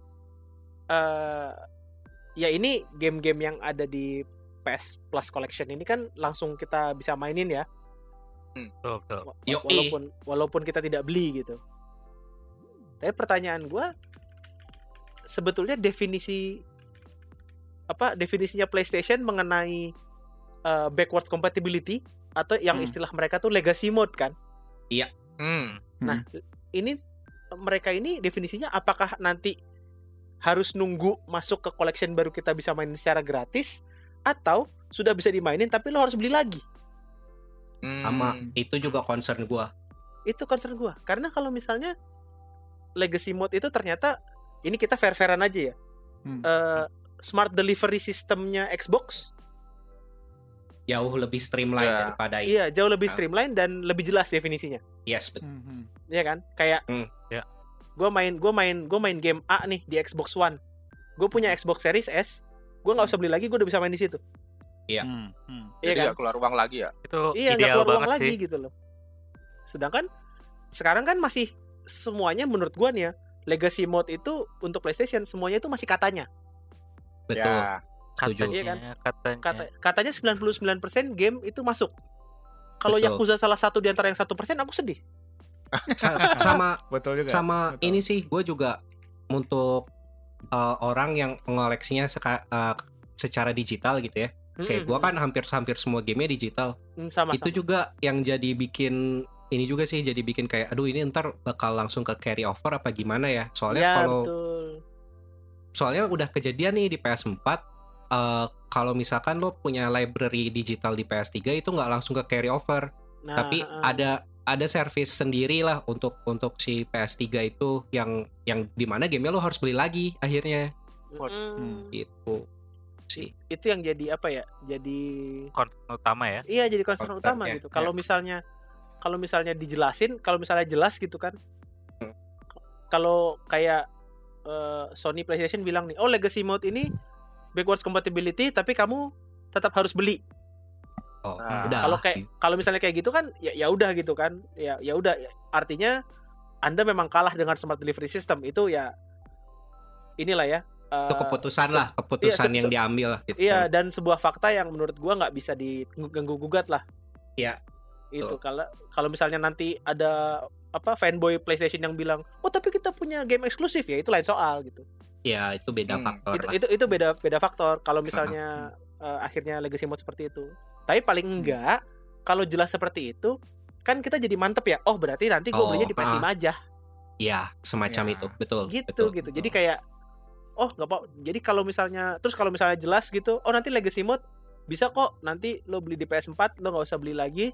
[SPEAKER 2] eh ya ini game-game yang ada di PS Plus Collection ini kan langsung kita bisa mainin ya.
[SPEAKER 3] Betul, betul.
[SPEAKER 2] Wa-
[SPEAKER 1] Yoi.
[SPEAKER 2] walaupun walaupun kita tidak beli gitu. Tapi pertanyaan gua sebetulnya definisi apa definisinya PlayStation mengenai uh, backwards compatibility atau yang
[SPEAKER 4] Hmm.
[SPEAKER 2] istilah mereka tuh legacy mode kan.
[SPEAKER 5] Hmm.
[SPEAKER 2] Nah, ini mereka ini definisinya apakah nanti harus nunggu masuk ke collection baru kita bisa main secara gratis atau sudah bisa dimainin tapi lo harus beli lagi.
[SPEAKER 5] Hmm.
[SPEAKER 1] sama itu juga concern gua.
[SPEAKER 2] itu concern gua karena kalau misalnya legacy mode itu ternyata ini kita fair fairan aja ya
[SPEAKER 4] Hmm.
[SPEAKER 2] Eh, smart delivery sistemnya Xbox
[SPEAKER 1] Jauh lebih streamline
[SPEAKER 5] Ya.
[SPEAKER 1] daripada itu.
[SPEAKER 2] iya jauh lebih
[SPEAKER 1] Nah.
[SPEAKER 2] streamline dan lebih jelas definisinya
[SPEAKER 1] Yes, betul.
[SPEAKER 4] Hmm,
[SPEAKER 2] Iya kan kayak
[SPEAKER 1] Hmm,
[SPEAKER 3] ya.
[SPEAKER 2] gua main gua main gua main game A nih di Xbox One gue punya Xbox Series S gua nggak usah beli lagi gue udah bisa main di situ
[SPEAKER 4] Ya.
[SPEAKER 1] Iya.
[SPEAKER 5] Jadi
[SPEAKER 2] iya
[SPEAKER 5] nggak keluar uang lagi ya.
[SPEAKER 3] Itu
[SPEAKER 2] iya nggak
[SPEAKER 3] ideal
[SPEAKER 2] keluar uang
[SPEAKER 3] banget
[SPEAKER 2] lagi
[SPEAKER 3] sih.
[SPEAKER 2] gitu loh sedangkan sekarang kan masih semuanya menurut gua nih ya legacy mode itu untuk PlayStation semuanya itu masih katanya
[SPEAKER 1] Betul.
[SPEAKER 5] Ya.
[SPEAKER 1] Setuju.
[SPEAKER 3] Katanya,
[SPEAKER 2] Iya kan?
[SPEAKER 3] katanya.
[SPEAKER 2] Kata, katanya 99% game itu masuk. Kalau
[SPEAKER 1] Betul.
[SPEAKER 2] Yakuza salah satu di antara yang satu persen, aku sedih.
[SPEAKER 1] Sa- sama
[SPEAKER 4] Betul juga. ya?
[SPEAKER 1] sama
[SPEAKER 4] Betul.
[SPEAKER 1] ini sih gue juga untuk uh, orang yang mengoleksinya seka- uh, secara digital gitu ya
[SPEAKER 2] Hmm.
[SPEAKER 1] kayak gue kan hampir hampir semua gamenya digital
[SPEAKER 2] Mm, sama.
[SPEAKER 1] itu juga yang jadi bikin ini juga sih jadi bikin kayak aduh ini ntar bakal langsung ke carry over apa gimana ya
[SPEAKER 2] sama.
[SPEAKER 1] soalnya
[SPEAKER 2] ya,
[SPEAKER 1] kalau
[SPEAKER 2] betul.
[SPEAKER 1] soalnya udah kejadian nih di PS4 uh, kalau misalkan lo punya library digital di PS3 itu nggak langsung ke carry over
[SPEAKER 2] Nah,
[SPEAKER 1] tapi
[SPEAKER 2] eh,
[SPEAKER 1] ada ada service sendiri lah untuk untuk si PS3 itu yang yang dimana gamenya lo harus beli lagi akhirnya
[SPEAKER 2] mm,
[SPEAKER 4] Hmm.
[SPEAKER 1] gitu sih
[SPEAKER 2] itu yang jadi apa ya? Jadi
[SPEAKER 3] Konten utama ya.
[SPEAKER 2] iya jadi concern
[SPEAKER 1] Concern,
[SPEAKER 2] utama
[SPEAKER 1] ya,
[SPEAKER 2] gitu. Kalau misalnya kalau misalnya dijelasin, kalau misalnya jelas gitu kan.
[SPEAKER 1] Hmm.
[SPEAKER 2] Kalau kayak eh, Sony PlayStation bilang nih, "Oh, legacy mode ini backwards compatibility, tapi kamu tetap harus beli."
[SPEAKER 1] oh
[SPEAKER 2] Ah.
[SPEAKER 5] Nah,
[SPEAKER 1] udah
[SPEAKER 2] kalau kayak kalau misalnya kayak gitu kan ya ya udah gitu kan ya ya udah artinya Anda memang kalah dengan smart delivery system itu ya inilah ya. eh,
[SPEAKER 1] itu keputusan
[SPEAKER 2] se- iya,
[SPEAKER 1] lah keputusan
[SPEAKER 2] se-
[SPEAKER 1] yang
[SPEAKER 2] se-
[SPEAKER 1] diambil lah gitu
[SPEAKER 2] Iya
[SPEAKER 1] kan.
[SPEAKER 2] dan sebuah fakta yang menurut gua nggak bisa diganggu gugat lah.
[SPEAKER 1] Iya.
[SPEAKER 2] Itu kalau kalau misalnya nanti ada apa fanboy PlayStation yang bilang, "Oh, tapi kita punya game eksklusif ya." Itu lain soal gitu.
[SPEAKER 1] ya itu beda
[SPEAKER 5] Hmm,
[SPEAKER 1] faktor
[SPEAKER 2] Itu
[SPEAKER 1] lah
[SPEAKER 2] itu itu beda beda faktor kalau misalnya eh, akhirnya legacy mode seperti itu. Tapi paling
[SPEAKER 1] Hmm.
[SPEAKER 2] enggak kalau jelas seperti itu kan kita jadi mantep ya. Oh, berarti nanti gue
[SPEAKER 1] Oh,
[SPEAKER 2] belinya di PS5 aja
[SPEAKER 1] ya semacam
[SPEAKER 5] Ya.
[SPEAKER 1] itu betul
[SPEAKER 2] gitu
[SPEAKER 1] betul.
[SPEAKER 2] gitu. Jadi kayak oh nggak apa. Jadi kalau misalnya terus kalau misalnya jelas gitu, oh nanti legacy mode bisa kok nanti lo beli di PS4 lo nggak usah beli lagi,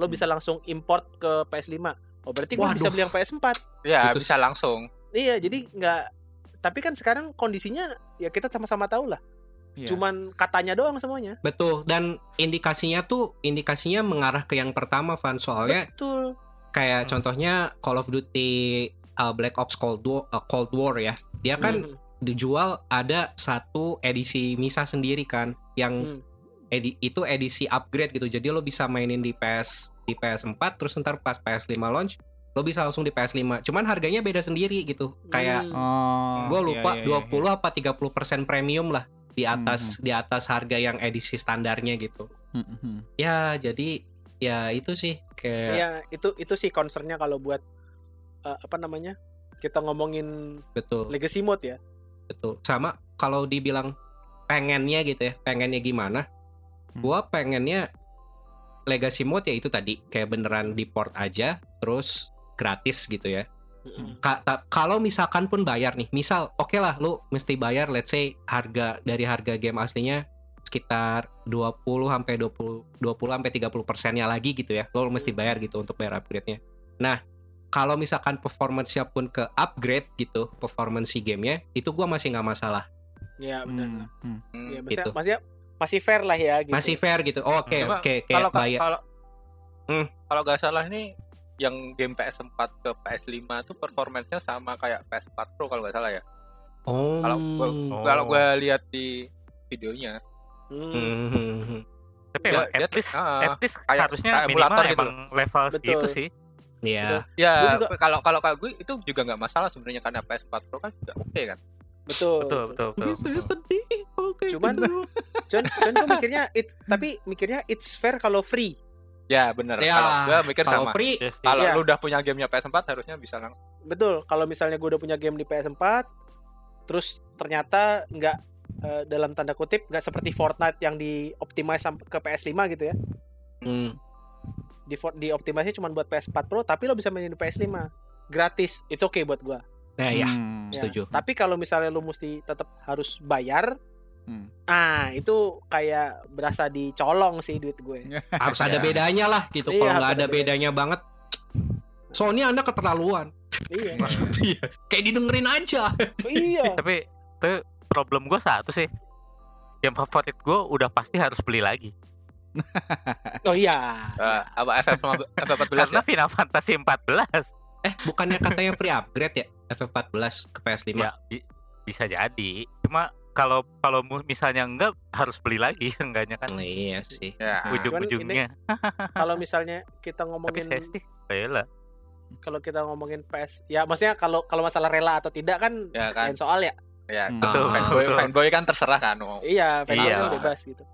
[SPEAKER 2] lo bisa langsung import ke PS5. Oh berarti gue bisa
[SPEAKER 1] Hmm. Waduh.
[SPEAKER 2] beli yang PS4.
[SPEAKER 5] Ya
[SPEAKER 1] Itu
[SPEAKER 5] bisa langsung.
[SPEAKER 2] Iya jadi nggak. Tapi kan sekarang kondisinya ya kita sama-sama tahu lah.
[SPEAKER 4] Iya.
[SPEAKER 2] Cuman katanya doang semuanya.
[SPEAKER 1] betul dan indikasinya tuh indikasinya mengarah ke yang pertama Van soalnya
[SPEAKER 2] Betul.
[SPEAKER 1] kayak
[SPEAKER 5] Hmm.
[SPEAKER 1] contohnya Call of Duty uh, Black Ops Cold War, uh, Cold War ya dia kan
[SPEAKER 2] Mm.
[SPEAKER 1] dijual ada satu edisi misa sendiri kan yang
[SPEAKER 2] Hmm.
[SPEAKER 1] edi- itu edisi upgrade gitu jadi lo bisa mainin di PS di PS4 terus ntar pas PS5 launch lo bisa langsung di PS5 cuman harganya beda sendiri gitu kayak
[SPEAKER 2] Hmm.
[SPEAKER 4] Oh,
[SPEAKER 1] gue
[SPEAKER 4] iya,
[SPEAKER 1] lupa
[SPEAKER 4] iya, Hmm. iya,
[SPEAKER 1] 20 apa 30 premium lah di atas di atas harga yang edisi standarnya gitu
[SPEAKER 4] iya. Hmm, hmm.
[SPEAKER 1] ya jadi ya itu sih kayak
[SPEAKER 2] Iya itu itu sih concernnya kalau buat eh, apa namanya kita ngomongin
[SPEAKER 1] betul
[SPEAKER 2] legacy mode ya.
[SPEAKER 1] betul sama kalau dibilang pengennya gitu ya pengennya gimana
[SPEAKER 4] Hmm.
[SPEAKER 1] gua pengennya legacy mode ya itu tadi kayak beneran di port aja terus gratis gitu ya
[SPEAKER 2] Mm-mm.
[SPEAKER 1] Ka- ta- kalau misalkan pun bayar nih misal oke lah lu mesti bayar let's say harga dari harga game aslinya sekitar 20 sampai 20 20 sampai 30 persennya lagi gitu ya lo
[SPEAKER 5] Hmm.
[SPEAKER 1] mesti bayar gitu untuk bayar upgrade-nya nah kalau misalkan performance-nya pun ke upgrade gitu performance si gamenya itu gua masih nggak masalah
[SPEAKER 2] Iya benar.
[SPEAKER 4] Hmm, hmm.
[SPEAKER 5] Hmm.
[SPEAKER 2] Iya, maksudnya,
[SPEAKER 1] Gitu.
[SPEAKER 2] maksudnya masih fair lah ya gitu.
[SPEAKER 1] masih fair gitu Oh, oke
[SPEAKER 5] Cuma
[SPEAKER 1] oke kayak
[SPEAKER 5] Kalau ka-
[SPEAKER 1] bayar
[SPEAKER 5] kalau
[SPEAKER 1] Hmm.
[SPEAKER 5] kalau nggak salah nih yang game PS4 ke PS5 tuh performanya sama kayak PS4 Pro kalau nggak salah ya.
[SPEAKER 1] oh
[SPEAKER 5] kalau gua-
[SPEAKER 3] Oh.
[SPEAKER 5] Kalau gua lihat di videonya
[SPEAKER 2] Hmm,
[SPEAKER 1] Hmm.
[SPEAKER 3] Tapi
[SPEAKER 5] Dia-
[SPEAKER 3] emang
[SPEAKER 5] dia-
[SPEAKER 3] at least,
[SPEAKER 5] ah,
[SPEAKER 3] at least
[SPEAKER 5] kayak-
[SPEAKER 3] harusnya
[SPEAKER 5] kayak
[SPEAKER 3] minimal
[SPEAKER 5] emulator gitu
[SPEAKER 3] emang level
[SPEAKER 2] Betul.
[SPEAKER 3] segitu sih.
[SPEAKER 1] ya
[SPEAKER 5] Ya,
[SPEAKER 2] Gua juga-
[SPEAKER 5] kalau kalau kalau gue itu juga nggak masalah sebenarnya karena PS4 Pro kan juga oke kan.
[SPEAKER 2] betul.
[SPEAKER 3] Betul, betul,
[SPEAKER 4] Iya,
[SPEAKER 3] betul.
[SPEAKER 1] sedih
[SPEAKER 2] Cuman-
[SPEAKER 1] Gitu.
[SPEAKER 2] Cuman, cuman gua mikirnya it- tapi mikirnya it's fair kalau free.
[SPEAKER 5] Ya benar.
[SPEAKER 1] Ya,
[SPEAKER 5] Kalau gue mikir
[SPEAKER 1] kalau
[SPEAKER 5] sama.
[SPEAKER 1] free
[SPEAKER 3] Yes,
[SPEAKER 5] Kalau
[SPEAKER 2] Iya.
[SPEAKER 5] lu udah punya gamenya PS4 harusnya bisa langsung.
[SPEAKER 2] Betul. Kalau misalnya gue udah punya game di PS4 terus ternyata nggak eh, dalam tanda kutip nggak seperti Fortnite yang dioptimize sampai ke PS5 gitu ya.
[SPEAKER 1] Hmm.
[SPEAKER 2] Di for- dioptimasinya cuma buat PS4 Pro tapi lo bisa mainin di PS5 gratis. It's okay buat gua.
[SPEAKER 1] nah ya
[SPEAKER 4] Hmm,
[SPEAKER 2] Ya.
[SPEAKER 1] Setuju.
[SPEAKER 2] Tapi kalau misalnya lo mesti tetap harus bayar
[SPEAKER 4] hmm.
[SPEAKER 2] Ah, itu kayak berasa dicolong sih duit gue.
[SPEAKER 1] harus ada
[SPEAKER 4] Ya.
[SPEAKER 1] bedanya lah gitu
[SPEAKER 2] Iya,
[SPEAKER 1] kalau
[SPEAKER 2] harus
[SPEAKER 1] nggak
[SPEAKER 2] ada
[SPEAKER 1] ada bedanya banget Sony anda keterlaluan
[SPEAKER 2] iya.
[SPEAKER 1] kayak didengerin aja
[SPEAKER 2] iya.
[SPEAKER 3] Tapi itu problem gue satu sih. Game favorit gue udah pasti harus beli lagi.
[SPEAKER 2] Oh iya.
[SPEAKER 5] Eh, apa FF15 FF14
[SPEAKER 3] Karena
[SPEAKER 5] ya?
[SPEAKER 3] Final Fantasy 14
[SPEAKER 1] eh bukannya katanya free upgrade ya FF14 ke PS5
[SPEAKER 3] ya bi- bisa jadi. Cuma kalau kalau mu- misalnya enggak harus beli lagi enggaknya kan
[SPEAKER 1] Oh, iya sih
[SPEAKER 5] Ya.
[SPEAKER 3] ujung-ujungnya.
[SPEAKER 2] Kalau misalnya kita
[SPEAKER 3] Tapi saya
[SPEAKER 2] ngomongin
[SPEAKER 3] sih rela.
[SPEAKER 2] kalau kita ngomongin PS, ya maksudnya kalau kalau masalah rela atau tidak kan
[SPEAKER 5] Ya kan.
[SPEAKER 2] lain soal ya.
[SPEAKER 5] Ya.
[SPEAKER 4] Hmm.
[SPEAKER 3] Betul,
[SPEAKER 1] Ah.
[SPEAKER 5] Fanboy,
[SPEAKER 3] betul.
[SPEAKER 5] fanboy kan terserah kan. Oh.
[SPEAKER 2] Iya, fans
[SPEAKER 3] Iya.
[SPEAKER 2] kan bebas gitu.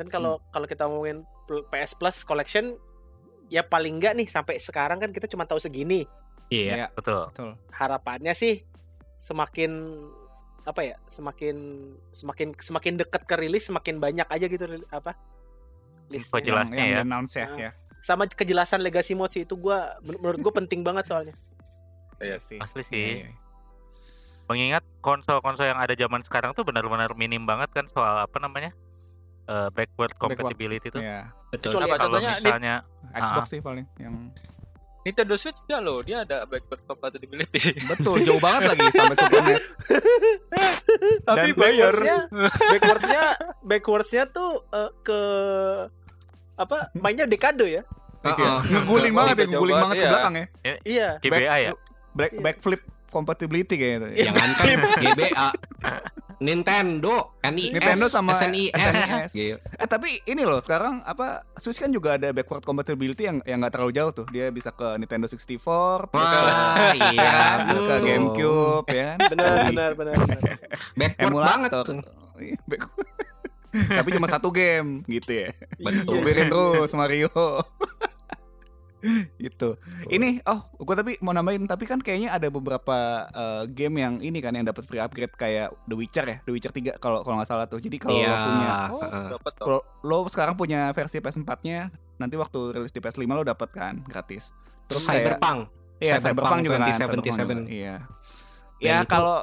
[SPEAKER 2] Dan kalau kalau kita ngomongin pl- PS Plus collection ya paling enggak nih sampai sekarang kan kita cuma tahu segini.
[SPEAKER 1] iya
[SPEAKER 4] Iya,
[SPEAKER 3] Betul.
[SPEAKER 4] betul.
[SPEAKER 2] Harapannya sih semakin apa ya? Semakin semakin semakin dekat ke rilis semakin banyak aja gitu ril- apa?
[SPEAKER 3] Info
[SPEAKER 2] listnya.
[SPEAKER 3] jelas. Jelasnya
[SPEAKER 4] yang, yang
[SPEAKER 3] ya.
[SPEAKER 4] di-announce ya,
[SPEAKER 2] Ah.
[SPEAKER 4] ya.
[SPEAKER 2] sama kejelasan legacy mode sih itu gua men- menurut gue penting banget soalnya
[SPEAKER 5] Iya.
[SPEAKER 4] sih.
[SPEAKER 3] Asli
[SPEAKER 4] Iya,
[SPEAKER 3] sih.
[SPEAKER 4] iya.
[SPEAKER 3] mengingat konsol-konsol yang ada zaman sekarang tuh benar-benar minim banget kan soal apa namanya eh, backward compatibility itu.
[SPEAKER 4] Iya.
[SPEAKER 1] betul
[SPEAKER 2] Kecuali-
[SPEAKER 5] Apa
[SPEAKER 3] Kalau
[SPEAKER 5] contohnya di
[SPEAKER 3] misalnya
[SPEAKER 4] Xbox sih paling yang
[SPEAKER 5] Nintendo Switch juga loh, dia ada backward compatibility.
[SPEAKER 4] betul jauh banget lagi sampai Super E NES.
[SPEAKER 5] Tapi
[SPEAKER 4] Dan
[SPEAKER 5] bayar.
[SPEAKER 2] backwardsnya backwardsnya backwardsnya tuh eh, ke apa mainnya dekade ya
[SPEAKER 4] Ah,
[SPEAKER 1] Heeh.
[SPEAKER 4] Ngeguling banget ya,
[SPEAKER 5] Jauh
[SPEAKER 4] ngeguling
[SPEAKER 5] banget,
[SPEAKER 4] banget ke
[SPEAKER 5] iya.
[SPEAKER 4] belakang ya.
[SPEAKER 2] iya
[SPEAKER 3] GBA ya.
[SPEAKER 4] ya. Iya. Back, backflip compatibility kayaknya. itu.
[SPEAKER 1] jangan kan GBA Nintendo, NES,
[SPEAKER 4] Nintendo sama
[SPEAKER 1] SNES.
[SPEAKER 4] Gila. Eh tapi ini loh sekarang apa Switch kan juga ada backward compatibility yang yang nggak terlalu jauh tuh. Dia bisa ke Nintendo 64, bisa
[SPEAKER 1] Wah,
[SPEAKER 4] ya
[SPEAKER 1] iya,
[SPEAKER 4] kan, bisa ke
[SPEAKER 1] betul.
[SPEAKER 4] GameCube ya kan.
[SPEAKER 2] benar
[SPEAKER 4] Jadi
[SPEAKER 2] benar benar benar.
[SPEAKER 1] Backward banget
[SPEAKER 4] emulator.
[SPEAKER 1] tuh.
[SPEAKER 4] Iya, backward. tapi cuma satu game gitu ya.
[SPEAKER 1] Betul.
[SPEAKER 2] Iya.
[SPEAKER 4] Uberin terus Mario. gitu. Ini oh, gua tapi mau nambahin tapi kan kayaknya ada beberapa eh, game yang ini kan yang dapat free upgrade kayak The Witcher ya, The Witcher 3 kalau kalau nggak salah tuh. Jadi kalau lo
[SPEAKER 1] Iya.
[SPEAKER 4] punya
[SPEAKER 5] Oh,
[SPEAKER 1] heeh.
[SPEAKER 5] dapat toh.
[SPEAKER 4] kalau lo sekarang punya versi PS4-nya, nanti waktu rilis di PS5 lo dapat kan gratis.
[SPEAKER 1] Terus
[SPEAKER 4] Terus
[SPEAKER 1] Cyberpunk.
[SPEAKER 4] kayak iya Cyberpunk juga kan,
[SPEAKER 1] 2077.
[SPEAKER 4] Cyberpunk juga, Iya.
[SPEAKER 1] Dan
[SPEAKER 4] Ya
[SPEAKER 1] itu-
[SPEAKER 4] kalau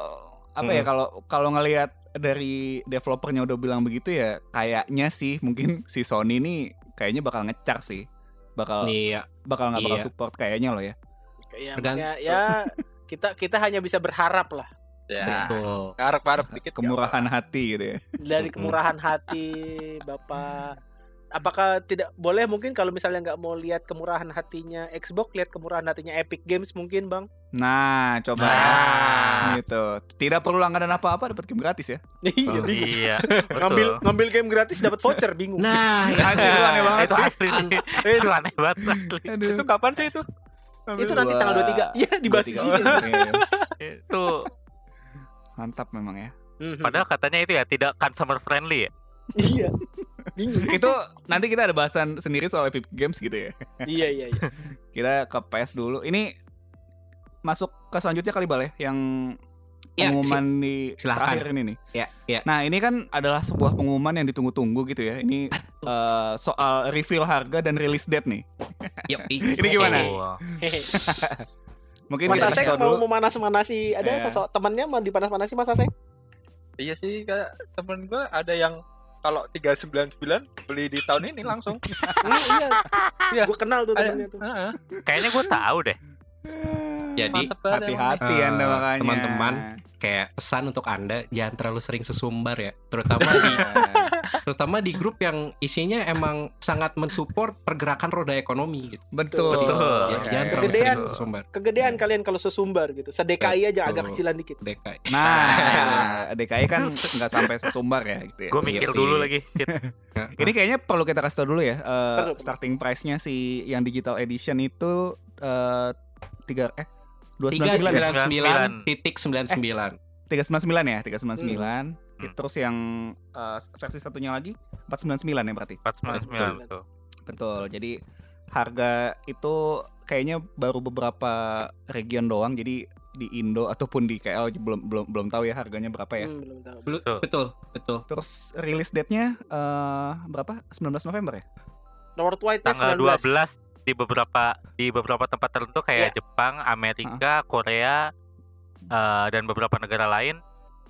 [SPEAKER 4] apa ya
[SPEAKER 1] Mm.
[SPEAKER 4] kalau kalau ngelihat dari developernya udah bilang begitu ya kayaknya sih mungkin si Sony ini kayaknya bakal ngecar sih. Bakal
[SPEAKER 1] Iya.
[SPEAKER 4] bakal nggak bakal
[SPEAKER 1] iya.
[SPEAKER 4] support kayaknya lo ya.
[SPEAKER 2] Ya,
[SPEAKER 1] Tergant-
[SPEAKER 2] makanya ya kita kita hanya bisa berharap lah
[SPEAKER 5] Ya.
[SPEAKER 1] Betul.
[SPEAKER 5] Ngarep-ngarep dikit. ya. nggak
[SPEAKER 4] Kemurahan hati gitu ya.
[SPEAKER 2] dari kemurahan hati Bapak. Apakah tidak boleh mungkin kalau misalnya nggak mau lihat kemurahan hatinya Xbox, lihat kemurahan hatinya Epic Games mungkin, Bang?
[SPEAKER 4] Nah, coba ya.
[SPEAKER 3] Nah.
[SPEAKER 4] gitu. Tidak perlu langganan apa-apa dapat game gratis ya.
[SPEAKER 2] Iya,
[SPEAKER 1] Oh.
[SPEAKER 2] bingung.
[SPEAKER 3] Iya.
[SPEAKER 2] Ngambil
[SPEAKER 3] Betul.
[SPEAKER 2] ngambil game gratis dapat voucher, bingung.
[SPEAKER 1] Nah, ya.
[SPEAKER 4] Anjir, lu aneh banget
[SPEAKER 3] itu
[SPEAKER 4] sih.
[SPEAKER 3] asli sih. itu aneh banget asli.
[SPEAKER 5] apa-apa. Itu kan kapan sih itu?
[SPEAKER 2] itu nanti tanggal 23. Iya, dibahas di sini.
[SPEAKER 3] Itu
[SPEAKER 4] Iya, Mantap memang ya.
[SPEAKER 2] Mhm.
[SPEAKER 3] padahal katanya itu ya tidak consumer friendly ya.
[SPEAKER 2] iya. Bingung.
[SPEAKER 4] itu nanti kita ada bahasan sendiri soal Epic Games gitu ya.
[SPEAKER 2] Iya, iya, iya.
[SPEAKER 4] Kita ke PS dulu. Ini masuk ke selanjutnya kali Bal ya yang
[SPEAKER 1] Ya,
[SPEAKER 4] pengumuman di
[SPEAKER 1] silahkan.
[SPEAKER 4] terakhir ini
[SPEAKER 1] Ya,
[SPEAKER 4] nih.
[SPEAKER 1] ya.
[SPEAKER 4] Nah, ini kan adalah sebuah pengumuman yang ditunggu-tunggu gitu ya. Ini eh, soal reveal harga dan release date nih.
[SPEAKER 1] Yuk,
[SPEAKER 4] Ini gimana?
[SPEAKER 3] Oh.
[SPEAKER 2] Hehe.
[SPEAKER 4] Mungkin
[SPEAKER 2] Mas
[SPEAKER 4] kita
[SPEAKER 2] Aseng
[SPEAKER 4] kasih tau
[SPEAKER 2] mau
[SPEAKER 4] dulu.
[SPEAKER 2] memanas-manasi ada
[SPEAKER 4] Iya.
[SPEAKER 2] sosok temannya mau dipanas-manasi Mas Aseng?
[SPEAKER 5] Iya sih, kayak temen gue ada yang kalau 399 beli di tahun ini langsung.
[SPEAKER 2] Iya, iya.
[SPEAKER 5] Iya.
[SPEAKER 2] Gue kenal tuh
[SPEAKER 5] Ada-
[SPEAKER 2] temannya tuh.
[SPEAKER 5] Heeh,
[SPEAKER 3] Kayaknya gue tahu deh.
[SPEAKER 1] Jadi
[SPEAKER 5] mantep banget emang.
[SPEAKER 4] Hati-hati
[SPEAKER 1] Eh,
[SPEAKER 4] Anda makanya.
[SPEAKER 1] teman-teman. kayak pesan untuk Anda jangan terlalu sering sesumbar ya, terutama di terutama di grup yang isinya emang sangat mensupport pergerakan roda ekonomi gitu.
[SPEAKER 4] Betul.
[SPEAKER 3] Betul.
[SPEAKER 1] Ya,
[SPEAKER 4] Ya,
[SPEAKER 1] jangan
[SPEAKER 4] ya.
[SPEAKER 1] terlalu
[SPEAKER 2] Gedean.
[SPEAKER 1] sering sesumbar.
[SPEAKER 2] Kegedean kalian kalau sesumbar gitu. Sedekai aja agak
[SPEAKER 1] Betul.
[SPEAKER 2] kecilan dikit.
[SPEAKER 1] DKI.
[SPEAKER 4] Nah, DKI kan nggak sampai sesumbar ya gitu ya.
[SPEAKER 3] Gue mikir dulu
[SPEAKER 1] iya.
[SPEAKER 3] lagi. Shit.
[SPEAKER 4] Ini kayaknya perlu kita kasih tau dulu ya. eh,
[SPEAKER 2] Perlu.
[SPEAKER 4] starting price-nya si yang digital edition itu eh tiga eh dua sembilan ya?
[SPEAKER 1] 399.99
[SPEAKER 4] tiga sembilan sembilan ya tiga sembilan sembilan.
[SPEAKER 3] Hmm.
[SPEAKER 4] Terus yang eh, versi satunya lagi empat sembilan sembilan ya berarti.
[SPEAKER 3] 499 betul.
[SPEAKER 4] Betul. Jadi harga itu kayaknya baru beberapa region doang. Jadi di Indo ataupun di KL belum belum belum tahu ya harganya berapa ya.
[SPEAKER 2] Hmm, belum tahu.
[SPEAKER 1] Belu-
[SPEAKER 3] Betul.
[SPEAKER 1] Betul, betul.
[SPEAKER 4] Terus release date-nya eh berapa? 19 November ya?
[SPEAKER 2] Worldwide
[SPEAKER 3] Tanggal
[SPEAKER 2] 19.
[SPEAKER 3] 12 di beberapa di beberapa tempat tertentu kayak
[SPEAKER 1] Iya.
[SPEAKER 3] Jepang, Amerika, Korea eh, dan beberapa negara lain,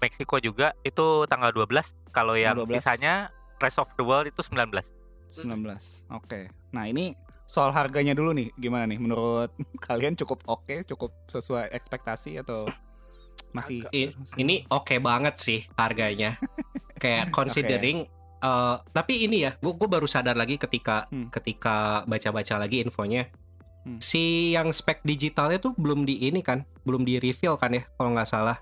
[SPEAKER 3] Meksiko juga itu tanggal 12. Kalau yang
[SPEAKER 4] 12.
[SPEAKER 3] sisanya Rest of the World itu 19.
[SPEAKER 4] 19. Oke. Nah, ini soal harganya dulu nih. Gimana nih menurut kalian cukup oke, cukup sesuai ekspektasi atau masih
[SPEAKER 1] I- ini oke banget sih harganya kayak considering eh, tapi ini ya gue baru sadar lagi ketika
[SPEAKER 4] Hmm.
[SPEAKER 1] ketika baca-baca lagi infonya
[SPEAKER 4] Hmm.
[SPEAKER 1] si yang spek digitalnya tuh belum di ini kan belum di reveal kan ya kalau nggak salah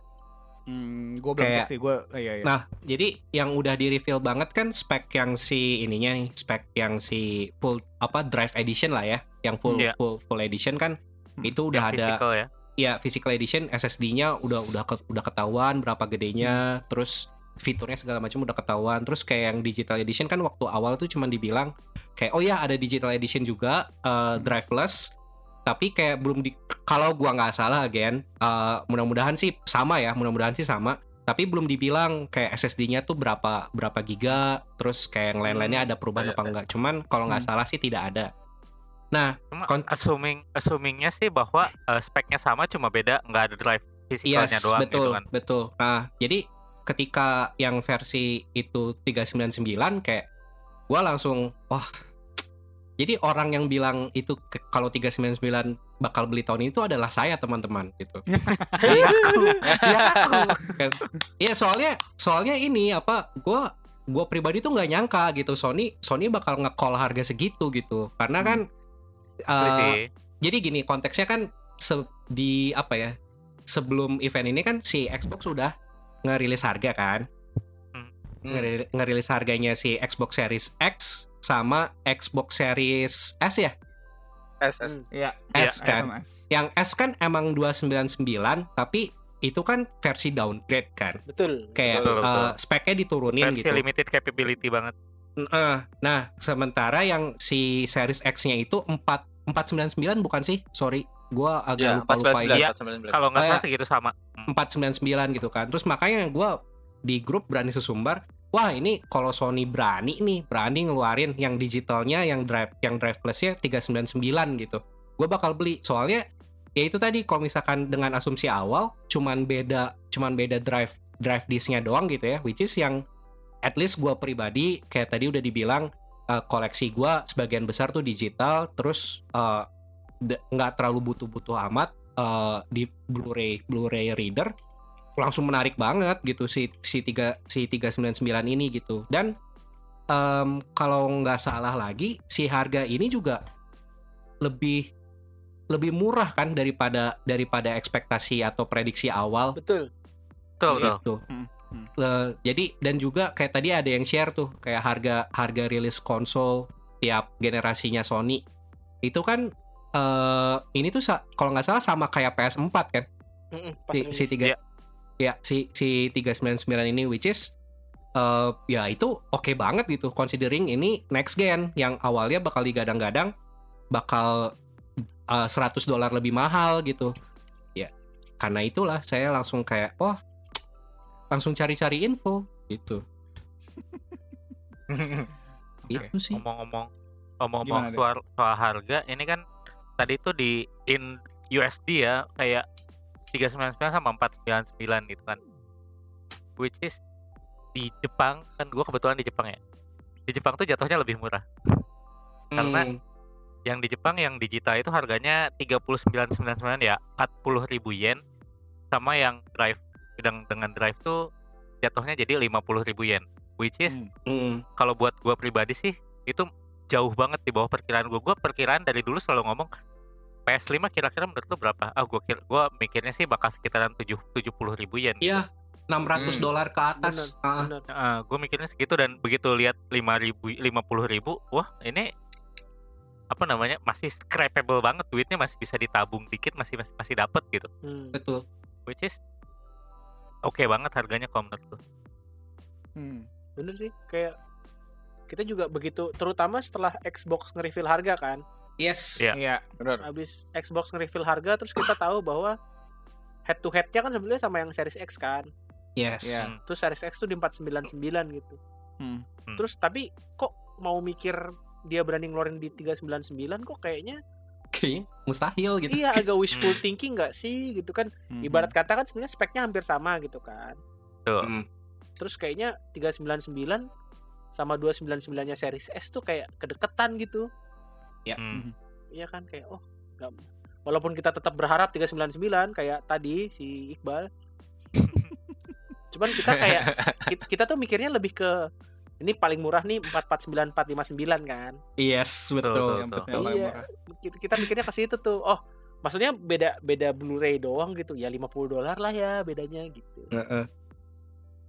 [SPEAKER 4] hmm, gue belum
[SPEAKER 1] kayak-
[SPEAKER 4] cek sih, gue eh, iya, iya.
[SPEAKER 1] nah jadi yang udah di reveal banget kan spek yang si ininya nih spek yang si full apa drive edition lah ya yang full
[SPEAKER 3] Iya.
[SPEAKER 1] full full edition kan
[SPEAKER 4] Hmm.
[SPEAKER 1] itu udah ada
[SPEAKER 3] Physical ya.
[SPEAKER 1] ya physical edition SSD-nya udah udah ke- udah ketahuan berapa gedenya terus fiturnya segala macam udah ketahuan terus kayak yang digital edition kan waktu awal tuh cuman dibilang kayak oh ya ada digital edition juga uh, driveless tapi kayak belum di kalau gua nggak salah again uh, mudah-mudahan sih sama ya mudah-mudahan sih sama tapi belum dibilang kayak SSD-nya tuh berapa berapa giga terus kayak yang lain-lainnya Hmm. ada perubahan apa enggak cuman kalau nggak
[SPEAKER 4] Hmm.
[SPEAKER 1] salah sih tidak ada nah
[SPEAKER 3] Cuma
[SPEAKER 1] Kon-
[SPEAKER 3] assuming assumingnya sih bahwa eh, speknya sama cuma beda nggak ada drive physicalnya
[SPEAKER 1] Yes,
[SPEAKER 3] doang
[SPEAKER 1] betul,
[SPEAKER 3] gitu kan.
[SPEAKER 1] betul. Nah, jadi ketika yang versi itu 399 kayak gua langsung wah. Jadi orang yang bilang itu ke- kalau 399 bakal beli tahun ini itu adalah saya, teman-teman, gitu. Kan? Iya, soalnya soalnya ini apa gua gua pribadi tuh nggak nyangka gitu Sony Sony bakal nge-call harga segitu gitu. Karena
[SPEAKER 3] Hmm.
[SPEAKER 1] kan
[SPEAKER 3] Asli
[SPEAKER 1] eh,
[SPEAKER 3] sih.
[SPEAKER 1] jadi gini konteksnya kan se- di apa ya sebelum event ini kan si Xbox sudah ngerilis harga kan
[SPEAKER 3] Hmm.
[SPEAKER 1] Ngeri- ngerilis harganya si Xbox Series X sama Xbox Series S ya
[SPEAKER 5] S S
[SPEAKER 4] Iya.
[SPEAKER 1] S kan
[SPEAKER 4] SMS.
[SPEAKER 1] yang S kan emang 299 tapi itu kan versi downgrade kan
[SPEAKER 2] betul
[SPEAKER 1] kayak
[SPEAKER 3] Betul, betul.
[SPEAKER 1] eh, speknya diturunin
[SPEAKER 3] Versi
[SPEAKER 1] gitu
[SPEAKER 3] limited capability banget.
[SPEAKER 1] Heeh. nah sementara yang si Series X-nya itu 4 499 bukan sih sorry gua
[SPEAKER 5] ya
[SPEAKER 1] agak lupa
[SPEAKER 5] empat
[SPEAKER 1] lupa ini
[SPEAKER 3] Iya. Kalau nggak salah
[SPEAKER 1] Kayak-
[SPEAKER 3] segitu sama.
[SPEAKER 1] 499 gitu kan. Terus makanya gue di grup berani sesumbar, wah ini kalau Sony berani nih, berani ngeluarin yang digitalnya, yang drive, yang drivelessnya 399 gitu. Gue bakal beli. Soalnya ya itu tadi kalau misalkan dengan asumsi awal, cuman beda, cuman beda drive, drive disknya doang gitu ya. Which is yang at least gue pribadi kayak tadi udah dibilang eh, koleksi gue sebagian besar tuh digital, terus eh, de- nggak terlalu butuh-butuh amat eh, di Blu-ray Blu-ray reader langsung menarik banget gitu si si 3 si 399 ini gitu. Dan em, kalau nggak salah lagi si harga ini juga lebih lebih murah kan daripada daripada ekspektasi atau prediksi awal
[SPEAKER 2] betul
[SPEAKER 3] Betul, betul.
[SPEAKER 1] gitu.
[SPEAKER 4] Hmm, hmm.
[SPEAKER 1] Eh, jadi dan juga kayak tadi ada yang share tuh kayak harga harga rilis konsol tiap generasinya Sony itu kan eh ini tuh sa- kalau nggak salah sama kayak PS4 kan
[SPEAKER 2] Mm-mm, pas
[SPEAKER 1] si,
[SPEAKER 2] rilis.
[SPEAKER 1] si tiga
[SPEAKER 3] Iya.
[SPEAKER 1] ya si si 399 ini which is eh, ya itu oke banget gitu considering ini next gen yang awalnya bakal digadang-gadang bakal eh, 100 dolar lebih mahal gitu ya karena itulah saya langsung kayak oh langsung cari-cari info gitu itu Gitu sih
[SPEAKER 3] ngomong-ngomong ngomong-ngomong
[SPEAKER 4] Gimana, Dek?
[SPEAKER 3] soal, soal harga ini kan tadi itu di in USD ya kayak 399 sama 499 gitu kan which is di Jepang kan gua kebetulan di Jepang ya di Jepang tuh jatuhnya lebih murah karena-
[SPEAKER 1] Hmm,
[SPEAKER 3] yang di Jepang yang digital itu harganya 39.99 ya 40.000 yen sama yang drive dengan dengan drive tuh jatuhnya jadi 50.000 yen which is
[SPEAKER 1] hmm,
[SPEAKER 3] kalau buat gua pribadi sih itu jauh banget di bawah perkiraan gua. Gua perkiraan dari dulu selalu ngomong PS5 kira-kira menurut lu berapa? Ah gua kira, gua mikirnya sih bakal sekitaran 7 70 ribu yen. gitu.
[SPEAKER 1] iya 600
[SPEAKER 5] Hmm.
[SPEAKER 1] dolar ke atas Ah,
[SPEAKER 2] Benar.
[SPEAKER 3] Heeh, gua mikirnya segitu dan begitu lihat 5 ribu 50 ribu, wah ini apa namanya masih scrapable banget duitnya masih bisa ditabung dikit masih masih, masih dapat gitu
[SPEAKER 2] Hmm.
[SPEAKER 1] betul
[SPEAKER 3] which is oke banget harganya kalau menurut lu
[SPEAKER 4] Hmm.
[SPEAKER 2] bener sih kayak kita juga begitu terutama setelah Xbox nge-reveal harga kan
[SPEAKER 1] yes
[SPEAKER 3] Iya.
[SPEAKER 4] Iya.
[SPEAKER 5] benar
[SPEAKER 2] habis Xbox nge-reveal harga terus kita tahu bahwa head to headnya kan sebenarnya sama yang Series X kan
[SPEAKER 1] yes
[SPEAKER 4] Iya.
[SPEAKER 2] terus Series X tuh di 499 gitu
[SPEAKER 4] Hmm.
[SPEAKER 3] Hmm.
[SPEAKER 2] terus tapi kok mau mikir dia berani ngeluarin di 399 kok kayaknya
[SPEAKER 1] Kayaknya mustahil gitu
[SPEAKER 2] iya agak wishful thinking nggak sih gitu kan
[SPEAKER 4] Hmm.
[SPEAKER 2] ibarat kata kan sebenarnya speknya hampir sama gitu kan
[SPEAKER 3] tuh
[SPEAKER 1] Hmm.
[SPEAKER 2] terus kayaknya 399 sama 299 nya Series S tuh kayak kedeketan gitu
[SPEAKER 3] Hmm.
[SPEAKER 2] Iya kan kayak oh nggak walaupun kita tetap berharap 399 kayak tadi si Iqbal. Cuman kita kayak kita, kita tuh mikirnya lebih ke ini paling murah nih 449 459 kan.
[SPEAKER 1] yes betul
[SPEAKER 3] betul, betul.
[SPEAKER 4] Yang betul, yang paling
[SPEAKER 2] Iya.
[SPEAKER 4] murah.
[SPEAKER 2] Kita, kita mikirnya ke situ tuh. Oh, maksudnya beda beda Blu-ray doang gitu. Ya 50 dolar lah ya bedanya gitu.
[SPEAKER 1] Heeh.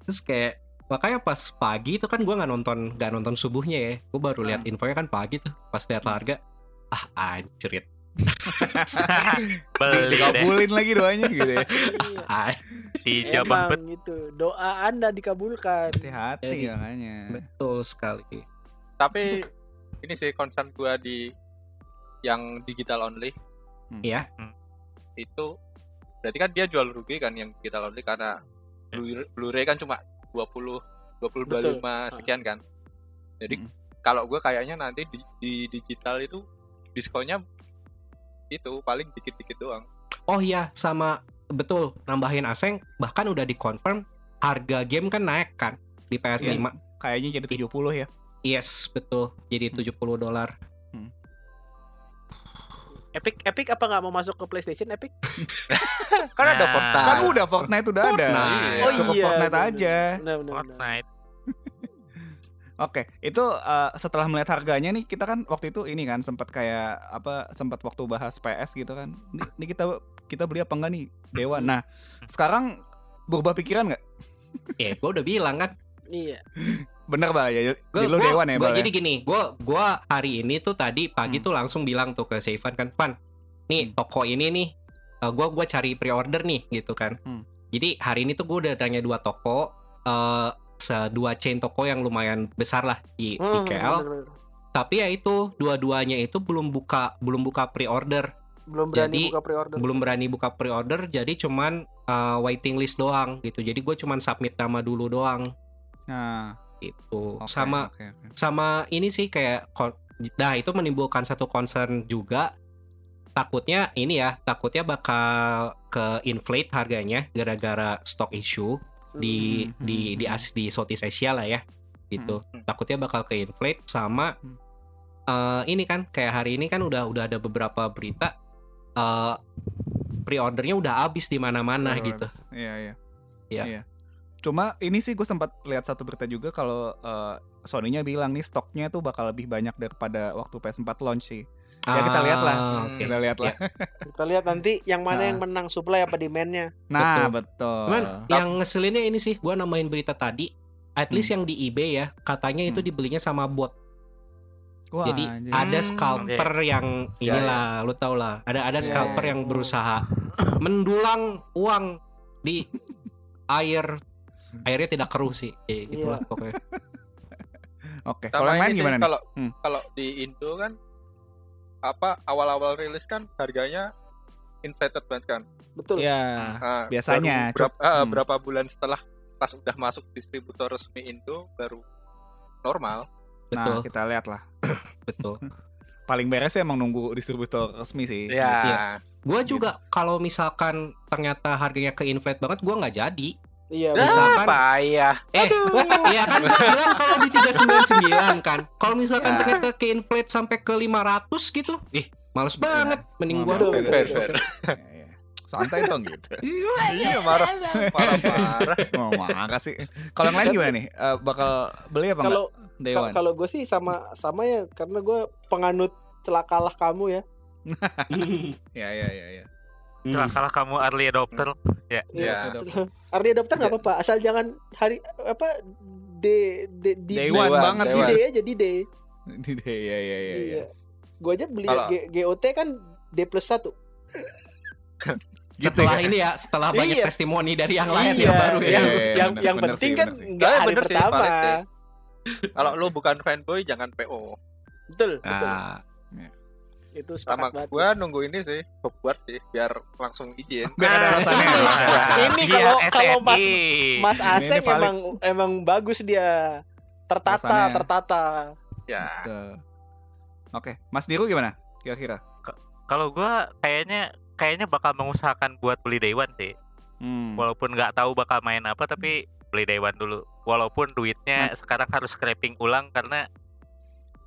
[SPEAKER 1] Terus kayak makanya pas pagi itu kan gua nggak nonton nggak nonton subuhnya ya. Gue baru lihat infonya kan pagi tuh pas lihat harga ah anjrit
[SPEAKER 3] beli deh
[SPEAKER 4] Dikabulin lagi doanya gitu ya.
[SPEAKER 2] Iya.
[SPEAKER 1] ah
[SPEAKER 3] dijabah
[SPEAKER 2] Emang gitu. Doa Anda dikabulkan.
[SPEAKER 4] Hati-hati
[SPEAKER 1] Jadi-
[SPEAKER 4] makanya.
[SPEAKER 1] Iya. betul sekali.
[SPEAKER 5] tapi ini sih concern gua di yang digital only
[SPEAKER 1] Iya.
[SPEAKER 3] Hmm.
[SPEAKER 5] itu berarti kan dia jual rugi kan yang digital only karena Blu- Blu-ray kan cuma 20 20
[SPEAKER 2] Betul.
[SPEAKER 5] 25 sekian kan jadi
[SPEAKER 4] Hmm.
[SPEAKER 5] kalau gue kayaknya nanti di, di digital itu diskonnya itu paling dikit-dikit doang
[SPEAKER 1] Oh iya sama betul nambahin aseng bahkan udah dikonfirm harga game kan naik kan di PS5.
[SPEAKER 4] Iya. Kayaknya jadi 70 ya.
[SPEAKER 1] Yes, betul. Jadi 70 dolar.
[SPEAKER 2] Epic Epic apa nggak mau masuk ke PlayStation Epic?
[SPEAKER 5] kan ada
[SPEAKER 3] Nah.
[SPEAKER 5] Fortnite
[SPEAKER 4] Kan udah Fortnite udah ada.
[SPEAKER 1] Ah. Fortnite.
[SPEAKER 2] Oh
[SPEAKER 4] Cukup
[SPEAKER 2] iya,
[SPEAKER 4] Fortnite
[SPEAKER 2] bener.
[SPEAKER 4] aja.
[SPEAKER 2] Benar benar. benar.
[SPEAKER 3] Fortnite
[SPEAKER 4] Oke, itu eh, setelah melihat harganya nih kita kan waktu itu ini kan sempat kayak apa sempat waktu bahas PS gitu kan. Ini, ini kita kita beli apa enggak nih Dewa. Nah, sekarang berubah pikiran nggak?
[SPEAKER 1] ya gue udah bilang kan
[SPEAKER 2] Iya.
[SPEAKER 4] Bener Bal ya.
[SPEAKER 1] Gua-
[SPEAKER 4] Jadi lu
[SPEAKER 1] gua-
[SPEAKER 4] dewan ya
[SPEAKER 1] gua-
[SPEAKER 4] Bal. ya?
[SPEAKER 1] Jadi gini, gue gua hari ini tuh tadi pagi
[SPEAKER 4] Hmm.
[SPEAKER 1] tuh langsung bilang tuh ke Seifan kan, Pan, nih toko ini nih, eh, gua gua cari pre-order nih gitu kan.
[SPEAKER 4] Hmm.
[SPEAKER 1] Jadi hari ini tuh gue udah tanya dua toko, eh se- dua chain toko yang lumayan besar lah di, di
[SPEAKER 2] Hmm,
[SPEAKER 1] KL.
[SPEAKER 2] bener, bener.
[SPEAKER 1] Tapi ya itu dua-duanya itu belum buka belum buka pre-order,
[SPEAKER 2] Belum berani
[SPEAKER 1] Jadi,
[SPEAKER 2] buka pre-order.
[SPEAKER 1] belum berani buka pre-order, jadi cuman eh, waiting list doang gitu. Jadi gue cuman submit nama dulu doang
[SPEAKER 4] Nah,
[SPEAKER 1] gitu.
[SPEAKER 4] oke,
[SPEAKER 1] Sama
[SPEAKER 4] oke, oke.
[SPEAKER 1] sama ini sih kayak kon- nah itu menimbulkan satu concern juga takutnya ini ya takutnya bakal ke inflate harganya gara-gara stock issue di
[SPEAKER 4] Hmm.
[SPEAKER 1] di di as di Southeast Asia lah ya gitu
[SPEAKER 5] Hmm.
[SPEAKER 1] takutnya bakal ke inflate sama
[SPEAKER 4] Hmm.
[SPEAKER 1] eh, ini kan kayak hari ini kan udah udah ada beberapa berita eh pre-ordernya udah habis di mana-mana
[SPEAKER 4] Terus.
[SPEAKER 1] gitu
[SPEAKER 4] Iya, iya.
[SPEAKER 1] Iya.
[SPEAKER 4] Iya. Cuma ini sih gue sempat lihat satu berita juga kalau eh, Sony-nya bilang nih stoknya tuh bakal lebih banyak daripada waktu PS4 launch sih. Ya, kita lihat lah.
[SPEAKER 1] Ah,
[SPEAKER 5] Hmm.
[SPEAKER 1] oke.
[SPEAKER 4] Kita lihat lah.
[SPEAKER 2] Kita lihat nanti yang mana
[SPEAKER 4] Nah.
[SPEAKER 2] yang menang supply apa demand-nya.
[SPEAKER 4] Nah, betul.
[SPEAKER 1] Cuman yang ngeselinnya ini sih, gua namain berita tadi. At
[SPEAKER 4] Hmm.
[SPEAKER 1] least yang di eBay ya, katanya itu
[SPEAKER 4] Hmm.
[SPEAKER 1] dibelinya sama bot.
[SPEAKER 4] Wah,
[SPEAKER 1] Jadi
[SPEAKER 4] anjing.
[SPEAKER 1] ada
[SPEAKER 3] Hmm,
[SPEAKER 1] scalper yang
[SPEAKER 4] Ya,
[SPEAKER 1] inilah, lu tau lah. Ada ada
[SPEAKER 2] Ya,
[SPEAKER 1] scalper
[SPEAKER 2] ya.
[SPEAKER 1] yang berusaha mendulang uang di air. Airnya tidak keruh sih, ya, gitulah pokoknya.
[SPEAKER 4] Oke,
[SPEAKER 5] Sama
[SPEAKER 4] kalau yang
[SPEAKER 5] ini
[SPEAKER 4] main
[SPEAKER 5] sih,
[SPEAKER 4] gimana nih?
[SPEAKER 5] Kalau
[SPEAKER 4] Hmm.
[SPEAKER 5] kalau di Indo kan apa awal-awal rilis kan harganya inflated banget kan.
[SPEAKER 2] Betul.
[SPEAKER 4] Iya,
[SPEAKER 5] Ah,
[SPEAKER 4] biasanya,
[SPEAKER 5] baru berapa, ah,
[SPEAKER 4] hmm.
[SPEAKER 5] berapa bulan setelah pas udah masuk distributor resmi Indo baru normal.
[SPEAKER 4] nah
[SPEAKER 1] Betul,
[SPEAKER 4] kita lihat lah.
[SPEAKER 1] betul.
[SPEAKER 4] Paling beres sih emang nunggu distributor resmi sih.
[SPEAKER 1] Iya.
[SPEAKER 5] Iya.
[SPEAKER 1] Gua juga kalau misalkan ternyata harganya ke inflate banget, gua nggak jadi.
[SPEAKER 2] Iya,
[SPEAKER 1] Dan-
[SPEAKER 2] bener.
[SPEAKER 4] Kan
[SPEAKER 1] misalkan-
[SPEAKER 5] payah.
[SPEAKER 1] Eh, Iya kan gua bilang kalau di 399 kan. Kalau misalkan
[SPEAKER 4] Ya.
[SPEAKER 1] ternyata ke inflate sampai ke 500 gitu. Ih, males banget. Mending gua
[SPEAKER 2] Betul,
[SPEAKER 5] fair, fair.
[SPEAKER 4] Iya, iya. Santai dong gitu.
[SPEAKER 5] Iya marah marah-marah.
[SPEAKER 4] Oh, makasih. Kalau yang lain gimana nih? Eh, bakal beli apa
[SPEAKER 2] Kalau
[SPEAKER 4] enggak? Day one.
[SPEAKER 2] kalau gue sih sama sama ya karena gue penganut celakalah kamu ya.
[SPEAKER 4] Ya, ya, ya, ya.
[SPEAKER 1] Hmm.
[SPEAKER 3] Celakalah kamu early adopter.
[SPEAKER 5] Iya.
[SPEAKER 2] Ardi adopter nggak apa-apa asal jangan hari apa D D D D-
[SPEAKER 4] Day one
[SPEAKER 5] Day one,
[SPEAKER 4] banget
[SPEAKER 5] day
[SPEAKER 2] di
[SPEAKER 4] ya.
[SPEAKER 2] D aja di D.
[SPEAKER 4] Di day, ya, ya, ya, ya.
[SPEAKER 2] Iya. Gue aja beli
[SPEAKER 5] Kalau-
[SPEAKER 2] G- GOT kan D plus satu.
[SPEAKER 4] Gitu
[SPEAKER 1] Setelah
[SPEAKER 4] ya.
[SPEAKER 1] ini ya, setelah banyak
[SPEAKER 2] Iya.
[SPEAKER 1] testimoni dari yang lain
[SPEAKER 2] Iya,
[SPEAKER 1] yang baru ya.
[SPEAKER 2] Yang
[SPEAKER 4] Iya, iya,
[SPEAKER 2] yang,
[SPEAKER 4] bener,
[SPEAKER 2] yang
[SPEAKER 4] bener
[SPEAKER 2] penting
[SPEAKER 4] sih,
[SPEAKER 2] kan
[SPEAKER 4] bener sih.
[SPEAKER 2] nggak
[SPEAKER 5] Tapi
[SPEAKER 2] hari
[SPEAKER 5] bener Iya, sih,
[SPEAKER 2] pertama.
[SPEAKER 5] valid ya. sih. Kalau lu bukan fanboy jangan PO.
[SPEAKER 2] Betul, betul.
[SPEAKER 4] Ah.
[SPEAKER 1] Nah,
[SPEAKER 2] Itu
[SPEAKER 5] Sama
[SPEAKER 2] sepakat banget.
[SPEAKER 5] gua nunggu ini sih Hogwarts sih biar langsung izin.
[SPEAKER 4] Biar ada alasannya.
[SPEAKER 2] Ini kalau- kalau Mas- Mas Aseng
[SPEAKER 4] valid.
[SPEAKER 2] emang emang bagus dia. Tertata,
[SPEAKER 4] Alasannya.
[SPEAKER 2] tertata.
[SPEAKER 5] Ya.
[SPEAKER 4] Betul. Oke, Mas Diru gimana? Kira-kira?
[SPEAKER 3] kalau gua kayaknya kayaknya bakal mengusahakan buat beli day one sih.
[SPEAKER 4] Hmm.
[SPEAKER 3] Walaupun nggak tahu bakal main apa tapi beli day one dulu. Walaupun duitnya sekarang harus scraping ulang karena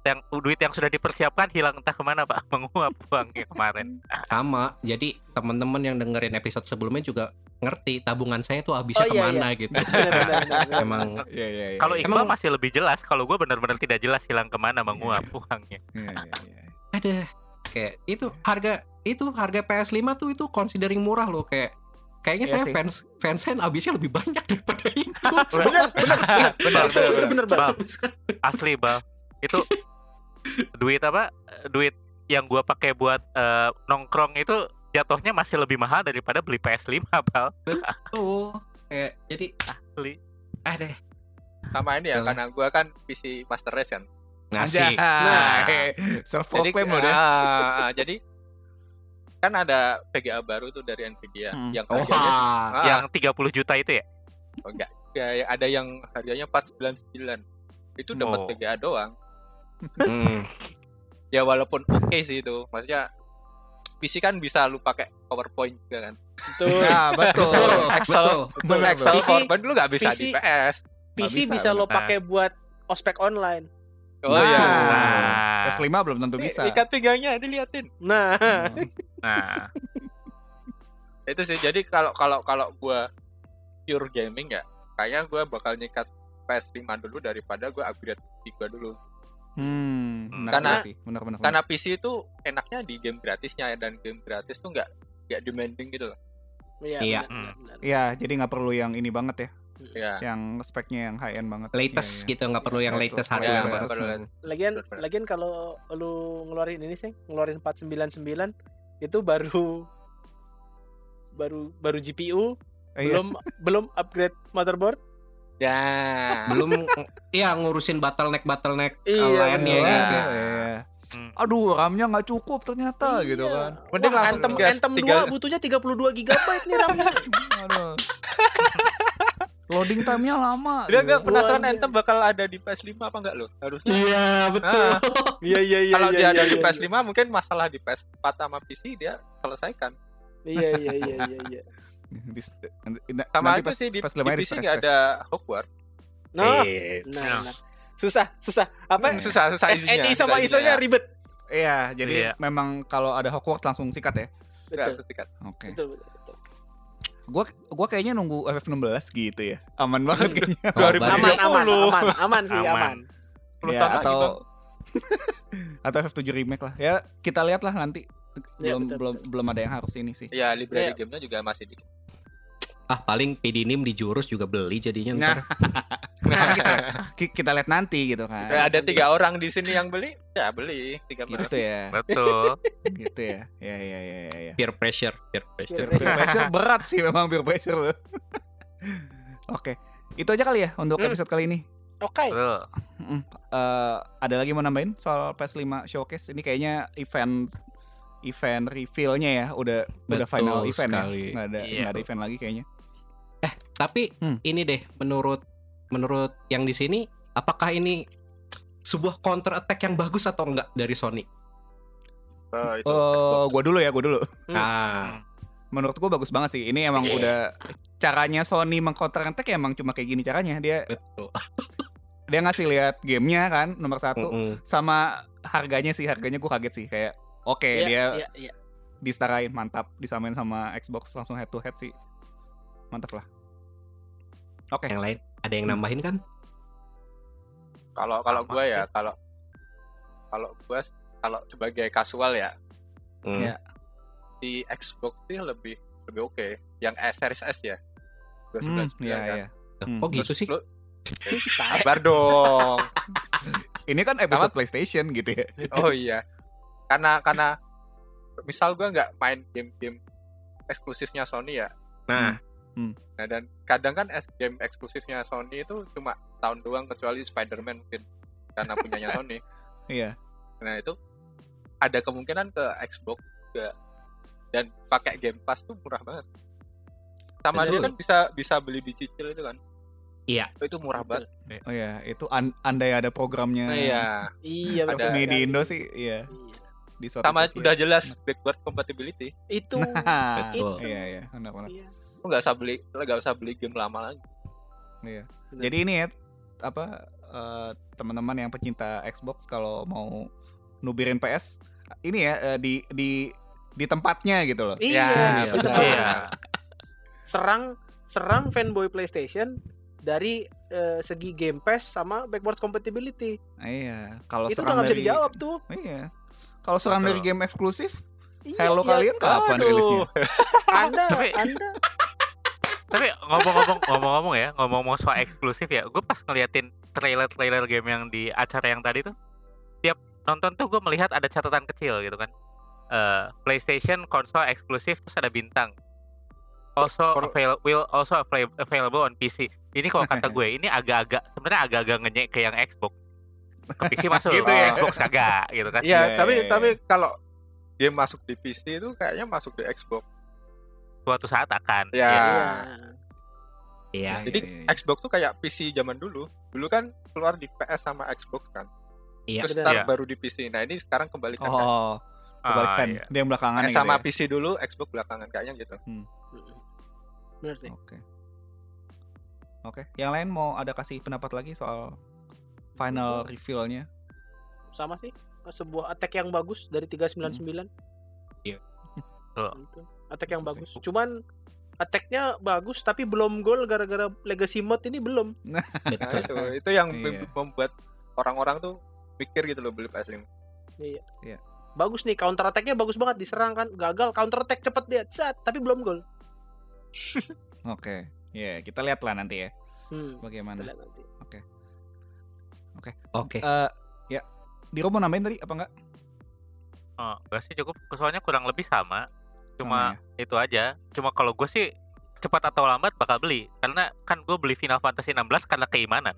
[SPEAKER 3] yang duit yang sudah dipersiapkan hilang entah kemana pak menguap uangnya kemarin
[SPEAKER 1] sama. Jadi teman-teman yang dengerin episode sebelumnya juga ngerti tabungan saya tuh habisnya
[SPEAKER 2] Oh, iya,
[SPEAKER 1] kemana gitu.
[SPEAKER 2] Bener, bener, bener, bener.
[SPEAKER 1] Emang
[SPEAKER 4] Iya, iya, iya.
[SPEAKER 3] kalau Iqbal
[SPEAKER 1] Emang-
[SPEAKER 3] masih lebih jelas kalau gua benar-benar tidak jelas hilang kemana menguap uangnya
[SPEAKER 4] Iya, iya, iya.
[SPEAKER 1] ada kayak itu harga itu harga PS5 tuh itu considering murah loh kayak kayaknya
[SPEAKER 4] Iya
[SPEAKER 1] saya
[SPEAKER 4] sih.
[SPEAKER 1] fans fansen habisnya lebih banyak daripada itu.
[SPEAKER 2] Bener, bener, bener.
[SPEAKER 3] Benar,
[SPEAKER 2] Itu-
[SPEAKER 3] benar,
[SPEAKER 2] itu bener banget.
[SPEAKER 3] asli bal itu duit apa duit yang gua pakai buat eh, nongkrong itu jatuhnya masih lebih mahal daripada beli PS5 bal
[SPEAKER 1] Tuh, kayak jadi
[SPEAKER 3] Asli.
[SPEAKER 1] ah deh
[SPEAKER 5] Sama ini ya
[SPEAKER 4] Iya.
[SPEAKER 1] Betul.
[SPEAKER 5] karena gua kan PC Master Race kan.
[SPEAKER 1] ngasih
[SPEAKER 4] Nah, self proclaim udah.
[SPEAKER 5] ah, jadi kan ada VGA baru tuh dari Nvidia
[SPEAKER 4] Hmm.
[SPEAKER 5] yang
[SPEAKER 1] Wah,
[SPEAKER 5] harganya ah,
[SPEAKER 3] yang 30 juta itu ya
[SPEAKER 5] oh, enggak kayak ada yang harganya 499 itu dapat
[SPEAKER 3] Oh.
[SPEAKER 5] VGA doang
[SPEAKER 1] Hmm.
[SPEAKER 5] ya walaupun oke sih itu maksudnya PC kan bisa lu pakai PowerPoint juga kan
[SPEAKER 2] Betul.
[SPEAKER 4] Nah, betul.
[SPEAKER 1] Betul,
[SPEAKER 5] Excel.
[SPEAKER 1] betul.
[SPEAKER 4] Betul,
[SPEAKER 5] Excel
[SPEAKER 2] betul. PC
[SPEAKER 5] PowerPoint lu nggak bisa di
[SPEAKER 2] PC
[SPEAKER 5] PS
[SPEAKER 2] PC
[SPEAKER 4] bisa,
[SPEAKER 2] bisa lo
[SPEAKER 3] bener.
[SPEAKER 2] pakai buat ospek online.
[SPEAKER 5] oh
[SPEAKER 4] Nah.
[SPEAKER 5] iya
[SPEAKER 3] Nah.
[SPEAKER 4] S5 belum tentu
[SPEAKER 5] Ini
[SPEAKER 4] bisa. Hmm.
[SPEAKER 5] ikat pinggangnya diliatin
[SPEAKER 2] Nah,
[SPEAKER 3] nah
[SPEAKER 5] itu sih jadi kalau kalau kalau gua pure gaming ya kayaknya gua bakal nyikat PS5 dulu daripada gua upgrade PC gua dulu
[SPEAKER 4] Hmm, benar
[SPEAKER 5] Karena-
[SPEAKER 4] juga sih, benar benar.
[SPEAKER 5] karena PC itu enaknya di game gratisnya ya, dan game gratis tuh nggak nggak demanding gitu loh
[SPEAKER 2] iya.
[SPEAKER 1] Iya.
[SPEAKER 2] bener, bener, bener.
[SPEAKER 4] Iya, jadi nggak perlu yang ini banget ya.
[SPEAKER 2] Hmm.
[SPEAKER 5] ya
[SPEAKER 4] yang speknya yang high end banget.
[SPEAKER 1] latest
[SPEAKER 4] Iya, iya.
[SPEAKER 1] gitu nggak perlu yang
[SPEAKER 4] Iya,
[SPEAKER 1] latest
[SPEAKER 4] itu.
[SPEAKER 5] Ya,
[SPEAKER 1] hardware
[SPEAKER 4] Iya,
[SPEAKER 1] banget.
[SPEAKER 4] betul.
[SPEAKER 2] Hmm. Lagian
[SPEAKER 5] Betul.
[SPEAKER 2] lagian kalau lu ngeluarin ini sih, ngeluarin 499 itu baru baru baru GPU,
[SPEAKER 4] Eh, iya.
[SPEAKER 2] belum belum upgrade motherboard.
[SPEAKER 5] ya
[SPEAKER 1] belum iya ngurusin bottleneck bottleneck
[SPEAKER 2] Iya,
[SPEAKER 1] uh, lainnya
[SPEAKER 4] Iya,
[SPEAKER 1] ya.
[SPEAKER 5] kan?
[SPEAKER 4] iya.
[SPEAKER 3] Hmm.
[SPEAKER 4] Aduh, RAM-nya nggak cukup ternyata gitu
[SPEAKER 2] Iya.
[SPEAKER 4] kan.
[SPEAKER 5] Mending
[SPEAKER 2] Wah,
[SPEAKER 5] langsung
[SPEAKER 2] Anthem,
[SPEAKER 5] gas
[SPEAKER 2] Anthem
[SPEAKER 5] tiga.
[SPEAKER 2] 2 butuhnya 32 GB nih RAM.
[SPEAKER 4] Aduh. Loading time-nya lama.
[SPEAKER 5] Dia
[SPEAKER 4] gitu.
[SPEAKER 5] gak penasaran
[SPEAKER 2] Buangnya.
[SPEAKER 5] Anthem bakal ada di PS5 apa enggak loh? Harusnya.
[SPEAKER 1] Iya betul.
[SPEAKER 5] Ah,
[SPEAKER 2] Iya iya iya.
[SPEAKER 5] kalau
[SPEAKER 2] iya,
[SPEAKER 5] dia
[SPEAKER 2] iya,
[SPEAKER 5] ada di
[SPEAKER 2] iya,
[SPEAKER 5] PS5 mungkin masalah di PS4 sama PC dia selesaikan.
[SPEAKER 2] Iya iya iya iya iya.
[SPEAKER 4] Di- nanti- nanti
[SPEAKER 5] Sama
[SPEAKER 4] pas-
[SPEAKER 5] aja sih di,
[SPEAKER 4] pas
[SPEAKER 5] di
[SPEAKER 4] lemari
[SPEAKER 5] PC
[SPEAKER 4] stress
[SPEAKER 5] nggak
[SPEAKER 4] test.
[SPEAKER 5] ada Hogwarts.
[SPEAKER 2] Nah,
[SPEAKER 1] Eh,
[SPEAKER 2] nah, nah. Susah, susah. Apa?
[SPEAKER 4] Iya.
[SPEAKER 5] Iya. Hmm, Susah susah isinya.
[SPEAKER 2] SNI sama
[SPEAKER 5] susah
[SPEAKER 2] ISO-nya ribet.
[SPEAKER 4] Iya, jadi
[SPEAKER 3] Iya.
[SPEAKER 4] memang kalau ada Hogwarts langsung sikat ya.
[SPEAKER 5] Nggak,
[SPEAKER 2] Betul.
[SPEAKER 5] susah sikat.
[SPEAKER 4] Oke.
[SPEAKER 2] Betul. betul, betul.
[SPEAKER 4] Gua gua kayaknya nunggu FF16 gitu ya. Aman banget kayaknya.
[SPEAKER 1] Sabar.
[SPEAKER 5] 2000.
[SPEAKER 2] Aman, aman,
[SPEAKER 5] 70.
[SPEAKER 2] aman, aman sih,
[SPEAKER 3] Aman.
[SPEAKER 2] aman.
[SPEAKER 5] Sepuluh
[SPEAKER 2] Iya,
[SPEAKER 4] ya,
[SPEAKER 5] tahun lagi,
[SPEAKER 4] atau
[SPEAKER 5] Bang.
[SPEAKER 4] atau FF7 remake lah. Ya, kita lihat lah nanti.
[SPEAKER 2] Iya,
[SPEAKER 4] Belum
[SPEAKER 2] betul,
[SPEAKER 4] belum belum ada yang harus ini sih.
[SPEAKER 5] ya library
[SPEAKER 2] Iya.
[SPEAKER 5] gamenya juga masih di.
[SPEAKER 4] Nah,
[SPEAKER 1] Ah paling PDNIM di jurus juga beli jadinya ntar.
[SPEAKER 4] Nah. Karena kita ki- kita lihat nanti gitu kan.
[SPEAKER 5] Ya, ada tiga orang di sini yang beli, ya beli tiga
[SPEAKER 4] Gitu ya.
[SPEAKER 3] Betul.
[SPEAKER 4] Gitu ya. Ya ya ya ya ya.
[SPEAKER 1] Peer pressure, peer pressure.
[SPEAKER 2] Peer
[SPEAKER 4] peer pressure berat sih memang peer pressure. Oke, itu aja kali ya untuk
[SPEAKER 2] Hmm.
[SPEAKER 4] episode kali ini.
[SPEAKER 2] Oke.
[SPEAKER 3] Betul.
[SPEAKER 4] Mm, eh, ada lagi mau nambahin soal PS5 Showcase? Ini kayaknya event event reveal-nya ya, udah udah
[SPEAKER 1] Betul
[SPEAKER 4] final event
[SPEAKER 1] sekali.
[SPEAKER 4] ya. Nggak ada
[SPEAKER 3] Iya.
[SPEAKER 4] nggak ada event lagi kayaknya.
[SPEAKER 1] Tapi
[SPEAKER 4] Hmm.
[SPEAKER 1] ini deh menurut menurut yang di sini apakah ini sebuah counter attack yang bagus atau enggak dari Sony?
[SPEAKER 5] Oh, itu.
[SPEAKER 4] Eh, gua dulu ya, gua dulu.
[SPEAKER 2] Hmm.
[SPEAKER 1] Ah,
[SPEAKER 4] Menurut gua bagus banget sih. Ini emang
[SPEAKER 1] Iya.
[SPEAKER 4] udah caranya Sony mengcounter attack emang cuma kayak gini caranya. Dia
[SPEAKER 1] betul.
[SPEAKER 4] dia ngasih lihat gamenya kan nomor satu
[SPEAKER 1] Mm-mm.
[SPEAKER 4] sama harganya sih harganya gua kaget sih kayak oke
[SPEAKER 2] Iya,
[SPEAKER 4] dia
[SPEAKER 2] iya, iya.
[SPEAKER 4] disetarain mantap disamain sama Xbox langsung head to head sih mantap lah oke
[SPEAKER 1] Yang lain ada yang nambahin kan?
[SPEAKER 5] Kalau kalau gua ya, kalau kalau gua kalau sebagai casual ya,
[SPEAKER 1] Hmm.
[SPEAKER 4] Iya.
[SPEAKER 5] di Xbox sih lebih lebih oke yang S series S ya dua
[SPEAKER 4] Hmm,
[SPEAKER 5] sembilan
[SPEAKER 4] iya,
[SPEAKER 5] kan
[SPEAKER 4] iya. Hmm.
[SPEAKER 1] Oh gitu sih.
[SPEAKER 5] lu-
[SPEAKER 2] Tai.
[SPEAKER 5] sabar dong
[SPEAKER 4] ini kan episode PlayStation gitu ya
[SPEAKER 5] oh iya karena karena misal gua nggak main game-game eksklusifnya Sony ya
[SPEAKER 1] Nah,
[SPEAKER 5] nah dan kadang kan es- game eksklusifnya Sony itu cuma tahun doang kecuali Spider-Man mungkin karena punyanya Sony
[SPEAKER 4] iya
[SPEAKER 5] nah itu ada kemungkinan ke Xbox juga dan pakai Game Pass tuh murah banget sama
[SPEAKER 1] Betul.
[SPEAKER 5] dia kan bisa bisa beli dicicil itu kan
[SPEAKER 1] Iya.
[SPEAKER 5] itu murah banget
[SPEAKER 4] oh iya itu an- andai ada programnya
[SPEAKER 5] Nah, iya.
[SPEAKER 2] Iya, betul
[SPEAKER 5] Ada-
[SPEAKER 4] resmi
[SPEAKER 2] sekali.
[SPEAKER 4] di Indo sih iya
[SPEAKER 2] Iya.
[SPEAKER 4] di suatu
[SPEAKER 5] Sama
[SPEAKER 4] sisi
[SPEAKER 5] udah
[SPEAKER 4] ya.
[SPEAKER 5] jelas backward compatibility.
[SPEAKER 2] Itu.
[SPEAKER 4] Nah,
[SPEAKER 1] Betul.
[SPEAKER 4] iya iya benar benar
[SPEAKER 2] Iya.
[SPEAKER 5] Lu nggak usah beli, lu nggak usah beli game lama lagi.
[SPEAKER 4] iya jadi ini ya apa eh, teman-teman yang pecinta Xbox kalau mau nubirin PS ini ya eh, di di di tempatnya gitu loh
[SPEAKER 2] Iya,
[SPEAKER 5] Ya,
[SPEAKER 2] betul.
[SPEAKER 5] betul.
[SPEAKER 3] Iya.
[SPEAKER 2] Serang serang fanboy PlayStation dari eh, segi Game Pass sama backwards compatibility.
[SPEAKER 4] Iya,
[SPEAKER 5] Oh,
[SPEAKER 4] kalau
[SPEAKER 2] itu udah
[SPEAKER 4] serang
[SPEAKER 2] nggak bisa
[SPEAKER 4] dari-
[SPEAKER 2] dijawab tuh.
[SPEAKER 4] Iya. Kalau serang dari
[SPEAKER 3] Betul.
[SPEAKER 4] game eksklusif,
[SPEAKER 2] Iya,
[SPEAKER 4] Hello
[SPEAKER 2] iya.
[SPEAKER 4] kalian kapan
[SPEAKER 5] Aduh. Ya,
[SPEAKER 4] rilisnya? Iya,
[SPEAKER 2] Anda,
[SPEAKER 3] Tapi-
[SPEAKER 2] Anda.
[SPEAKER 3] Tapi ngomong-ngomong ngomong-ngomong ya, ngomong-ngomong soal eksklusif ya, gue pas ngeliatin trailer-trailer game yang di acara yang tadi tuh, tiap nonton tuh gue melihat ada catatan kecil gitu kan. Eh, PlayStation konsol eksklusif terus ada bintang. Also
[SPEAKER 5] For-
[SPEAKER 3] avail- will also avail- available on PC. Ini kalau kata gue ini agak-agak sebenarnya agak-agak ngenyek ke yang Xbox. Ke PC masuk,
[SPEAKER 4] Gitu
[SPEAKER 5] ya.
[SPEAKER 3] Xbox kagak gitu kan.
[SPEAKER 5] Iya,
[SPEAKER 4] Iya,
[SPEAKER 5] tapi
[SPEAKER 4] iya,
[SPEAKER 5] tapi kalau game masuk di PC itu kayaknya masuk di Xbox.
[SPEAKER 3] Suatu saat akan.
[SPEAKER 5] Ya.
[SPEAKER 3] Iya.
[SPEAKER 2] Iya.
[SPEAKER 1] iya.
[SPEAKER 4] Iya,
[SPEAKER 5] Jadi
[SPEAKER 4] iya, iya.
[SPEAKER 5] Xbox tuh kayak PC zaman dulu. Dulu kan keluar di PS sama Xbox kan.
[SPEAKER 1] Iya.
[SPEAKER 5] Terus
[SPEAKER 2] Benar.
[SPEAKER 5] ntar
[SPEAKER 3] Iya.
[SPEAKER 5] baru di PC. Nah, ini sekarang kembalikan kan.
[SPEAKER 4] Oh, gitu ya? kebalikan.
[SPEAKER 3] Ah, iya.
[SPEAKER 4] Dia yang belakangan
[SPEAKER 5] Eh, sama PC dulu, Xbox belakangan kayaknya gitu.
[SPEAKER 2] Benar sih.
[SPEAKER 4] Oke. Oke, yang lain mau ada kasih pendapat lagi soal final reveal-nya?
[SPEAKER 2] Sama sih. Sebuah attack yang bagus dari 399.
[SPEAKER 1] Iya.
[SPEAKER 3] Betul.
[SPEAKER 2] Itu. Gitu. Attack yang
[SPEAKER 4] Betul
[SPEAKER 2] bagus. Cuman attacknya bagus tapi belum gol gara-gara legacy mode ini belum.
[SPEAKER 5] Nah,
[SPEAKER 1] Iya, Betul.
[SPEAKER 5] itu, itu yang
[SPEAKER 4] Iya.
[SPEAKER 5] membuat orang-orang tuh mikir gitu loh beli PS5.
[SPEAKER 2] Iya.
[SPEAKER 4] Iya.
[SPEAKER 2] Bagus nih counter attack-nya bagus banget diserang kan. Gagal counter attack cepet dia. Set, tapi belum gol.
[SPEAKER 4] Oke. Ya, Iya, kita lihat lah nanti ya.
[SPEAKER 2] Hmm, kita
[SPEAKER 4] Bagaimana?
[SPEAKER 2] lihat nanti.
[SPEAKER 1] Oke.
[SPEAKER 4] Eh, ya, Diro mau nambahin tadi apa enggak?
[SPEAKER 3] Oh, enggak sih cukup. Soalnya kurang lebih sama.
[SPEAKER 4] Hmm.
[SPEAKER 3] Cuma itu aja. Cuma kalau gue sih cepat atau lambat bakal beli. Karena kan gue beli Final Fantasy 16 karena keimanan.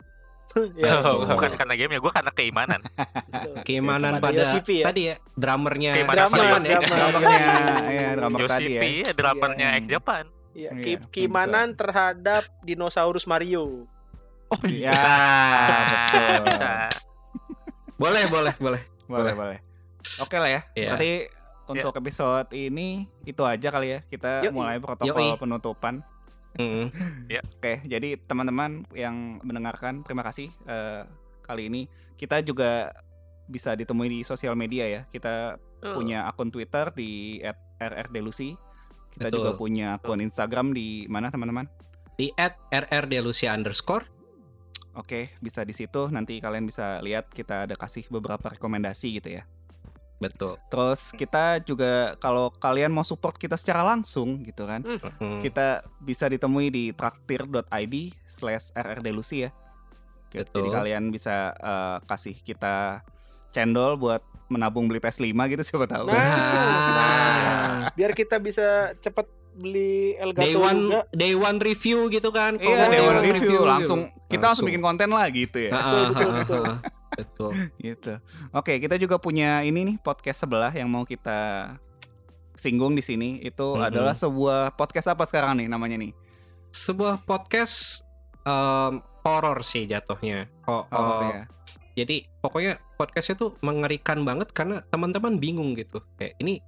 [SPEAKER 2] Ya,
[SPEAKER 1] Oh.
[SPEAKER 3] Bukan karena gamenya, gue karena keimanan.
[SPEAKER 2] betul.
[SPEAKER 1] Keimanan
[SPEAKER 2] Kepada
[SPEAKER 1] pada
[SPEAKER 2] Yoshipi ya?
[SPEAKER 1] tadi ya dramernya
[SPEAKER 3] Keimanan
[SPEAKER 1] Japan
[SPEAKER 3] pada
[SPEAKER 1] ya.
[SPEAKER 2] Jepang.
[SPEAKER 4] Dramanya, ya drama tadi ya.
[SPEAKER 3] Yoshipi, ya, drummernya
[SPEAKER 4] Iya.
[SPEAKER 3] ex Japan.
[SPEAKER 2] Iya,
[SPEAKER 4] Iya,
[SPEAKER 2] ki-
[SPEAKER 4] bisa.
[SPEAKER 2] keimanan terhadap dinosaurus Mario.
[SPEAKER 4] Oh iya, Ah, betul.
[SPEAKER 3] bisa.
[SPEAKER 1] Boleh, boleh, boleh.
[SPEAKER 4] Boleh, boleh. Oke lah ya.
[SPEAKER 1] Iya.
[SPEAKER 4] Berarti untuk episode ini itu aja kali ya. Kita
[SPEAKER 2] Yoi.
[SPEAKER 4] mulai
[SPEAKER 1] Yoi.
[SPEAKER 4] protokol penutupan.
[SPEAKER 1] Mm.
[SPEAKER 4] Oke, jadi teman-teman yang mendengarkan, terima kasih eh, kali ini. Kita juga bisa ditemui di sosial media ya. Kita
[SPEAKER 3] Tuh.
[SPEAKER 4] punya akun Twitter di @rrdelusi. Kita
[SPEAKER 1] Betul.
[SPEAKER 4] juga punya akun Instagram di mana teman-teman?
[SPEAKER 1] Di at rrdelusia underscore.
[SPEAKER 4] Oke, bisa di situ. Nanti kalian bisa lihat kita ada kasih beberapa rekomendasi gitu ya.
[SPEAKER 1] Betul.
[SPEAKER 4] Terus kita juga kalau kalian mau support kita secara langsung gitu kan,
[SPEAKER 1] Mm.
[SPEAKER 4] kita bisa ditemui di traktir.id slash rrdelusi ya. Jadi
[SPEAKER 1] Betul.
[SPEAKER 4] kalian bisa eh, kasih kita cendol buat menabung beli PS5 gitu siapa tahu.
[SPEAKER 1] Ah.
[SPEAKER 2] Nah.
[SPEAKER 1] Nah,
[SPEAKER 2] Biar kita bisa cepat beli
[SPEAKER 1] day
[SPEAKER 2] Elgato
[SPEAKER 1] one,
[SPEAKER 2] juga.
[SPEAKER 1] day one review gitu kan? gitu. Kalau
[SPEAKER 4] Iya,
[SPEAKER 1] nggak
[SPEAKER 4] dewan
[SPEAKER 2] Dewan
[SPEAKER 4] review langsung kita langsung
[SPEAKER 1] Langsung.
[SPEAKER 4] bikin konten lah gitu ya.
[SPEAKER 1] Ah,
[SPEAKER 2] Betul,
[SPEAKER 1] ah,
[SPEAKER 2] betul,
[SPEAKER 1] ah, ah. Betul.
[SPEAKER 4] Gitu. Oke, kita juga punya ini nih podcast sebelah yang mau kita singgung di sini itu
[SPEAKER 1] Mm-mm.
[SPEAKER 4] adalah sebuah podcast apa sekarang nih namanya nih?
[SPEAKER 1] Sebuah podcast em, horor sih jatuhnya. Ho-
[SPEAKER 2] Oh,
[SPEAKER 4] Horor
[SPEAKER 2] iya.
[SPEAKER 1] em,
[SPEAKER 4] ya.
[SPEAKER 1] Jadi pokoknya podcastnya tuh mengerikan banget karena teman-teman bingung gitu. Kayak ini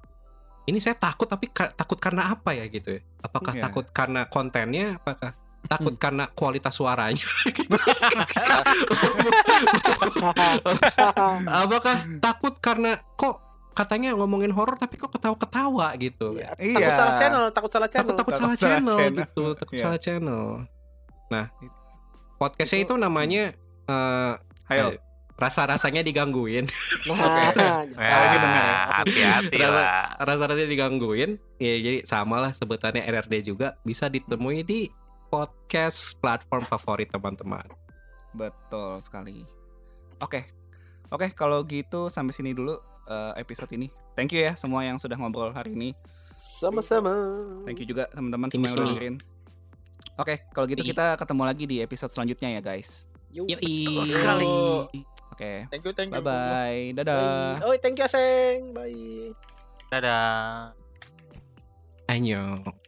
[SPEAKER 1] ini saya takut tapi ka- takut karena apa ya gitu ya? Apakah
[SPEAKER 4] Iya.
[SPEAKER 1] takut karena kontennya? Apakah
[SPEAKER 2] Hmm.
[SPEAKER 1] takut karena kualitas suaranya?
[SPEAKER 2] Hmm.
[SPEAKER 1] Apakah takut karena kok katanya ngomongin horor tapi kok ketawa-ketawa gitu?
[SPEAKER 2] Iya,
[SPEAKER 4] Iya.
[SPEAKER 2] Takut salah channel, takut salah
[SPEAKER 1] Takut
[SPEAKER 2] channel.
[SPEAKER 1] takut
[SPEAKER 4] Takut
[SPEAKER 1] salah
[SPEAKER 4] salah
[SPEAKER 1] channel
[SPEAKER 4] channel.
[SPEAKER 1] gitu, takut
[SPEAKER 4] Iya.
[SPEAKER 1] salah channel. Nah, podcastnya
[SPEAKER 4] Itu-
[SPEAKER 1] itu namanya eh,
[SPEAKER 4] Ayo.
[SPEAKER 1] eh, rasa-rasanya digangguin.
[SPEAKER 2] Nah,
[SPEAKER 3] Ya,
[SPEAKER 4] ini benar
[SPEAKER 1] Eh,
[SPEAKER 4] ya.
[SPEAKER 3] Hati-hati
[SPEAKER 1] Ternyata-
[SPEAKER 3] lah.
[SPEAKER 1] rasa-rasanya digangguin ya jadi samalah sebutannya RRD juga bisa ditemui di podcast platform favorit teman-teman
[SPEAKER 4] Betul sekali. Oke. Oke, kalau gitu sampai sini dulu eh, episode ini. Thank you ya semua yang sudah ngobrol hari ini.
[SPEAKER 2] sama-sama.
[SPEAKER 4] Thank you juga teman-teman
[SPEAKER 1] Thank
[SPEAKER 4] semua yang udah
[SPEAKER 1] you.
[SPEAKER 4] dengerin. Oke, kalau gitu kita ketemu lagi di episode selanjutnya ya, guys.
[SPEAKER 1] Iya. yoi
[SPEAKER 3] sekali.
[SPEAKER 4] Oke.
[SPEAKER 5] Thank you, thank you.
[SPEAKER 4] Bye-bye. Dadah.
[SPEAKER 2] Oh, thank you, Aseng. Bye.
[SPEAKER 3] Dadah.
[SPEAKER 1] anyong